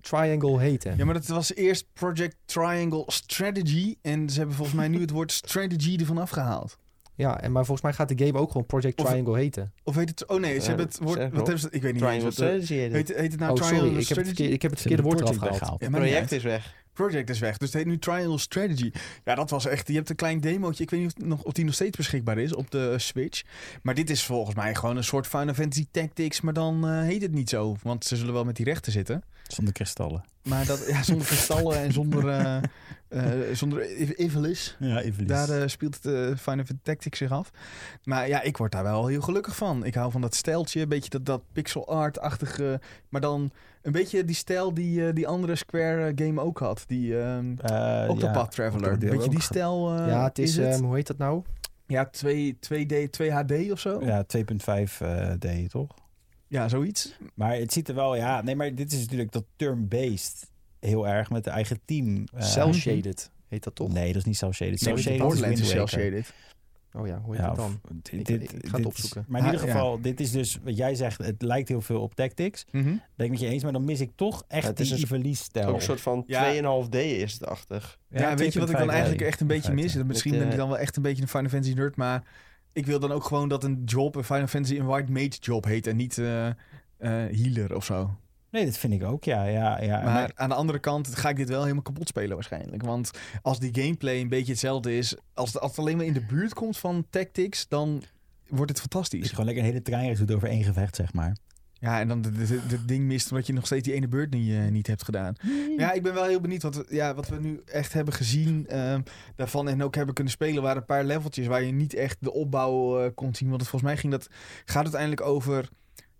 Triangle heten.
ja, maar dat was eerst Project Triangle Strategy. En ze hebben volgens mij nu het woord strategy ervan afgehaald.
Ja, en, maar volgens mij gaat de game ook gewoon Project
Of-
Triangle heten.
Of heet het... Oh nee, ze
Eh,
hebben het woord...
zeg
Wat
maar op.
hebben ze... Ik weet niet eens
Triangle
wat... eh,
Strategy heet het.
Heet, heet het nou
oh,
Triangle
sorry. Ik heb, het
Strategy?
verkeerde, ik heb het
ze hebben
verkeerde woord eraf
Project
gehaald.
weggehaald.
Ja,
Het
maakt niet uit.
project is weg.
Project is weg. Dus het heet nu Triangle Strategy. Ja, dat was echt. Je hebt een klein demootje. Ik weet niet of, het nog, of die nog steeds beschikbaar is op de eh, Switch. Maar dit is volgens mij gewoon een soort Final Fantasy Tactics. Maar dan eh, heet het niet zo. Want ze zullen wel met die rechten zitten.
Zonder kristallen.
Maar dat, ja, zonder kristallen en zonder, eh eh, zonder Iv- Ivalis.
Ja, Ivelisse.
Daar eh, speelt het eh, Final Fantasy Tactics zich af. Maar ja, ik word daar wel heel gelukkig van. Ik hou van dat stijltje, een beetje dat, dat pixel art-achtige. Maar dan een beetje die stijl die eh, die andere Square eh, game ook had. Die ehm
Eh,
Octopath
ja,
Traveler. Een
Octopath
beetje die
ook.
stijl eh,
ja, het is,
het?
ehm, hoe heet dat nou?
ja, 2, 2D, 2HD of zo. Ja,
Ja, 2.5 eh D, toch?
zoiets.
Maar het ziet er wel, ja. Nee, maar dit is natuurlijk dat term-based heel erg met de eigen team. eh,
Cell shaded heet dat toch?
Nee, dat is niet cel-shaded.
Nee, want die
Cel-shaded is
Borderlands is
Wind Waker.
cel-shaded.
Oh ja, hoe heet
Ja,
dat
of-
dan?
dit,
Ik-
dit-
ik ga het
dit is-
opzoeken.
maar in
Ah,
ieder
ja.
geval, dit is dus wat jij zegt. Het lijkt heel veel op Tactics.
Mhm.
Ben ik met je eens, maar dan mis ik toch echt
Ja, het is
die
een-
verliesstijl.
Ook een soort van
Ja.
2,5D is het achtig.
Ja, weet je wat ik dan eigenlijk echt een beetje mis?
Ja,
Dan Misschien
Met,
ben ik
eh,
dan wel echt een beetje een Final Fantasy nerd, maar ik wil dan ook gewoon dat een job, een Final Fantasy, een white mage job heet en niet eh, eh, healer of zo.
2.5D. Nee, dat vind ik ook, ja. ja, ja.
maar aan de andere kant ga ik dit wel helemaal kapot spelen waarschijnlijk. Want als die gameplay een beetje hetzelfde is, als, als het alleen maar in de buurt komt van tactics, dan wordt het
Het is
fantastisch.
gewoon lekker een hele treinreis doet over één gevecht, zeg maar.
Ja, en dan het ding mist omdat je nog steeds die ene beurt niet, eh, niet hebt gedaan. Ja, ik ben wel heel benieuwd wat we, ja, wat we nu echt hebben gezien ehm, daarvan. En ook hebben kunnen spelen waren een paar leveltjes waar je niet echt de opbouw eh, kon zien. Want het, volgens mij ging dat, gaat het uiteindelijk over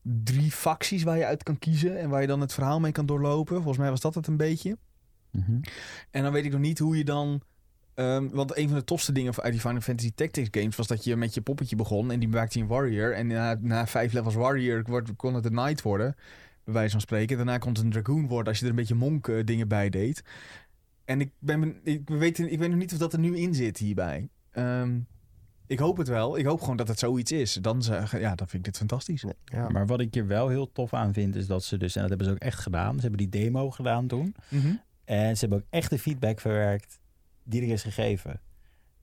drie facties waar je uit kan kiezen. En waar je dan het verhaal mee kan doorlopen. Volgens mij was dat het een beetje.
Mhm.
En dan weet ik nog niet hoe je dan... ehm, want een van de tofste dingen uit die Final Fantasy Tactics games... was dat je met je poppetje begon en die maakte je een warrior. En na, na vijf levels warrior wordt- kon het een knight worden. Bij wijze van spreken. Daarna kon het een dragoon worden als je er een beetje monk eh, dingen bij deed. En ik, ben, ben- ik, weet, ik weet nog niet of dat er nu in zit hierbij. Ehm, ik hoop het wel. Ik hoop gewoon dat het zoiets is. Dan, zou- ja, dan vind ik dit fantastisch.
Ja.
Maar wat ik hier wel heel tof aan vind, is dat ze dus... En dat hebben ze ook echt gedaan. Ze hebben die demo gedaan toen.
Mhm.
En ze hebben ook echt de feedback verwerkt die er is gegeven.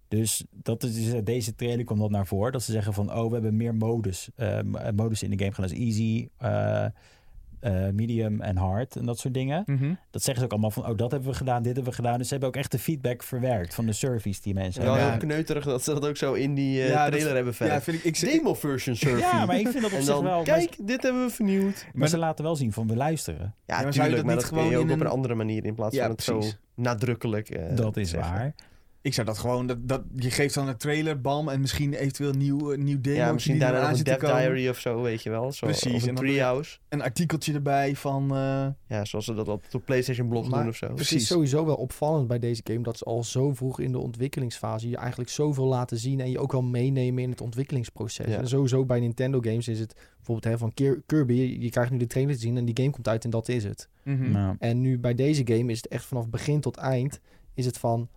Dus dat is dus uit deze trailer komt dat naar voren. Dat ze zeggen van, oh, we hebben meer modus. eh, m- eh, modus in de game gaan als easy, eh, eh, medium en hard en dat soort dingen.
Mhm.
Dat zeggen ze ook allemaal van, oh, dat hebben we gedaan, dit hebben we gedaan. Dus ze hebben ook echt de feedback verwerkt van de service die mensen
wel
hebben.
ja.
heel kneuterig dat ze dat ook zo in die eh,
Ja, dat-
trailer hebben verder.
Ja, vind ik, ik,
Demo version surfing.
Ja, maar ik vind dat op
en
zich
dan,
wel... maar,
kijk, dit hebben we vernieuwd.
maar ze laten wel zien van, we luisteren.
Ja,
maar zou je
tuurlijk,
dat
maar
niet
dat kun je
gewoon
ook
in
op een
een-
andere manier in plaats
Ja,
van het
precies.
zo nadrukkelijk eh,
dat is
zeggen.
waar.
Ik zou dat gewoon, dat, dat, je geeft dan een trailer, bam, en misschien eventueel een nieuw, een nieuw demo.
Ja, misschien daarna nog een
zit
dev
te komen.
diary of zo, weet je wel. Zo,
Precies,
Of
en
een
dan-
treehouse.
Een artikeltje erbij van, eh,
Ja, zoals ze dat altijd op PlayStation blog
Maar-
doen of zo.
Het is sowieso wel opvallend bij deze game dat ze al zo vroeg in de ontwikkelingsfase je eigenlijk zoveel laten zien en je ook wel meenemen in het ontwikkelingsproces.
Ja.
En sowieso bij Nintendo games is het bijvoorbeeld hè, van Keir- Kirby, je je krijgt nu de trailer te zien en die game komt uit en dat is het.
mhm.
Nou,
En nu bij deze game is het echt vanaf begin tot eind is het van,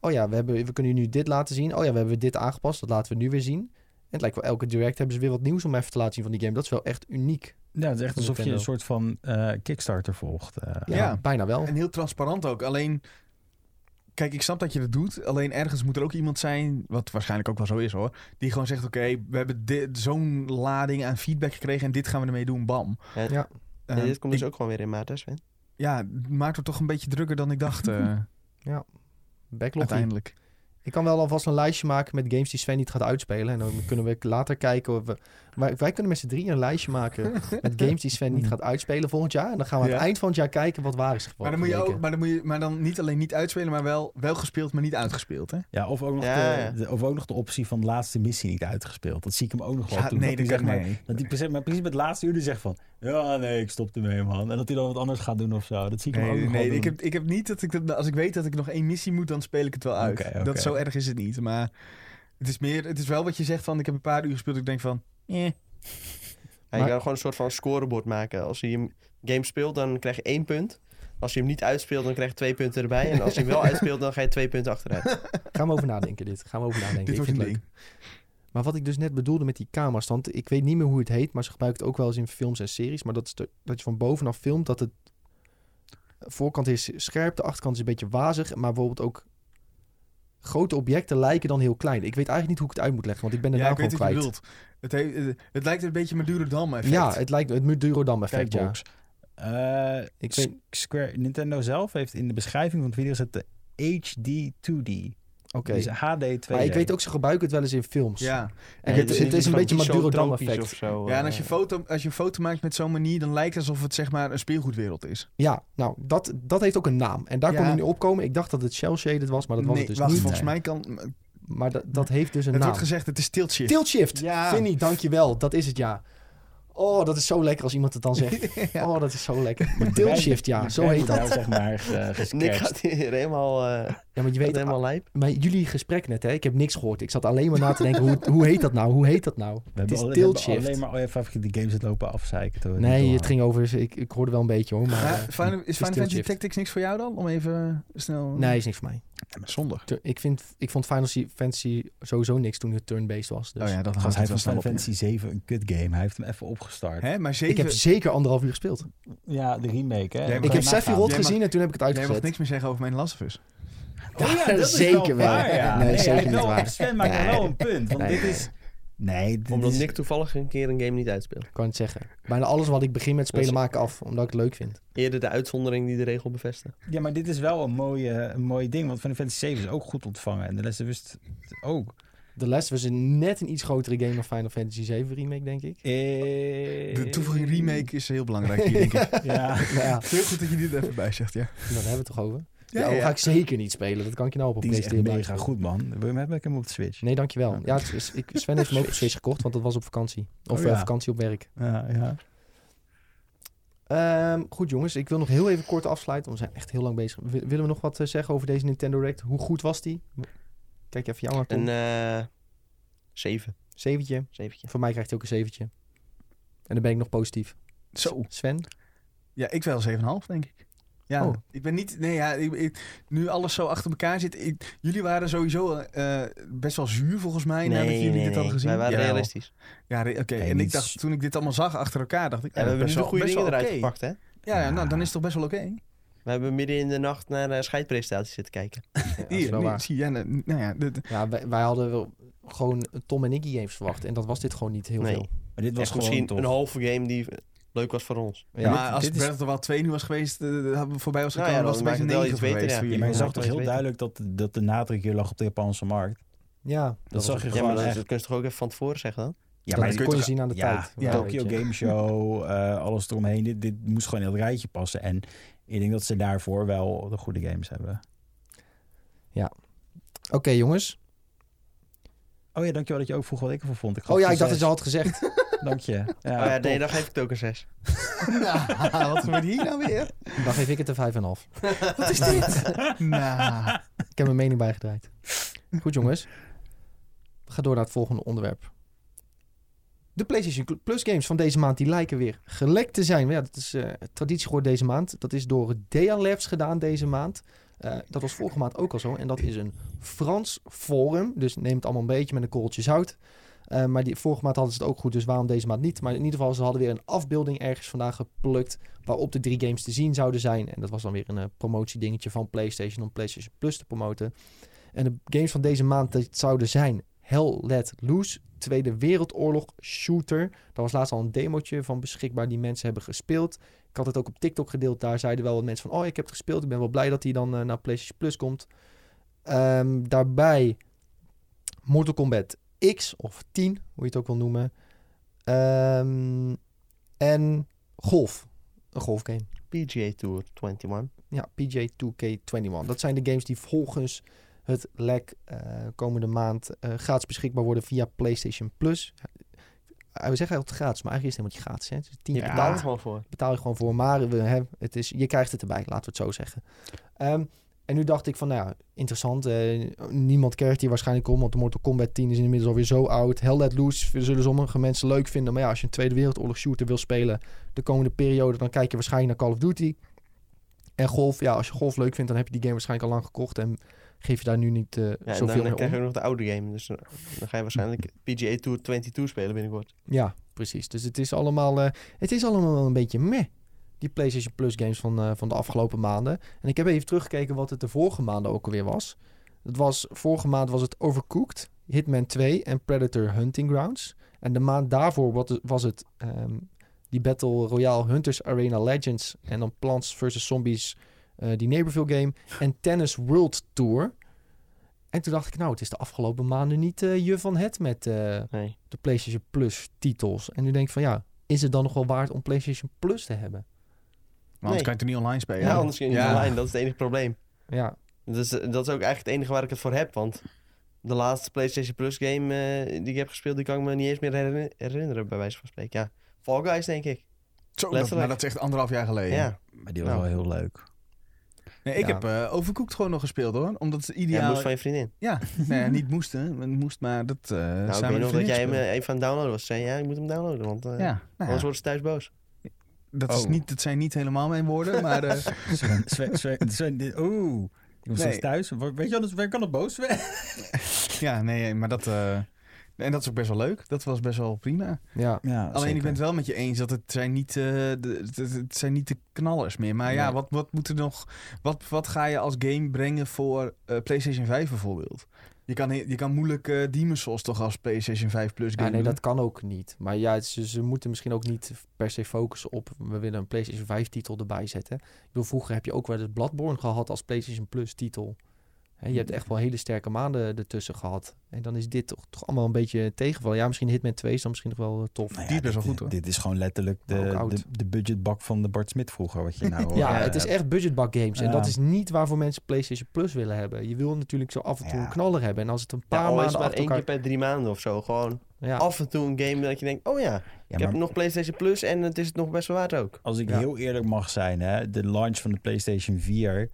oh ja, we, hebben, we kunnen nu dit laten zien. Oh ja, we hebben dit aangepast, dat laten we nu weer zien. En het lijkt wel elke direct hebben ze weer wat nieuws om even te laten zien van die game. Dat is wel echt uniek.
ja, het is echt
Van
alsof je een
Nintendo.
soort van eh, Kickstarter volgt. eh.
Ja,
Ja.
bijna wel.
En heel transparant ook. Alleen, kijk, ik snap dat je dat doet. Alleen ergens moet er ook iemand zijn, wat waarschijnlijk ook wel zo is hoor, die gewoon zegt, oké, we hebben di- zo'n lading aan feedback gekregen en dit gaan we ermee doen, bam.
Ja.
Ja.
Eh,
En dit komt
ik-
dus ook gewoon weer in maart, hè, Sven?
Ja, het maakt het toch een beetje drukker dan ik dacht, eh,
Backlog
uiteindelijk.
Ik kan wel alvast een lijstje maken met games die Sven niet gaat uitspelen. En dan kunnen we later kijken. Of we, maar wij kunnen met z'n drieën een lijstje maken met games die Sven niet gaat uitspelen volgend jaar. En dan gaan we aan het
Ja.
eind van het jaar kijken wat waar is
Maar dan, moet je ook,
gebleken.
maar, dan moet je, maar dan niet alleen niet uitspelen, maar wel, wel gespeeld, maar niet uitgespeeld, hè?
Ja, of ook, nog
Ja,
de,
ja.
de- of ook nog de optie van de laatste missie niet uitgespeeld. Dat zie ik hem ook nog wel
Ja,
doen.
nee,
dat hij
dat
zegt
kan-
maar,
nee.
Dat hij precies, maar precies met het laatste uur die zegt van... Ja, nee, ik stop ermee, man. En dat hij dan wat anders gaat doen of zo. Dat zie ik
Nee,
hem ook
nee,
nog wel doen.
ik, heb, ik heb niet dat ik dat, als ik weet dat ik nog één missie moet, dan speel ik het wel uit.
Oké, oké.
Dat zo erg is het niet. Maar het is meer, het is wel wat je zegt van ik heb een paar uur gespeeld. Ik denk van, eh.
Ja,
Maar-
Je kan gewoon een soort van scorebord maken. Als je hem game speelt, dan krijg je één punt. Als je hem niet uitspeelt, dan krijg je twee punten erbij. En als je hem wel uitspeelt, dan ga je twee punten achteruit.
Gaan we over nadenken dit. Gaan we over nadenken.
dit
Ik
wordt
vind
een
het leuk.
ding.
Maar wat ik dus net bedoelde met die camerastand. Ik weet niet meer hoe het heet. Maar ze gebruiken het ook wel eens in films en series. Maar dat, is de- dat je van bovenaf filmt. Dat het de voorkant is scherp. De achterkant is een beetje wazig. Maar bijvoorbeeld ook grote objecten lijken dan heel klein. Ik weet eigenlijk niet hoe ik het uit moet leggen. Want ik ben de
Ja,
naam
ik weet
gewoon
wat je
kwijt.
bedoelt. Het, heeft, het, het lijkt een beetje Madurodam effect.
Ja, het lijkt het Mudurodam effect. Ja.
Kijkbox. Eh,
Ik
S-
weet,
Square, Nintendo zelf heeft in de beschrijving van het video gezet... de HD 2D. Dus HD 2.
Maar ik weet ook, ze gebruiken het wel eens in films.
Ja.
En
Nee,
het,
dus
het is een beetje Maduro
madurotropisch
effect
of zo.
ja, en
eh,
als je, foto, als je een foto maakt met zo'n manier, dan lijkt het alsof het zeg maar een speelgoedwereld is.
Ja, nou, dat, dat heeft ook een naam. En daar
Ja.
kon ik niet opkomen. Ik dacht dat het shell-shaded was, maar dat was
nee,
het dus
wacht,
niet.
volgens mij kan... Het
Maar dat, dat heeft dus een naam.
wordt gezegd, het is tilt shift.
Tilt shift.
Ja.
Vinnie, dankjewel. Dat is het, ja. Oh, dat is zo lekker als iemand het dan zegt. Oh, dat is zo lekker. Maar tilt shift, ja. Zo heet dat.
zeg maar, eh, ge-
Nick
gescratcht.
gaat hier helemaal, eh
Ja, want je
weet
weet,
helemaal lijp.
bij jullie gesprek net, hè. Ik heb niks gehoord. Ik zat alleen maar na te denken, hoe, hoe heet dat nou? Hoe heet dat
Eh,
nou?
We
het
hebben
is
al-
tilt
hebben alleen
shift.
maar oh, al je favoriete games het lopen afzeiken. terwijl we
Nee,
niet
het ging over... Ik, ik hoorde wel een beetje, hoor. Maar,
Ja,
eh,
Final- is Final
tilt
Fantasy
shift.
Tactics niks voor jou dan? Om even eh, snel...
Oh.
nee, is niks voor mij.
Zonder.
Te- Ik, vind, ik vond Final Fantasy sowieso niks toen het turn-based was. Dus.
Oh ja, dat
Want
gaat
hij
hij
vond
van
Final
snel op.
Fantasy 7 een kut game. Hij heeft hem even opgestart.
Hè, maar
Ik
zeven...
heb zeker anderhalf uur gespeeld.
Ja, de remake, hè?
Jij mag-
Ik
Kan
heb
je
Sephiroth
Jij mag-
gezien en toen heb ik het
Jij
uitgezet.
mag niks meer zeggen over mijn Last of Us.
Oh
Ja, zeker wel. Nee, zeker niet waar.
Sven maakt
Nee.
wel een punt, want
Nee.
dit is... Nee, dit
Omdat
is...
Nick toevallig een keer een game niet uitspeelt.
Ik kan het zeggen. Bijna alles wat ik begin met spelen
Dat is-
maak ik af, omdat ik het leuk vind.
Eerder de uitzondering die de regel bevestigt.
Ja, maar dit is wel een mooie, een mooie ding, want Final Fantasy 7 is ook goed ontvangen. En de Last of Us ook.
The Last was een net een iets grotere game dan Final Fantasy 7 remake, denk ik.
De
De toevoeging remake is heel belangrijk hier, denk ik.
Eh, Ja.
Nou ja,
Heel goed dat je dit even bij zegt, ja.
daar hebben we het toch over? Ja,
Ja, ja.
ga ik zeker niet spelen. Dat kan ik je nou op een
Die is echt
PlayStation
mega goed, man. Wil je hem hebben? Ik heb hem op de Switch.
Nee, dankjewel. Ja, het is, ik, Sven heeft hem ook op Switch gekocht, want dat was op vakantie. Of
Oh,
eh,
ja.
vakantie op werk.
Ja, ja.
Ehm, goed jongens, ik wil nog heel even kort afsluiten. want We zijn echt heel lang bezig. Wi- willen we nog wat eh, zeggen over deze Nintendo Direct? Hoe goed was die? Kijk even jou aan. Tom.
Een eh zeven.
Zeventje.
Zeventje.
Voor mij krijgt hij ook een zeventje. En dan ben ik nog positief.
Zo.
Sven?
Ja, ik wel 7,5, denk ik. Ja,
Oh.
ik ben niet... Nee, ja, ik, ik- nu alles zo achter elkaar zit... ik- jullie waren sowieso eh, best wel zuur, volgens mij, nadat jullie dit hadden gezien.
Wij waren
Jawel.
realistisch.
Ja, re- oké.
Nee,
en
niet
ik
zu-
dacht, toen ik dit allemaal zag achter elkaar, dacht ik... eh,
en we hebben nu
best
de
wel
goede dingen eruit
gepakt.
gepakt, hè?
Ja, ja, nou, dan is het toch best wel oké.
We hebben midden in de nacht naar eh, scheidpresentaties zitten kijken.
Hier, nu, zie je. Ja, nou nou ja, dit-
Ja, wij, wij hadden wel gewoon eh, Tom en Nicky games verwacht. En dat was dit gewoon niet heel
Nee.
veel.
Maar dit was
Echt
gewoon
misschien
tof.
een halve game die eh, leuk was voor ons.
Ja,
maar als
dit is-
Breath of the Wild 2 nu was geweest, eh, hadden we voorbij was
Nou
gekomen,
ja,
was
dan
het bij een
maakt het wel
9
iets beter,
geweest.
ja.
voor
Ja,
jullie.
maar je
Ja,
zag
dat
toch
is
heel
beter.
duidelijk dat, dat de nadruk hier lag op de Japanse markt.
Ja, dat,
zag
was-
je
Ja, maar
gewoon
dat,
echt.
dat kun je toch ook even van tevoren zeggen dan?
Ja,
dat
maar je
kon
kunt
je
toch-
zien aan de
ja,
tijd.
Ja,
Ja, weet
Tokyo
je.
Game Show, eh, alles eromheen. Dit, dit moest gewoon in het rijtje passen. En ik denk dat ze daarvoor wel de goede games hebben.
Oké jongens.
Oh ja, dankjewel dat je ook vroeg wat ik ervan vond. Ik gaf
Oh ja,
het
ik dacht dat
een
je al had gezegd.
zes. Dank je. Ja,
oh ja, nee,
top.
dan geef ik het ook een zes.
Nou, wat gebeurt hier nou weer?
Dan geef ik het een 5,5.
Wat is dit? nou,
Ik heb mijn mening bijgedraaid. Goed jongens. We gaan door naar het volgende onderwerp. De PlayStation Plus games van deze maand die lijken weer gelekt te zijn. Maar ja, dat is eh, traditie geworden deze maand. Dat is door DA Labs gedaan deze maand. Eh, dat was vorige maand ook al zo. En dat is een Frans forum. Dus neem het allemaal een beetje met een korreltje zout. Eh, maar die, vorige maand hadden ze het ook goed, dus waarom deze maand niet? Maar in ieder geval, ze hadden weer een afbeelding ergens vandaan geplukt... waarop de drie games te zien zouden zijn. En dat was dan weer een eh, promotiedingetje van PlayStation... om PlayStation Plus te promoten. En de games van deze maand dat zouden zijn... Hell Let Loose, Tweede Wereldoorlog, Shooter. Daar was laatst al een demotje van beschikbaar die mensen hebben gespeeld. Ik had het ook op TikTok gedeeld. Daar zeiden wel wat mensen van... oh, ik heb het gespeeld, ik ben wel blij dat hij dan eh, naar PlayStation Plus komt. Ehm, daarbij Mortal Kombat X of 10, hoe je het ook wil noemen. Ehm, en golf. Een golfgame.
PGA Tour 21.
Ja, PJ 2K21. Dat zijn de games die volgens het lek eh, komende maand eh, gratis beschikbaar worden via PlayStation Plus. Eh, we zeggen altijd gratis, maar eigenlijk is het helemaal niet gratis. Hè? Het is 10
Je
euro
betaalt er gewoon voor.
betaal je gewoon voor. Maar we, hè, het is, je krijgt het erbij, laten we het zo zeggen. Ehm, en nu dacht ik van, nou ja, interessant. eh, niemand keert hier waarschijnlijk om, want de Mortal Kombat 10 is inmiddels alweer zo oud. Hell Let Loose zullen sommige mensen leuk vinden. Maar ja, als je een Tweede Wereldoorlog shooter wil spelen de komende periode, dan kijk je waarschijnlijk naar Call of Duty. En golf, ja, als je golf leuk vindt, dan heb je die game waarschijnlijk al lang gekocht. En geef je daar nu niet eh,
Ja, en dan,
zoveel
dan
meer
krijg je
om.
ook nog de oude game. Dus dan, dan ga je waarschijnlijk PGA Tour 22 spelen binnenkort.
Ja, precies. Dus het is allemaal, eh, het is allemaal wel een beetje meh. Die PlayStation Plus games van, eh, van de afgelopen maanden. En ik heb even teruggekeken wat het de vorige maanden ook alweer was. Het was vorige maand was het Overcooked, Hitman 2 en Predator Hunting Grounds. En de maand daarvoor wat- was het ehm, die Battle Royale Hunters Arena Legends. En dan Plants vs. Zombies, eh, die Neighborville game. En Tennis World Tour. En toen dacht ik, nou, het is de afgelopen maanden niet eh, je van het met eh,
Nee.
de PlayStation Plus titels. En nu denk ik van, ja, is het dan nog wel waard om PlayStation Plus te hebben?
Maar anders
Nee.
kan je het niet online
Ja,
spelen.
anders kun je niet
Ja.
online. Dat is het enige probleem.
Ja,
Dus eh, dat is ook eigenlijk het enige waar ik het voor heb. Want de laatste PlayStation Plus game eh, die ik heb gespeeld, die kan ik me niet eens meer herinner- herinneren, bij wijze van spreken. Ja, Fall Guys, denk ik.
Zo, dat,
letterlijk.
maar dat is echt anderhalf jaar geleden.
Ja.
Maar die was
Nou.
wel heel leuk.
Nee, ik
Ja.
heb eh Overcooked gewoon nog gespeeld hoor. Omdat het
ja,
ideaal...
moest van je vriendin.
Nee, ja, niet moest, hè. Het Moest, maar dat eh
nou, ik
samen
weet
met
nog dat jij hem
vriendin
eh, even aan het downloaden was. Zei, ja, ik moet hem downloaden, want eh,
speelde. Ja, nou ja,
anders worden ze thuis boos.
dat, is
Oh.
niet, dat zijn niet helemaal mijn woorden, maar... eh,
Sven, Sven, Sven, Sven, dit- oeh. Ik was
Nee.
zelfs thuis. Wa- Weet je wel, dat Sven kan op boos werden.
ja, nee, maar dat... eh, en dat is ook best wel leuk. Dat was best wel prima.
ja.
Ja,
Alleen ik
zeker.
ben het wel met je eens dat het zijn niet, eh, de, het- het- het zijn niet de knallers meer. Maar ja,
Nee.
wat, wat moet er nog. Wat, wat ga je als game brengen voor eh, PlayStation 5 bijvoorbeeld? Je kan, he- je kan moeilijk eh Demon's Souls toch als PlayStation 5 Plus game.
Ja, nee,
doen.
dat kan ook niet. Maar ja, ze, ze moeten misschien ook niet per se focussen op... we willen een PlayStation 5 titel erbij zetten. Ik bedoel, vroeger heb je ook wel eens Bloodborne gehad als PlayStation Plus titel. Hè, je hebt echt wel hele sterke maanden ertussen gehad. En dan is dit toch, toch allemaal een beetje tegenval. Ja, misschien Hitman 2 is dan misschien nog wel eh, tof.
Nou ja,
Die is best wel
dit-
goed, hoor.
Dit is gewoon letterlijk
Maar ook
de,
oud.
de, de budgetbak van de Bart Smit vroeger. Wat je nou
Ja,
eh,
het is echt budgetbak games. En
Ja.
dat is niet waarvoor mensen PlayStation Plus willen hebben. Je wil natuurlijk zo af en toe
Ja.
een knaller hebben. En als het een paar
Ja, al is
maanden
het maar
achter
één
elkaar...
keer per drie maanden of zo. Gewoon
Ja.
af en toe een game dat je denkt, oh ja,
ja,
ik heb
maar
nog PlayStation Plus en het is het nog best wel waard ook.
als ik
Ja.
heel eerlijk mag zijn, hè, de launch van de PlayStation 4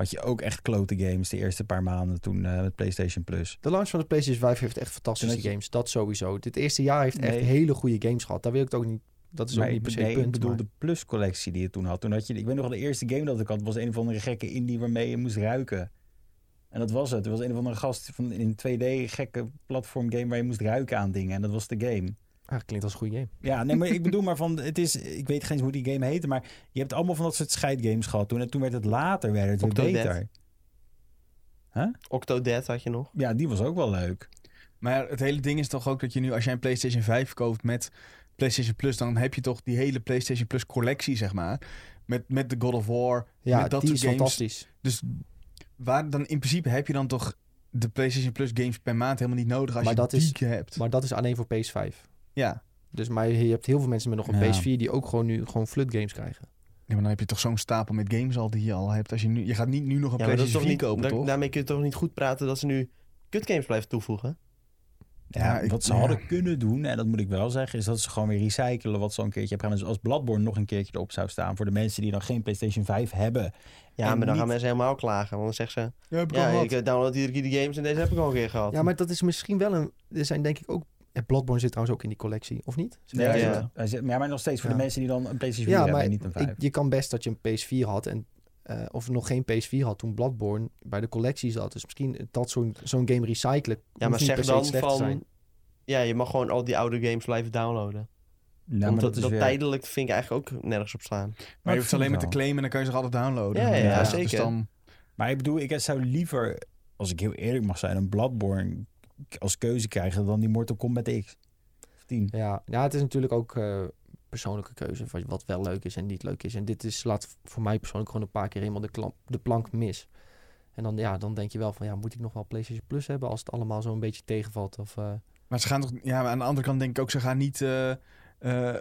had je ook echt klote games de eerste paar maanden toen eh, met PlayStation Plus.
De launch van de PlayStation 5 heeft echt fantastische
Toen had je-
games. Dat sowieso. Dit eerste jaar heeft echt
Nee.
hele goede games gehad. Daar wil ik het ook niet... Dat is
Maar
ook niet per se
nee,
een punt.
Ik bedoel
maar-
de Plus collectie die je toen had. Toen had je, ik weet nog wel, de eerste game dat ik had was een of andere gekke indie waarmee je moest ruiken. En dat was het. Er was een of andere gast van in een 2D gekke platform game waar je moest ruiken aan dingen. En dat was de game.
Ah, klinkt als een goede game.
Ja, nee, maar ik bedoel maar van, het is, ik weet geen eens hoe die game heette, maar je hebt allemaal van dat soort scheidgames gehad toen. En toen werd het later, werd het weer
Octodad.
beter.
Octodad had je nog.
Ja, die was ook wel leuk.
Maar het hele ding is toch ook dat je nu, als jij een PlayStation 5 koopt met PlayStation Plus, dan heb je toch die hele PlayStation Plus collectie, zeg maar. Met, met de God of War.
Ja,
met dat
die is
soort games.
fantastisch.
Dus waar dan in principe heb je dan toch de PlayStation Plus games per maand helemaal niet nodig als
Maar
je
dat
die
is-
hebt.
Maar dat is alleen voor PS5.
ja.
Dus maar je hebt heel veel mensen met nog een
Ja.
PS4 die ook gewoon nu gewoon flut games krijgen.
Ja, maar dan heb je toch zo'n stapel met games al die je al hebt. Als je, nu, je gaat niet nu nog een
Ja, maar dat is
PlayStation
toch
4
niet,
kopen,
daar-
toch?
daarmee kun je toch niet goed praten dat ze nu kutgames blijven toevoegen.
Ja,
Ja, ik-
wat ze
ja.
hadden kunnen doen, en dat moet ik wel zeggen, is dat ze gewoon weer recyclen wat ze al een keertje hebben gedaan. Dus als Bloodborne nog een keertje erop zou staan voor de mensen die dan geen PlayStation 5 hebben.
Ja,
En
maar dan gaan
niet-
mensen helemaal klagen. Want dan zeggen ze,
Ja, heb ik
ja,
al gehad.
ik eh, download iedere keer die games en deze heb ik al een keer gehad.
Ja, maar dat is misschien wel een... Er zijn denk ik ook... En Bloodborne zit trouwens ook in die collectie, of niet?
Nee,
Ja,
hij
ja.
zegt- hij zegt- ja, maar nog steeds voor
Ja.
de mensen die dan een PlayStation 4
Ja,
hebben
maar
en niet een 5.
ik- je kan best dat je een PS4 had en... eh, of nog geen PS4 had toen Bloodborne bij de collectie zat. Dus misschien dat zo'n zo'n game recyclen.
ja,
hoeft
maar
niet
zeg
per se
dan
iets slechts te zijn.
van, ja, je mag gewoon al die oude games blijven downloaden.
nou, maar
Want dat,
dat is
dat
weer...
tijdelijk vind ik eigenlijk ook nergens op slaan.
Maar je hoeft ze alleen maar te
wel.
claimen en dan kan je ze altijd downloaden.
Ja, ja,
ja,
zeker.
Dus dan,
Maar ik bedoel, ik zou liever, als ik heel eerlijk mag zijn, een Bloodborne k- als keuze krijgen dan die Mortal Kombat X. Of 10.
Ja, ja, het is natuurlijk ook eh, persoonlijke keuze. Van wat wel leuk is en niet leuk is. En dit is, slaat voor mij persoonlijk gewoon een paar keer helemaal de, klamp, de plank mis. En dan, ja, dan denk je wel van, ja, moet ik nog wel PlayStation Plus hebben als het allemaal zo'n beetje tegenvalt? Of, eh,
maar ze gaan toch... Ja, maar aan de andere kant denk ik ook, ze gaan niet eh, eh,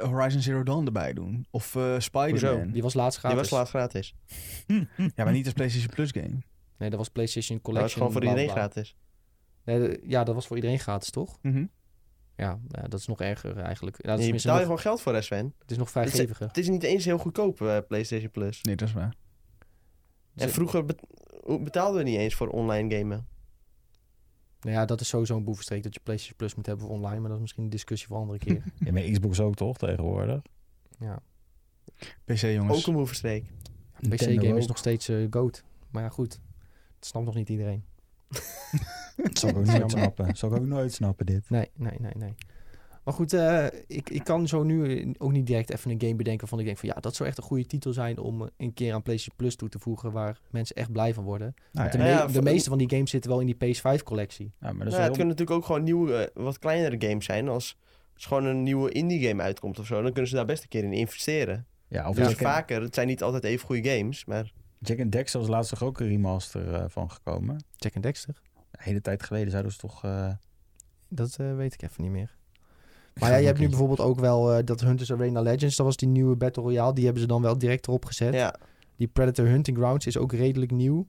Horizon Zero Dawn erbij doen. Of eh Spider-Man.
die was laatst
Die
gratis.
was laatst gratis.
Ja, maar niet als PlayStation Plus game.
Nee, dat was PlayStation
Dat was
Collection.
gewoon voor
bla,
iedereen
bla.
gratis.
Nee, de- ja, dat was voor iedereen gratis, toch?
Mhm.
Ja, ja, dat is nog erger eigenlijk. Ja, dat is
En je
tenminste
betaalt je
nog-
gewoon geld voor, hè, Sven.
het is nog
is-
vrijgeviger.
Het is niet eens heel goedkoop, eh, PlayStation Plus.
Nee, dat is waar.
En vroeger bet- hoe- betaalden we niet eens voor online gamen.
Nou ja, dat is sowieso een boevenstreek dat je PlayStation Plus moet hebben voor online. Maar dat is misschien een discussie voor een andere keer.
Ja, maar Xbox ook toch tegenwoordig?
ja.
PC, jongens.
Ook een moverstreek.
Nintendo
PC-game is
ook.
nog steeds eh goat. Maar ja, goed. Dat snapt nog niet iedereen.
Dat zal ik ook nooit snappen. Zal ik ook nooit snappen dit.
Nee, nee, nee, nee. Maar goed, eh, ik, ik kan zo nu eh, ook niet direct even een game bedenken van ik denk van ja, dat zou echt een goede titel zijn om eh, een keer aan PlayStation Plus toe te voegen waar mensen echt blij van worden.
Nou,
De,
ja.
Nou ja,
me- de
voor-
meeste van die games zitten wel in die PS5 collectie.
Ja, maar dat is
Nou,
wel
het kunnen natuurlijk ook gewoon nieuwe, eh, wat kleinere games zijn. Als, als gewoon een nieuwe indie game uitkomt of zo, dan kunnen ze daar best een keer in investeren.
heel- ja, of
Dus
Jack, en-
vaker, het zijn niet altijd even goede games, maar
Jack and Dexter is laatst toch ook een remaster eh, van gekomen?
Jack and Dexter.
Ja,
een hele tijd geleden zouden ze toch... eh,
Dat eh, weet ik even niet meer.
ik
Maar
ga
ja, je hebt nu
denken.
bijvoorbeeld ook wel eh, dat Hunters Arena Legends. Dat was die nieuwe Battle Royale. Die hebben ze dan wel direct erop gezet.
Ja,
Die Predator Hunting Grounds is ook redelijk nieuw.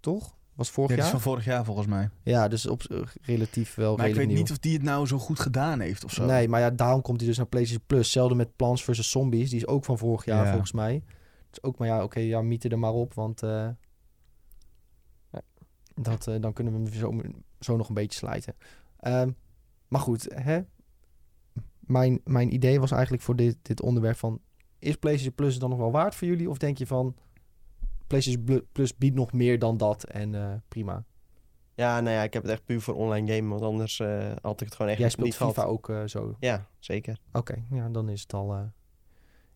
Toch? Was vorig
Ja, dat is
jaar?
van vorig jaar volgens mij.
Ja, dus op, eh, relatief wel
Maar ik weet
redelijk nieuw.
niet of die het nou zo goed gedaan heeft of zo.
Nee, maar ja, daarom komt hij dus naar PlayStation Plus. Zelfde met Plants vs. Zombies. Die is ook van vorig jaar
Ja.
volgens mij. Dus ook maar ja, oké, ja, mieten er maar op. Want eh, dat, eh, dan kunnen we hem zo, zo nog een beetje slijten. Ehm, maar goed, hè? Mijn, mijn idee was eigenlijk voor dit, dit onderwerp van... Is PlayStation Plus het dan nog wel waard voor jullie? Of denk je van... PlayStation Blu- Plus biedt nog meer dan dat en eh, prima.
ja, nou ja, ik heb het echt puur voor online game, want anders eh, had ik het gewoon echt
Jij
niet
speelt
gehad.
FIFA ook eh, zo.
Ja, zeker.
Oké, ja, dan is het al. eh, heb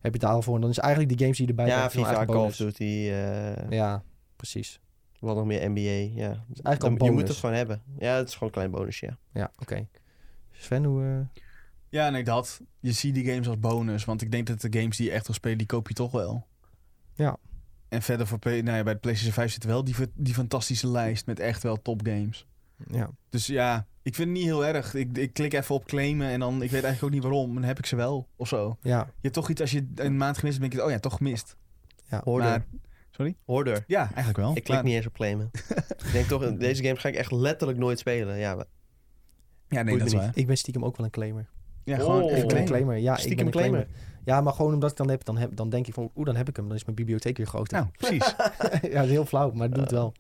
je het daar al voor? En dan is eigenlijk de games die erbij
ja,
komt gewoon
FIFA,
eigenlijk
Call of
bonus.
Duty, eh,
Ja, precies.
wat nog meer, NBA, ja.
Dus eigenlijk al
Dan-
bonus. Oh,
je moet het gewoon hebben. Ja, het is gewoon een klein bonusje, ja.
Ja, oké. Sven, hoe. eh,
Ja, nee, dat. Je ziet die games als bonus. Want ik denk dat de games die je echt wil spelen, die koop je toch wel.
Ja.
En verder voor, P- nou ja, bij de PlayStation 5 zit wel die, die fantastische lijst met echt wel topgames.
ja.
Dus ja, ik vind het niet heel erg. Ik, ik klik even op claimen en dan, ik weet eigenlijk ook niet waarom, maar dan heb ik ze wel of zo.
ja,
Je hebt toch iets, als je een maand gemist hebt, denk je, oh ja, toch gemist.
Hoorder.
Maar- sorry?
Hoorder.
Ja, eigenlijk wel.
Ik klik
Maar-
niet eens op claimen. ik denk toch, deze game ga ik echt letterlijk nooit spelen. Ja, maar-
Ja, nee,
Boeit
dat is
me
waar.
ik ben stiekem ook wel een claimer.
Ja, gewoon
Oh.
even
Ik ben een
claimen.
claimer. Ja, ik ben
Stiekem
een
claimer.
claimer. Ja, maar gewoon omdat ik dan heb, dan, heb, dan denk ik van, oeh, dan heb ik hem. Dan is mijn bibliotheek weer groter.
Nou, precies.
ja, dat is heel flauw, maar het
Eh.
doet wel.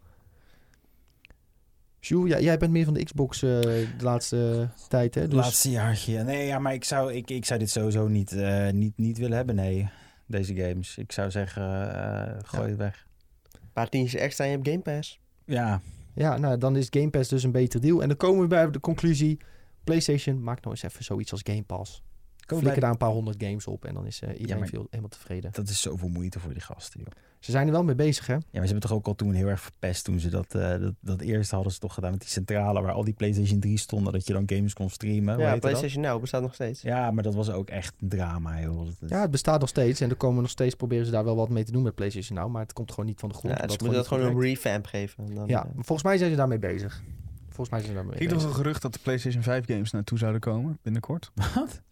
Sjoe, ja, jij bent meer van de Xbox eh, de laatste tijd, hè? Dus,
Laatste jaartje. Nee, ja, maar ik zou, ik, ik zou dit sowieso niet, eh, niet, niet willen hebben, nee. Deze games. Ik zou zeggen, eh, gooi
Ja.
het weg.
Een paar tientjes extra en je hebt Game Pass.
Ja,
Ja, nou, dan is Game Pass dus een beter deal. En dan komen we bij de conclusie... PlayStation, maak nou eens even zoiets als Game Pass.
kom
Flikker
bij-
daar een paar honderd games op en dan is eh, iedereen
maar-
veel, helemaal tevreden.
Dat is zoveel moeite voor die gasten, joh.
Ze zijn er wel mee bezig, hè?
Ja, maar ze hebben toch ook al toen heel erg verpest toen ze dat, eh dat, dat eerste hadden ze toch gedaan met die centrale waar al die PlayStation 3 stonden, dat je dan games kon streamen.
ja,
Ja, dat?
PlayStation Now bestaat nog steeds.
ja maar dat was ook echt een drama, joh. Dat-
Ja, het bestaat nog steeds en er komen nog steeds... proberen ze daar wel wat mee te doen met PlayStation nou, maar het komt gewoon niet van de
Ja,
grond.
dus
omdat
ze moeten dat
het
gewoon een
niet
revamp geven. En dan,
goed werkt.
eh,
Ja, maar volgens mij zijn ze daarmee bezig. Volgens mij zijn ze daarmee
Ik
bezig.
dacht een gerucht dat de PlayStation 5 games naartoe zouden komen binnenkort.
Wat?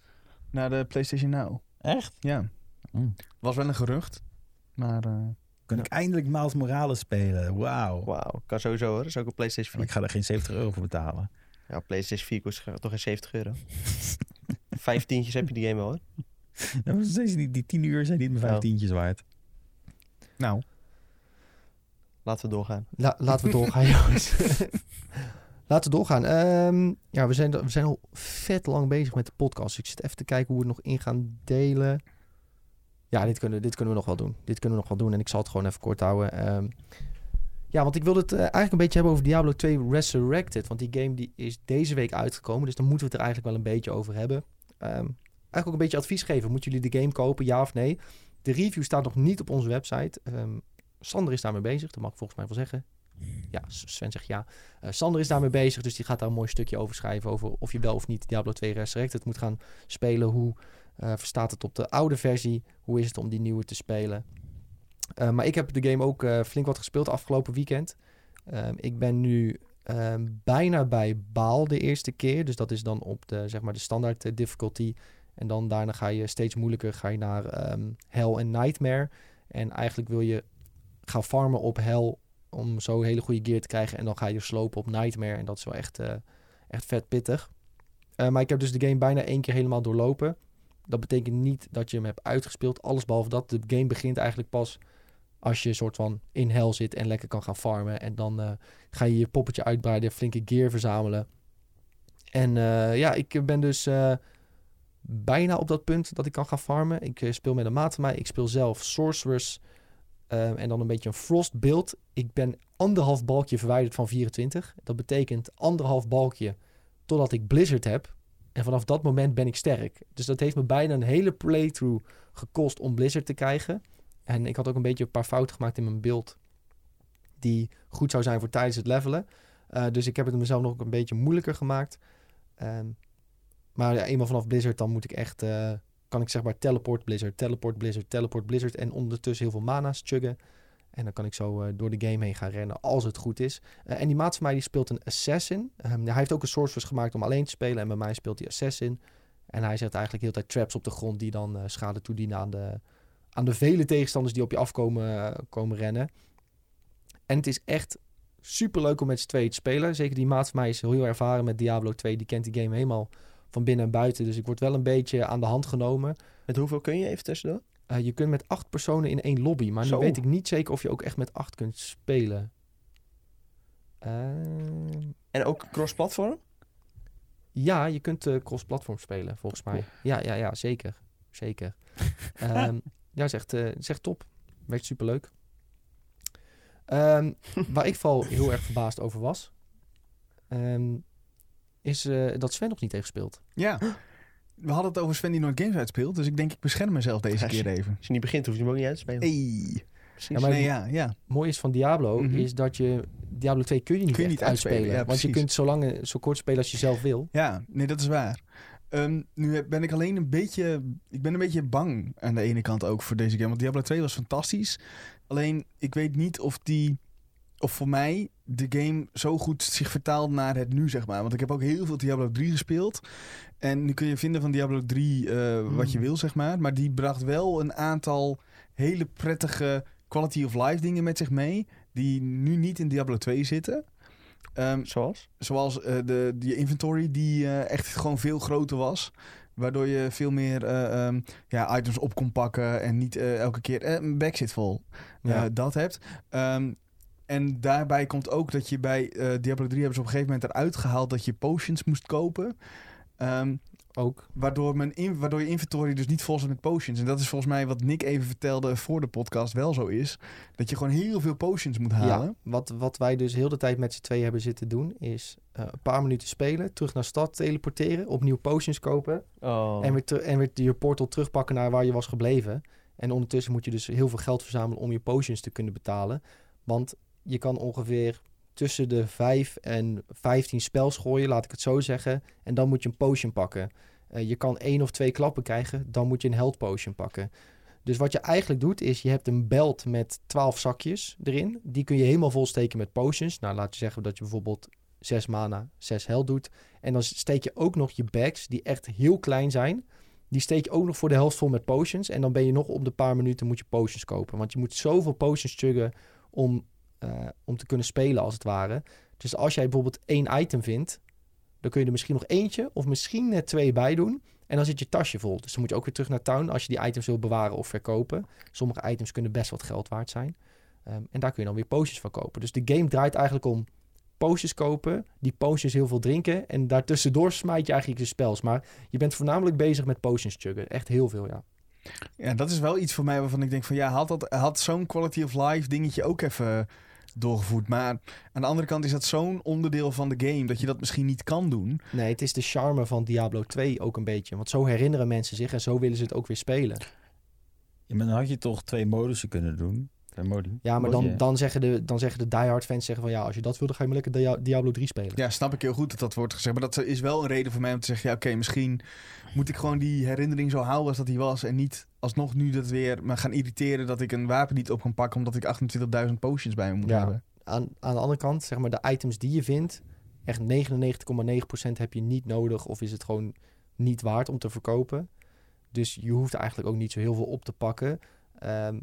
Naar de PlayStation Now.
Echt?
Ja.
Mm.
Was wel een gerucht. Maar eh,
Kan ik eindelijk Miles Morales spelen? Wauw.
Wauw, kan sowieso hoor. Dat is ook een PlayStation 4.
Ik ga daar geen 70 euro voor betalen.
Ja, PlayStation 4 kost ge- toch geen 70 euro. Vijf tientjes heb je die game wel hoor.
Ja, maar Nou, steeds die, die 10 uur zijn niet mijn
Oh.
5 tientjes waard.
nou,
Laten we doorgaan.
La- laten we doorgaan, jongens. laten we doorgaan. Ehm, ja, we zijn, we zijn al vet lang bezig met de podcast. Ik zit even te kijken hoe we het nog in gaan delen. Ja, dit kunnen, dit kunnen we nog wel doen. Dit kunnen we nog wel doen. En ik zal het gewoon even kort houden. Ehm, ja, want ik wilde het eh, eigenlijk een beetje hebben over Diablo 2 Resurrected. Want die game die is deze week uitgekomen. Dus dan moeten we het er eigenlijk wel een beetje over hebben. Ehm, eigenlijk ook een beetje advies geven. Moeten jullie de game kopen, ja of nee? De review staat nog niet op onze website. Ehm, Sander is daarmee bezig. Dat mag ik volgens mij wel zeggen. Ja, S- Sven zegt ja. Eh, Sander is daarmee bezig, dus die gaat daar een mooi stukje over schrijven. Over of je wel of niet Diablo 2 Resurrected moet gaan spelen. Hoe eh, verstaat het op de oude versie? Hoe is het om die nieuwe te spelen? Eh, maar ik heb de game ook eh, flink wat gespeeld afgelopen weekend. Ehm, ik ben nu ehm, bijna bij Baal de eerste keer. Dus dat is dan op de, zeg maar de standaard eh, difficulty. En dan daarna ga je steeds moeilijker ga je naar ehm, Hell en Nightmare. En eigenlijk wil je gaan farmen op Hell om zo hele goede gear te krijgen. En dan ga je dus slopen op Nightmare. En dat is wel echt, eh, echt vet pittig. Eh, maar ik heb dus de game bijna één keer helemaal doorlopen. Dat betekent niet dat je hem hebt uitgespeeld. Alles behalve dat. De game begint eigenlijk pas als je soort van in hel zit en lekker kan gaan farmen. En dan eh, ga je je poppetje uitbreiden, flinke gear verzamelen. En eh, ja, ik ben dus eh, bijna op dat punt dat ik kan gaan farmen. Ik eh, speel met een maat van mij. Ik speel zelf Sorcerers. eh, en dan een beetje een frost build. Ik ben anderhalf balkje verwijderd van 24. Dat betekent anderhalf balkje totdat ik Blizzard heb. En vanaf dat moment ben ik sterk. Dus dat heeft me bijna een hele playthrough gekost om Blizzard te krijgen. En ik had ook een beetje een paar fouten gemaakt in mijn beeld. Die goed zou zijn voor tijdens het levelen. Eh, dus ik heb het mezelf nog een beetje moeilijker gemaakt. Ehm, maar ja, eenmaal vanaf Blizzard dan moet ik echt... eh, kan ik zeg maar teleport Blizzard, teleport Blizzard, teleport Blizzard. En ondertussen heel veel mana's chuggen. En dan kan ik zo eh, door de game heen gaan rennen als het goed is. Eh, en die maat van mij die speelt een assassin. Ehm, hij heeft ook een sorceress gemaakt om alleen te spelen. En bij mij speelt hij assassin. En hij zet eigenlijk heel de tijd traps op de grond die dan eh, schade toedienen aan de, aan de vele tegenstanders die op je afkomen eh, komen rennen. En het is echt super leuk om met z'n tweeën te spelen. Zeker die maat van mij is heel, heel ervaren met Diablo 2. Die kent die game helemaal van binnen en buiten. Dus ik word wel een beetje aan de hand genomen.
Met hoeveel kun je even tussendoor?
Eh, je kunt met acht personen in één lobby. Maar
Zo.
nu weet ik niet zeker of je ook echt met acht kunt spelen. Ehm,
En ook cross-platform?
ja, je kunt eh, cross-platform spelen, volgens
Oh.
mij. Ja, ja, ja, zeker. Zeker. Ehm, ja, is echt, eh, is echt top. Werkt superleuk. Ehm, waar ik vooral heel erg verbaasd over was... ehm, is eh, dat Sven nog niet heeft gespeeld.
Ja. We hadden het over Sven die nooit games uitspeelt. Dus ik denk, ik bescherm mezelf deze
Ja,
keer even.
Als je niet begint, hoef je hem ook niet uit te spelen.
Hey.
Ja, maar-
nee, ja, ja.
mooi is van Diablo
Mhm.
is dat je Diablo 2 kun je niet,
Kun je
echt
niet uitspelen, ja,
want je
precies.
kunt zo lang eh, zo kort spelen als je zelf wil.
Ja, nee, dat is waar. Ehm, nu heb- ben ik alleen een beetje... Ik ben een beetje bang aan de ene kant ook voor deze game. Want Diablo 2 was fantastisch. Alleen, ik weet niet of die... Of voor mij de game zo goed zich vertaalt naar het nu, zeg maar. Want ik heb ook heel veel Diablo 3 gespeeld. En nu kun je vinden van Diablo 3 eh, wat je
Mm.
wil, zeg maar. Maar die bracht wel een aantal hele prettige quality of life dingen met zich mee. Die nu niet in Diablo 2 zitten. Ehm,
Zoals?
Zoals eh, de, die inventory die eh, echt gewoon veel groter was. Waardoor je veel meer eh, ehm, ja, items op kon pakken en niet eh, elke keer eh, een back zit vol.
Ja.
Eh, dat hebt. Ehm, en daarbij komt ook dat je bij eh, Diablo 3 hebben ze op een gegeven moment eruit gehaald dat je potions moest kopen. Ehm,
Ook.
waardoor, mijn in, waardoor je inventory dus niet vol zit met potions. En dat is volgens mij wat Nick even vertelde voor de podcast wel zo is. Dat je gewoon heel veel potions moet halen.
Ja, wat, wat wij dus heel de tijd met z'n tweeën hebben zitten doen is eh, een paar minuten spelen, terug naar stad teleporteren, opnieuw potions kopen
Oh.
en, weer ter- en weer je portal terugpakken naar waar je was gebleven. En ondertussen moet je dus heel veel geld verzamelen om je potions te kunnen betalen. Want je kan ongeveer tussen de 5 en 15 spels gooien, laat ik het zo zeggen. En dan moet je een potion pakken. Eh, je kan één of twee klappen krijgen, dan moet je een health potion pakken. Dus wat je eigenlijk doet, is je hebt een belt met 12 zakjes erin. Die kun je helemaal volsteken met potions. Nou, laat je zeggen dat je bijvoorbeeld 6 mana, 6 health doet. En dan steek je ook nog je bags, die echt heel klein zijn. Die steek je ook nog voor de helft vol met potions. En dan ben je nog op de paar minuten moet je potions kopen. Want je moet zoveel potions chuggen om, eh, om te kunnen spelen, als het ware. Dus als jij bijvoorbeeld één item vindt, dan kun je er misschien nog eentje of misschien net twee bij doen. En dan zit je tasje vol. Dus dan moet je ook weer terug naar town als je die items wil bewaren of verkopen. Sommige items kunnen best wat geld waard zijn. Ehm, en daar kun je dan weer potions van kopen. Dus de game draait eigenlijk om potions kopen, die potions heel veel drinken. En daartussendoor smijt je eigenlijk je spels. Maar je bent voornamelijk bezig met potions chuggen. Echt heel veel, ja.
Ja, dat is wel iets voor mij waarvan ik denk van ja, had, dat, had zo'n quality of life dingetje ook even doorgevoerd. Maar aan de andere kant is dat zo'n onderdeel van de game dat je dat misschien niet kan doen.
Nee, het is de charme van Diablo 2 ook een beetje. Want zo herinneren mensen zich en zo willen ze het ook weer spelen.
Ja, maar dan had je toch twee modussen kunnen doen. Twee modi.
Ja, maar
Modi.
dan, dan, zeggen, de, dan zeggen de diehard fans zeggen van... ja, als je dat wil, dan ga je maar lekker Dia- Diablo 3 spelen.
Ja, snap ik heel goed dat dat wordt gezegd. Maar dat is wel een reden voor mij om te zeggen, ja oké, misschien moet ik gewoon die herinnering zo houden als dat die was. En niet alsnog nu dat weer me gaan irriteren dat ik een wapen niet op kan pakken omdat ik 28.000 potions bij me moet
Ja.
hebben.
Aan, aan de andere kant, zeg maar, de items die je vindt... echt 99,9% heb je niet nodig of is het gewoon niet waard om te verkopen. Dus je hoeft eigenlijk ook niet zo heel veel op te pakken. Ehm,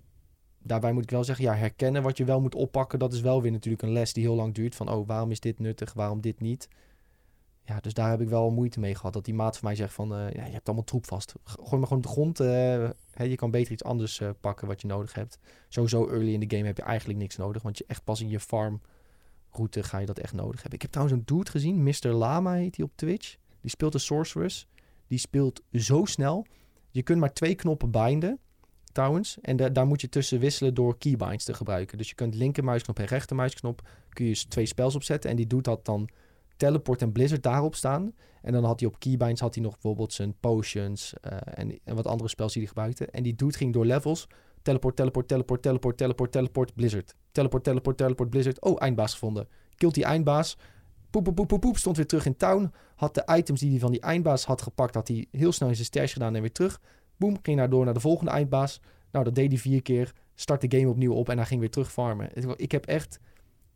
daarbij moet ik wel zeggen, ja, herkennen wat je wel moet oppakken... dat is wel weer natuurlijk een les die heel lang duurt. Van, oh, waarom is dit nuttig, waarom dit niet? Ja, dus daar heb ik wel moeite mee gehad. Dat die maat van mij zegt van, eh, ja, je hebt allemaal troep vast. G- Gooi maar gewoon op de grond. eh, hè, je kan beter iets anders eh, pakken wat je nodig hebt. Sowieso early in de game heb je eigenlijk niks nodig. Want je echt pas in je farmroute ga je dat echt nodig hebben. Ik heb trouwens een dude gezien, Mr. Lama heet hij op Twitch. Die speelt een sorceress. Die speelt zo snel. Je kunt maar twee knoppen binden, trouwens. En da- daar moet je tussen wisselen door keybinds te gebruiken. Dus je kunt linkermuisknop en rechtermuisknop... kun je s- twee spels opzetten. En die doet dat dan teleport en blizzard daarop staan. En dan had hij op keybinds had hij nog bijvoorbeeld zijn potions... eh, en, en wat andere spels die hij gebruikte. En die dude ging door levels... Teleport, teleport, teleport, teleport, teleport, teleport, blizzard. Teleport, teleport, teleport, blizzard. Oh, eindbaas gevonden. Kilt die eindbaas. Poep, poep, poep, poep, poep. Stond weer terug in town had de items die hij van die eindbaas had gepakt, had hij heel snel in zijn stash gedaan en weer terug. Boom, ging daar door naar de volgende eindbaas. Nou, dat deed hij vier keer. Start de game opnieuw op en hij ging weer terug farmen. Het wa- Ik heb echt...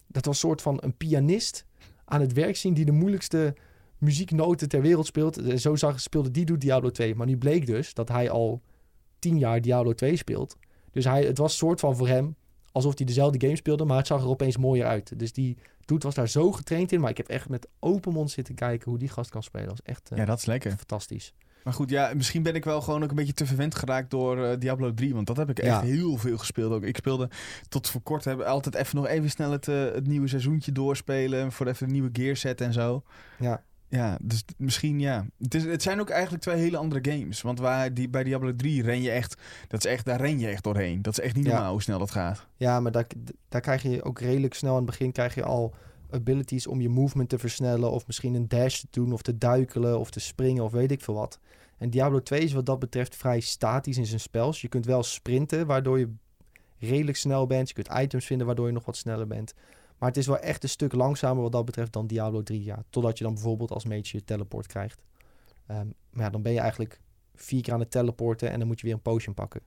Dat was een soort van een pianist aan het werk zien... die de moeilijkste muzieknoten ter wereld speelt. Eh, Zo zag, speelde die doet Diablo 2. Maar nu bleek dus dat hij al tien jaar Diablo 2 speelt. Dus hij, het was een soort van voor hem... alsof hij dezelfde game speelde, maar het zag er opeens mooier uit. Dus die Doet was daar zo getraind in. Maar ik heb echt met open mond zitten kijken hoe die gast kan spelen. Dat is echt eh,
Ja, dat is lekker.
fantastisch.
Maar goed, ja, misschien ben ik wel gewoon ook een beetje te verwend geraakt door eh, Diablo 3. Want dat heb ik echt
Ja.
heel veel gespeeld ook. Ik speelde tot voor kort heb, altijd even nog even snel het, eh, het nieuwe seizoentje doorspelen. Voor even een nieuwe gear set en zo.
Ja.
Ja, dus t- misschien ja. Het, is, het zijn ook eigenlijk twee hele andere games. Want waar die, bij Diablo 3 ren je echt, dat is echt, daar ren je echt doorheen. Dat is echt niet
Ja.
normaal hoe snel dat gaat.
Ja, maar daar, daar krijg je ook redelijk snel aan het begin krijg je al abilities om je movement te versnellen. Of misschien een dash te doen. Of te duikelen. Of te springen. Of weet ik veel wat. En Diablo 2 is wat dat betreft vrij statisch in zijn spels. Je kunt wel sprinten, waardoor je redelijk snel bent. Je kunt items vinden, waardoor je nog wat sneller bent. Maar het is wel echt een stuk langzamer wat dat betreft dan Diablo 3. Ja. Totdat je dan bijvoorbeeld als mage je teleport krijgt. Ehm, maar ja, dan ben je eigenlijk vier keer aan het teleporten en dan moet je weer een potion pakken.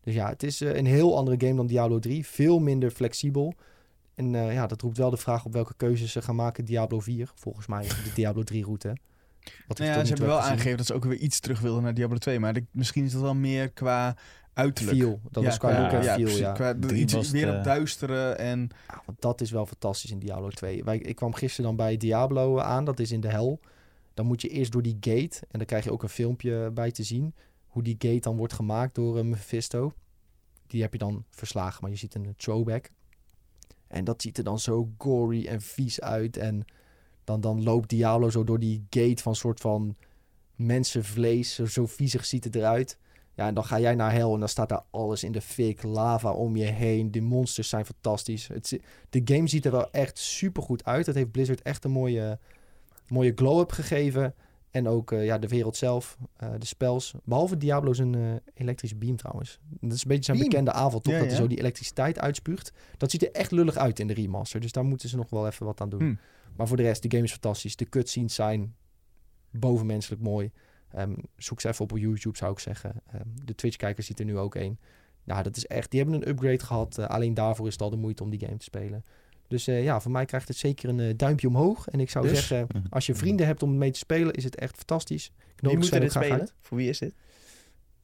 Dus ja, het is eh, een heel andere game dan Diablo 3. Veel minder flexibel. En eh, ja, dat roept wel de vraag op welke keuzes ze gaan maken Diablo 4. Volgens mij de Diablo 3 route. Wat ik
Nou ja,
tot nu toe
ze hebben
heb
wel
gezien.
aangegeven dat ze ook weer iets terug wilden naar Diablo 2. Maar ik- misschien is dat wel meer qua uiterlijk.
Feel. Dat
Ja,
was qua
ja,
look en feel,
precies.
ja.
Qua,
Drie
iets
was het,
meer
eh,
op duisteren en...
Ja, want dat is wel fantastisch in Diablo 2. Wij, ik kwam gisteren dan bij Diablo eh, aan, dat is in de hel. Dan moet je eerst door die gate. En dan krijg je ook een filmpje bij te zien. Hoe die gate dan wordt gemaakt door eh, Mephisto. Die heb je dan verslagen, maar je ziet een throwback. En dat ziet er dan zo gory en vies uit. En dan, dan loopt Diablo zo door die gate van soort van mensenvlees. Zo, zo viezig ziet het eruit. Ja, en dan ga jij naar hel en dan staat daar alles in de fik. Lava om je heen. De monsters zijn fantastisch. Het, zi- de game ziet er wel echt super goed uit. Het heeft Blizzard echt een mooie, mooie glow-up gegeven. En ook eh, ja, de wereld zelf, eh, de spels. Behalve Diablo zijn eh elektrische beam trouwens. Dat is een beetje zijn
Beam?
bekende avond, toch?
Ja,
dat hij
ja.
zo die elektriciteit uitspuugt. Dat ziet er echt lullig uit in de remaster. Dus daar moeten ze nog wel even wat aan doen.
Hmm.
Maar voor de rest, de game is fantastisch. De cutscenes zijn bovenmenselijk mooi. Ehm, zoek ze even op op YouTube, zou ik zeggen. Ehm, de Twitch-kijkers ziet er nu ook één. Nou, dat is echt... Die hebben een upgrade gehad. Eh, alleen daarvoor is het al de moeite om die game te spelen. Dus eh, ja, voor mij krijgt het zeker een eh, duimpje omhoog. En ik zou
Dus?
zeggen, als je vrienden hebt om mee te spelen, is het echt fantastisch. Ik
Wie
nodig
moet
Sven
er
ook
dit
graag
spelen?
uit.
Voor wie is dit?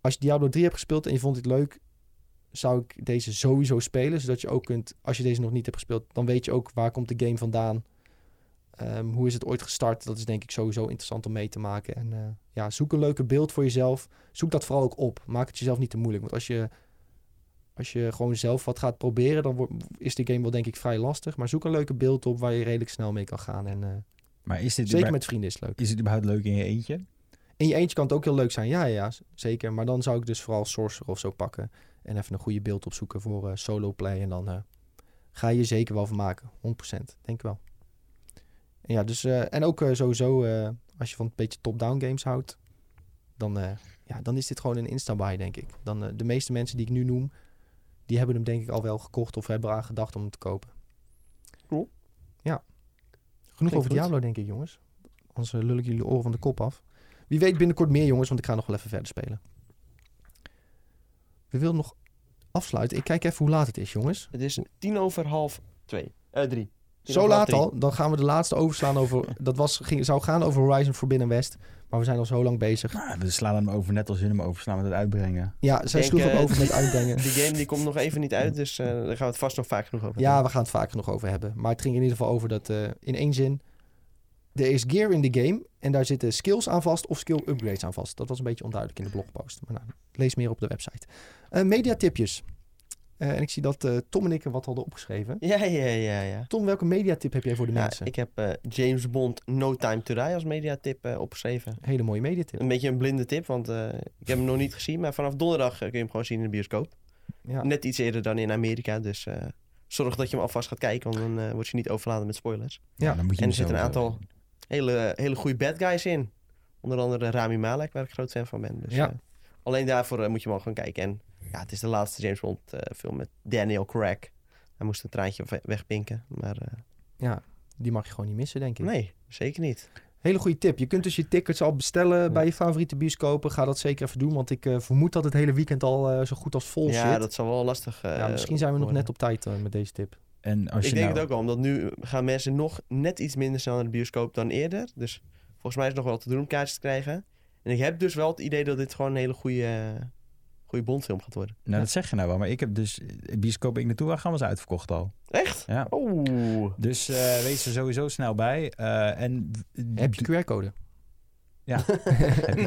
Als je Diablo 3 hebt gespeeld en je vond dit leuk, zou ik deze sowieso spelen. Zodat je ook kunt, als je deze nog niet hebt gespeeld, dan weet je ook waar komt de game vandaan. Ehm, hoe is het ooit gestart? Dat is denk ik sowieso interessant om mee te maken. En eh, ja, zoek een leuke beeld voor jezelf. Zoek dat vooral ook op. Maak het jezelf niet te moeilijk. Want als je, als je gewoon zelf wat gaat proberen, dan wordt, is de game wel denk ik vrij lastig. Maar zoek een leuke beeld op waar je redelijk snel mee kan gaan. En eh,
Maar is dit,
zeker
überhaupt-
met vrienden is het leuk.
is dit überhaupt leuk in je eentje?
In je eentje kan het ook heel leuk zijn. Ja, ja, ja, z- zeker. Maar dan zou ik dus vooral Sorcerer of zo pakken. En even een goede beeld opzoeken voor eh, solo play. En dan eh, ga je je zeker wel van maken. 100%. Denk ik wel. En ja, dus, eh, en ook eh, sowieso, eh, als je van een beetje top-down games houdt, dan, eh, ja, dan is dit gewoon een insta-buy, denk ik. Dan, eh, de meeste mensen die ik nu noem, die hebben hem denk ik al wel gekocht of hebben eraan gedacht om hem te kopen.
Cool.
Ja. Genoeg
Klinkt
over
goed.
Diablo, denk ik, jongens. Anders eh, lul ik jullie oren van de kop af. Wie weet binnenkort meer, jongens, want ik ga nog wel even verder spelen. We willen nog afsluiten. Ik kijk even hoe laat het is, jongens.
Het is tien over half twee. Eh, drie. Tien
Zo
over half
laat
drie.
al, dan gaan we de laatste overslaan over... Dat was, ging, zou gaan over Horizon Forbidden West. Maar we zijn al zo lang bezig.
Nou, we slaan hem over net als jullie hem overslaan met het uitbrengen.
Ja, zij
denk,
sloeg hem
eh,
over met uitbrengen.
Die game die komt nog even niet uit, dus eh, daar gaan we het vast nog vaak genoeg over
Ja,
hebben.
we gaan het vaker nog over hebben. Maar het ging in ieder geval over dat, eh, in één zin... Er is gear in de game en daar zitten skills aan vast of skill upgrades aan vast. Dat was een beetje onduidelijk in de blogpost. Maar nou, lees meer op de website. Eh mediatipjes. Eh, en ik zie dat eh, Tom en ik er wat hadden opgeschreven.
Ja, ja, ja, ja.
Tom, welke mediatip heb jij voor de
Ja,
mensen?
ik heb eh, James Bond No Time to Die als mediatip eh, opgeschreven.
Hele mooie mediatip.
Een beetje een blinde tip, want eh, ik heb hem nog niet gezien. Maar vanaf donderdag eh, kun je hem gewoon zien in de bioscoop.
Ja.
Net iets eerder dan in Amerika, dus eh, zorg dat je hem alvast gaat kijken. Want dan eh, word je niet overladen met spoilers.
Ja,
dan moet je dus
en
hem
er zitten een
sowieso
aantal hele, hele goede bad guys in. Onder andere Rami Malek, waar ik groot fan van ben. Dus,
Ja.
eh, alleen daarvoor eh, moet je hem al gaan kijken. En ja, het is de laatste James Bond eh, film met Daniel Craig. Hij moest een traantje we- wegpinken, maar eh,
Ja, die mag je gewoon niet missen, denk ik.
nee, zeker niet.
Hele goede tip. Je kunt dus je tickets al bestellen bij je favoriete bioscopen. Ga dat zeker even doen, want ik eh, vermoed dat het hele weekend al eh, zo goed als vol
ja,
zit.
dat zal wel lastig eh,
ja, misschien zijn we nog
worden.
net op tijd eh, met deze tip.
En als
Ik
je
denk
nou-
het ook wel, omdat nu gaan mensen nog net iets minder snel naar de bioscoop dan eerder. Dus volgens mij is het nog wel te doen om kaartjes te krijgen. En ik heb dus wel het idee dat dit gewoon een hele goede, eh, goede Bondfilm gaat worden.
Nou, dat zeg je nou wel. Maar ik heb dus... De bioscoop waar ik naartoe wou gaan was uitverkocht al.
Echt?
Ja.
Oeh.
Dus eh, wees er sowieso snel bij. Eh, en
Heb je QR-code?
heb je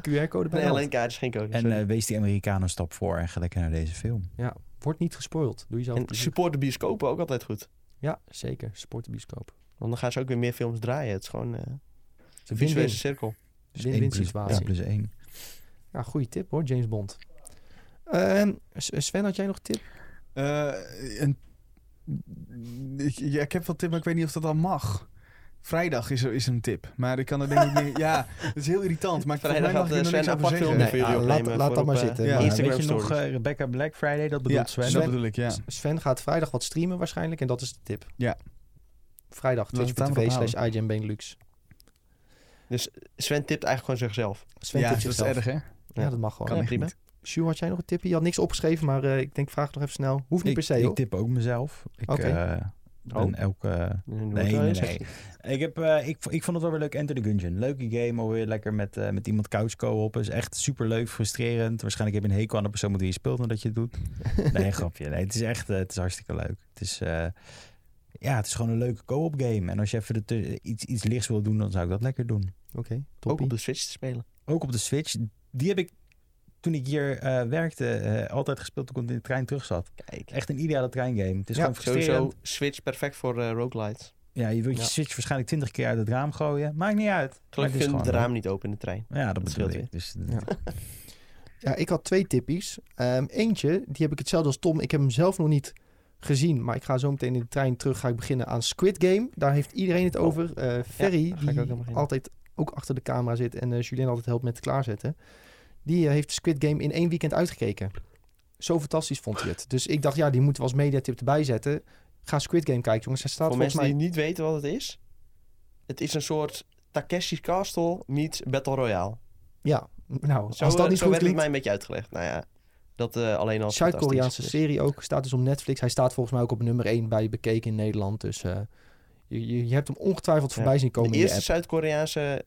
QR-code bij
Nee,
de hand.
alleen kaartjes, geen code.
En
sorry.
eh, wees die Amerikanen een stap voor en ga lekker naar deze film.
Wordt niet gespoild. Doe jezelf
en
plezier.
support de bioscopen ook altijd goed.
Ja, zeker. Support de bioscoop.
Want dan gaan ze ook weer meer films draaien. Het is gewoon eh,
Het
een
is een
visuele
win-win.
cirkel.
Dus
Win-win
één plus-
situatie.
Ja, plus één.
Ja, goede tip hoor, James Bond. Ehm, S- Sven, had jij nog een tip?
Eh, een- ik, ja, ik heb wel tip, maar ik weet niet of dat al mag. Vrijdag is, er, is een tip. Maar ik kan er denk ik niet... Ja, dat is heel irritant. Maar volgens
Vrijdag
mij
gaat
mag
eh,
je er
Sven
niks
een
over
apart
zeggen.
filmpje
Nee,
voor jullie
ah, laat-
opnemen.
laat dat
voor
maar
op, eh,
zitten.
Ja,
Ja,
Instagram
weet je nog
stories.
eh, Rebecca Black Friday? Dat
Ja,
bedoelt Sven.
dat
Sven-
bedoel ik, ja.
S- Sven gaat vrijdag wat streamen waarschijnlijk en dat is de tip.
Ja.
Vrijdag,
Laat het daar maar
twitch.tv
op
slash IGN Benelux.
Sven tipt eigenlijk gewoon zichzelf.
Sven
ja,
tipt
dat is
zichzelf.
erg, hè?
Ja, dat mag gewoon.
Kan
Ja,
echt
prima.
niet.
Sjoe, had jij nog een tip? Je had niks opgeschreven, maar eh, ik denk, vraag het nog even snel. Hoeft niet
ik,
per se,
ik
hoor.
tip ook mezelf. Ik
Oké.
eh, ben
Oh.
elke... Nee, nee, nee. Ik, heb, eh, ik, vo- ik vond het wel weer leuk. Enter the Gungeon. Leuke game. Alweer lekker met, eh, met iemand couch co-op. Is echt super leuk, frustrerend. Waarschijnlijk heb je een hekel aan de persoon met wie je speelt nadat je het doet. Nee, grapje. Nee, het is echt eh, het is hartstikke leuk. Het is, eh, ja, het is gewoon een leuke co-op game. En als je even de tu- iets, iets lichts wil doen, dan zou ik dat lekker doen.
Oké,
Ook
toppie.
op de Switch te spelen.
Ook op de Switch. Die heb ik toen ik hier eh, werkte eh, altijd gespeeld toen ik in de trein terug zat.
Kijk.
Echt een ideale treingame. Het is
Ja,
gewoon frustrerend.
Sowieso Switch perfect voor eh roguelites.
Ja, je wilt je
Ja.
Switch waarschijnlijk twintig keer uit het raam gooien. Maakt niet uit. Maar
Gelukkig
het is
vind ik het
gewoon
raam niet open in de trein.
Ja, dat,
Dat
bedoel
scheelt
ik.
weer.
Dus,
Ja. Ja, ik had twee tippies. Ehm, eentje, die heb ik hetzelfde als Tom. Ik heb hem zelf nog niet gezien, maar ik ga zo meteen in de trein terug. Ga ik beginnen aan Squid Game. Daar heeft iedereen het over. Eh Ferry,
daar ga ik ook
die
aan beginnen.
altijd ook achter de camera zit en eh Julien altijd helpt met het klaarzetten. Die eh, heeft Squid Game in één weekend uitgekeken. Zo fantastisch vond hij het. Dus ik dacht, ja, die moeten we als mediatip erbij zetten. Ga Squid Game kijken, jongens. Hij staat
voor
volgens
mensen
mij...
die niet weten wat het is. Het is een soort Takeshi's Castle meets Battle Royale.
Ja, nou,
Zo,
als dat
eh,
niet
zo
goed
werd het
klinkt-
mij een beetje uitgelegd. Nou ja, dat eh, alleen al
Zuid-Koreaanse
fantastisch. Dus
serie ook. Staat dus op Netflix. Hij staat volgens mij ook op nummer 1 bij bekeken in Nederland. Dus eh, je, je, je hebt hem ongetwijfeld voorbij zien komen
De
in je
eerste
app.
Zuid-Koreaanse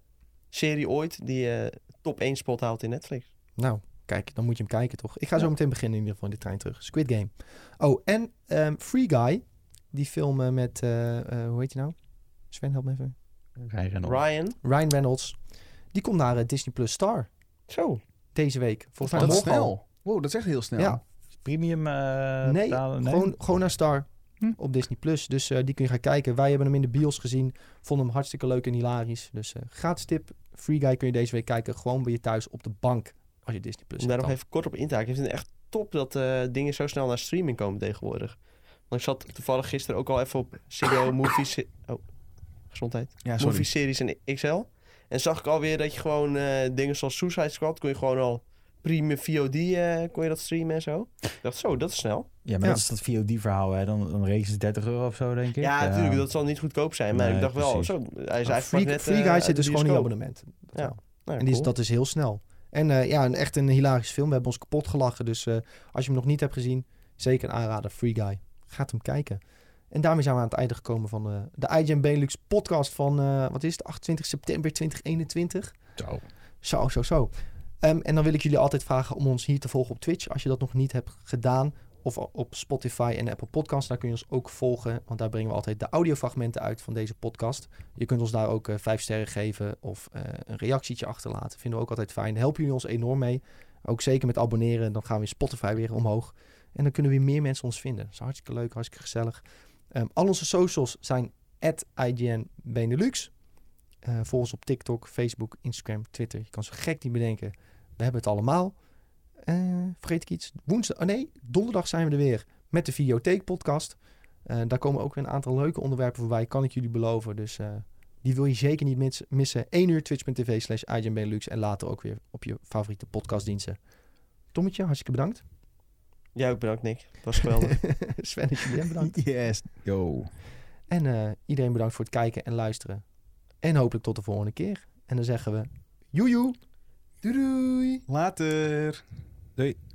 serie ooit die eh, top 1 spot houdt in Netflix.
Nou, kijk, dan moet je hem kijken toch. Ik ga zo meteen beginnen in ieder geval in de trein terug. Squid Game. Oh, en ehm, Free Guy. Die film eh, met, eh, eh, hoe heet je nou? Sven, help me even. Oh.
Ryan.
Ryan Reynolds. Die komt naar eh, Disney Plus Star
Zo.
deze week. Volgens mij
Oh, Dat is
morgen al.
snel. Wow, dat is echt heel snel.
Ja.
Premium eh,
nee,
betalen?
Gewoon, gewoon naar Star
Hm.
op Disney Plus. Dus eh, die kun je gaan kijken. Wij hebben hem in de bios gezien. Vonden hem hartstikke leuk en hilarisch. Dus eh gratis tip. Free Guy kun je deze week kijken. Gewoon bij je thuis op de bank. Als je Disney Plus
Om daar
hebt.
nog
dan.
even kort op in te haken. Ik vind het echt top dat eh, dingen zo snel naar streaming komen tegenwoordig. Want ik zat toevallig gisteren ook al even op Ziggo Movies... Oh, gezondheid.
Ah,
Ja,
movie series en XL. En zag ik alweer dat je gewoon eh, dingen zoals Suicide Squad kon je gewoon al prime VOD eh, kon je dat streamen en zo. Ik dacht zo, dat is snel.
Ja, maar
Ja.
dat is dat VOD-verhaal. hè. Dan, dan rekenen ze 30 euro of zo, denk ik.
Ja, natuurlijk, dat zal niet goedkoop zijn, maar
Nee,
ik dacht wel,
precies.
zo, hij is
Nou,
eigenlijk
Free,
pas net,
Free
eh,
Guy
uit de
zit dus gewoon in je
bioscoop.
abonnement. Dat
Ja.
wel.
Nou,
en die is,
cool.
dat is heel snel. En eh, ja, een, echt een hilarische film. We hebben ons kapot gelachen. Dus eh, als je hem nog niet hebt gezien, zeker een aanrader. Free Guy. Gaat hem kijken. En daarmee zijn we aan het einde gekomen van eh, de IGN Benelux podcast van, eh, wat is het, 28 september 2021.
Zo.
Zo, zo, zo. Ehm, en dan wil ik jullie altijd vragen om ons hier te volgen op Twitch. Als je dat nog niet hebt gedaan. Of op Spotify en Apple Podcasts. Daar kun je ons ook volgen. Want daar brengen we altijd de audiofragmenten uit van deze podcast. Je kunt ons daar ook eh, vijf sterren geven. Of eh, een reactietje achterlaten. Vinden we ook altijd fijn. Helpen jullie ons enorm mee. Ook zeker met abonneren. Dan gaan we in Spotify weer omhoog. En dan kunnen weer meer mensen ons vinden. Dat is hartstikke leuk, hartstikke gezellig. Ehm, al onze socials zijn IGN Benelux. Eh, volg ons op TikTok, Facebook, Instagram, Twitter. Je kan zo gek niet bedenken. We hebben het allemaal. Eh, vergeet ik iets? Woensdag, oh nee, donderdag zijn we er weer met de Videotheek podcast. Eh, daar komen ook weer een aantal leuke onderwerpen voorbij, kan ik jullie beloven. Dus eh, die wil je zeker niet mis- missen. 1 uur twitch.tv slash IGN Benelux en later ook weer op je favoriete podcastdiensten. Tommetje, hartstikke bedankt.
Ja, ik bedankt Nick. Dat was geweldig.
Sven en Julien bedankt.
Yes.
Yo.
En eh, iedereen bedankt voor het kijken en luisteren. En hopelijk tot de volgende keer. En dan zeggen we joejoe. Doei doei.
Later.
Doei.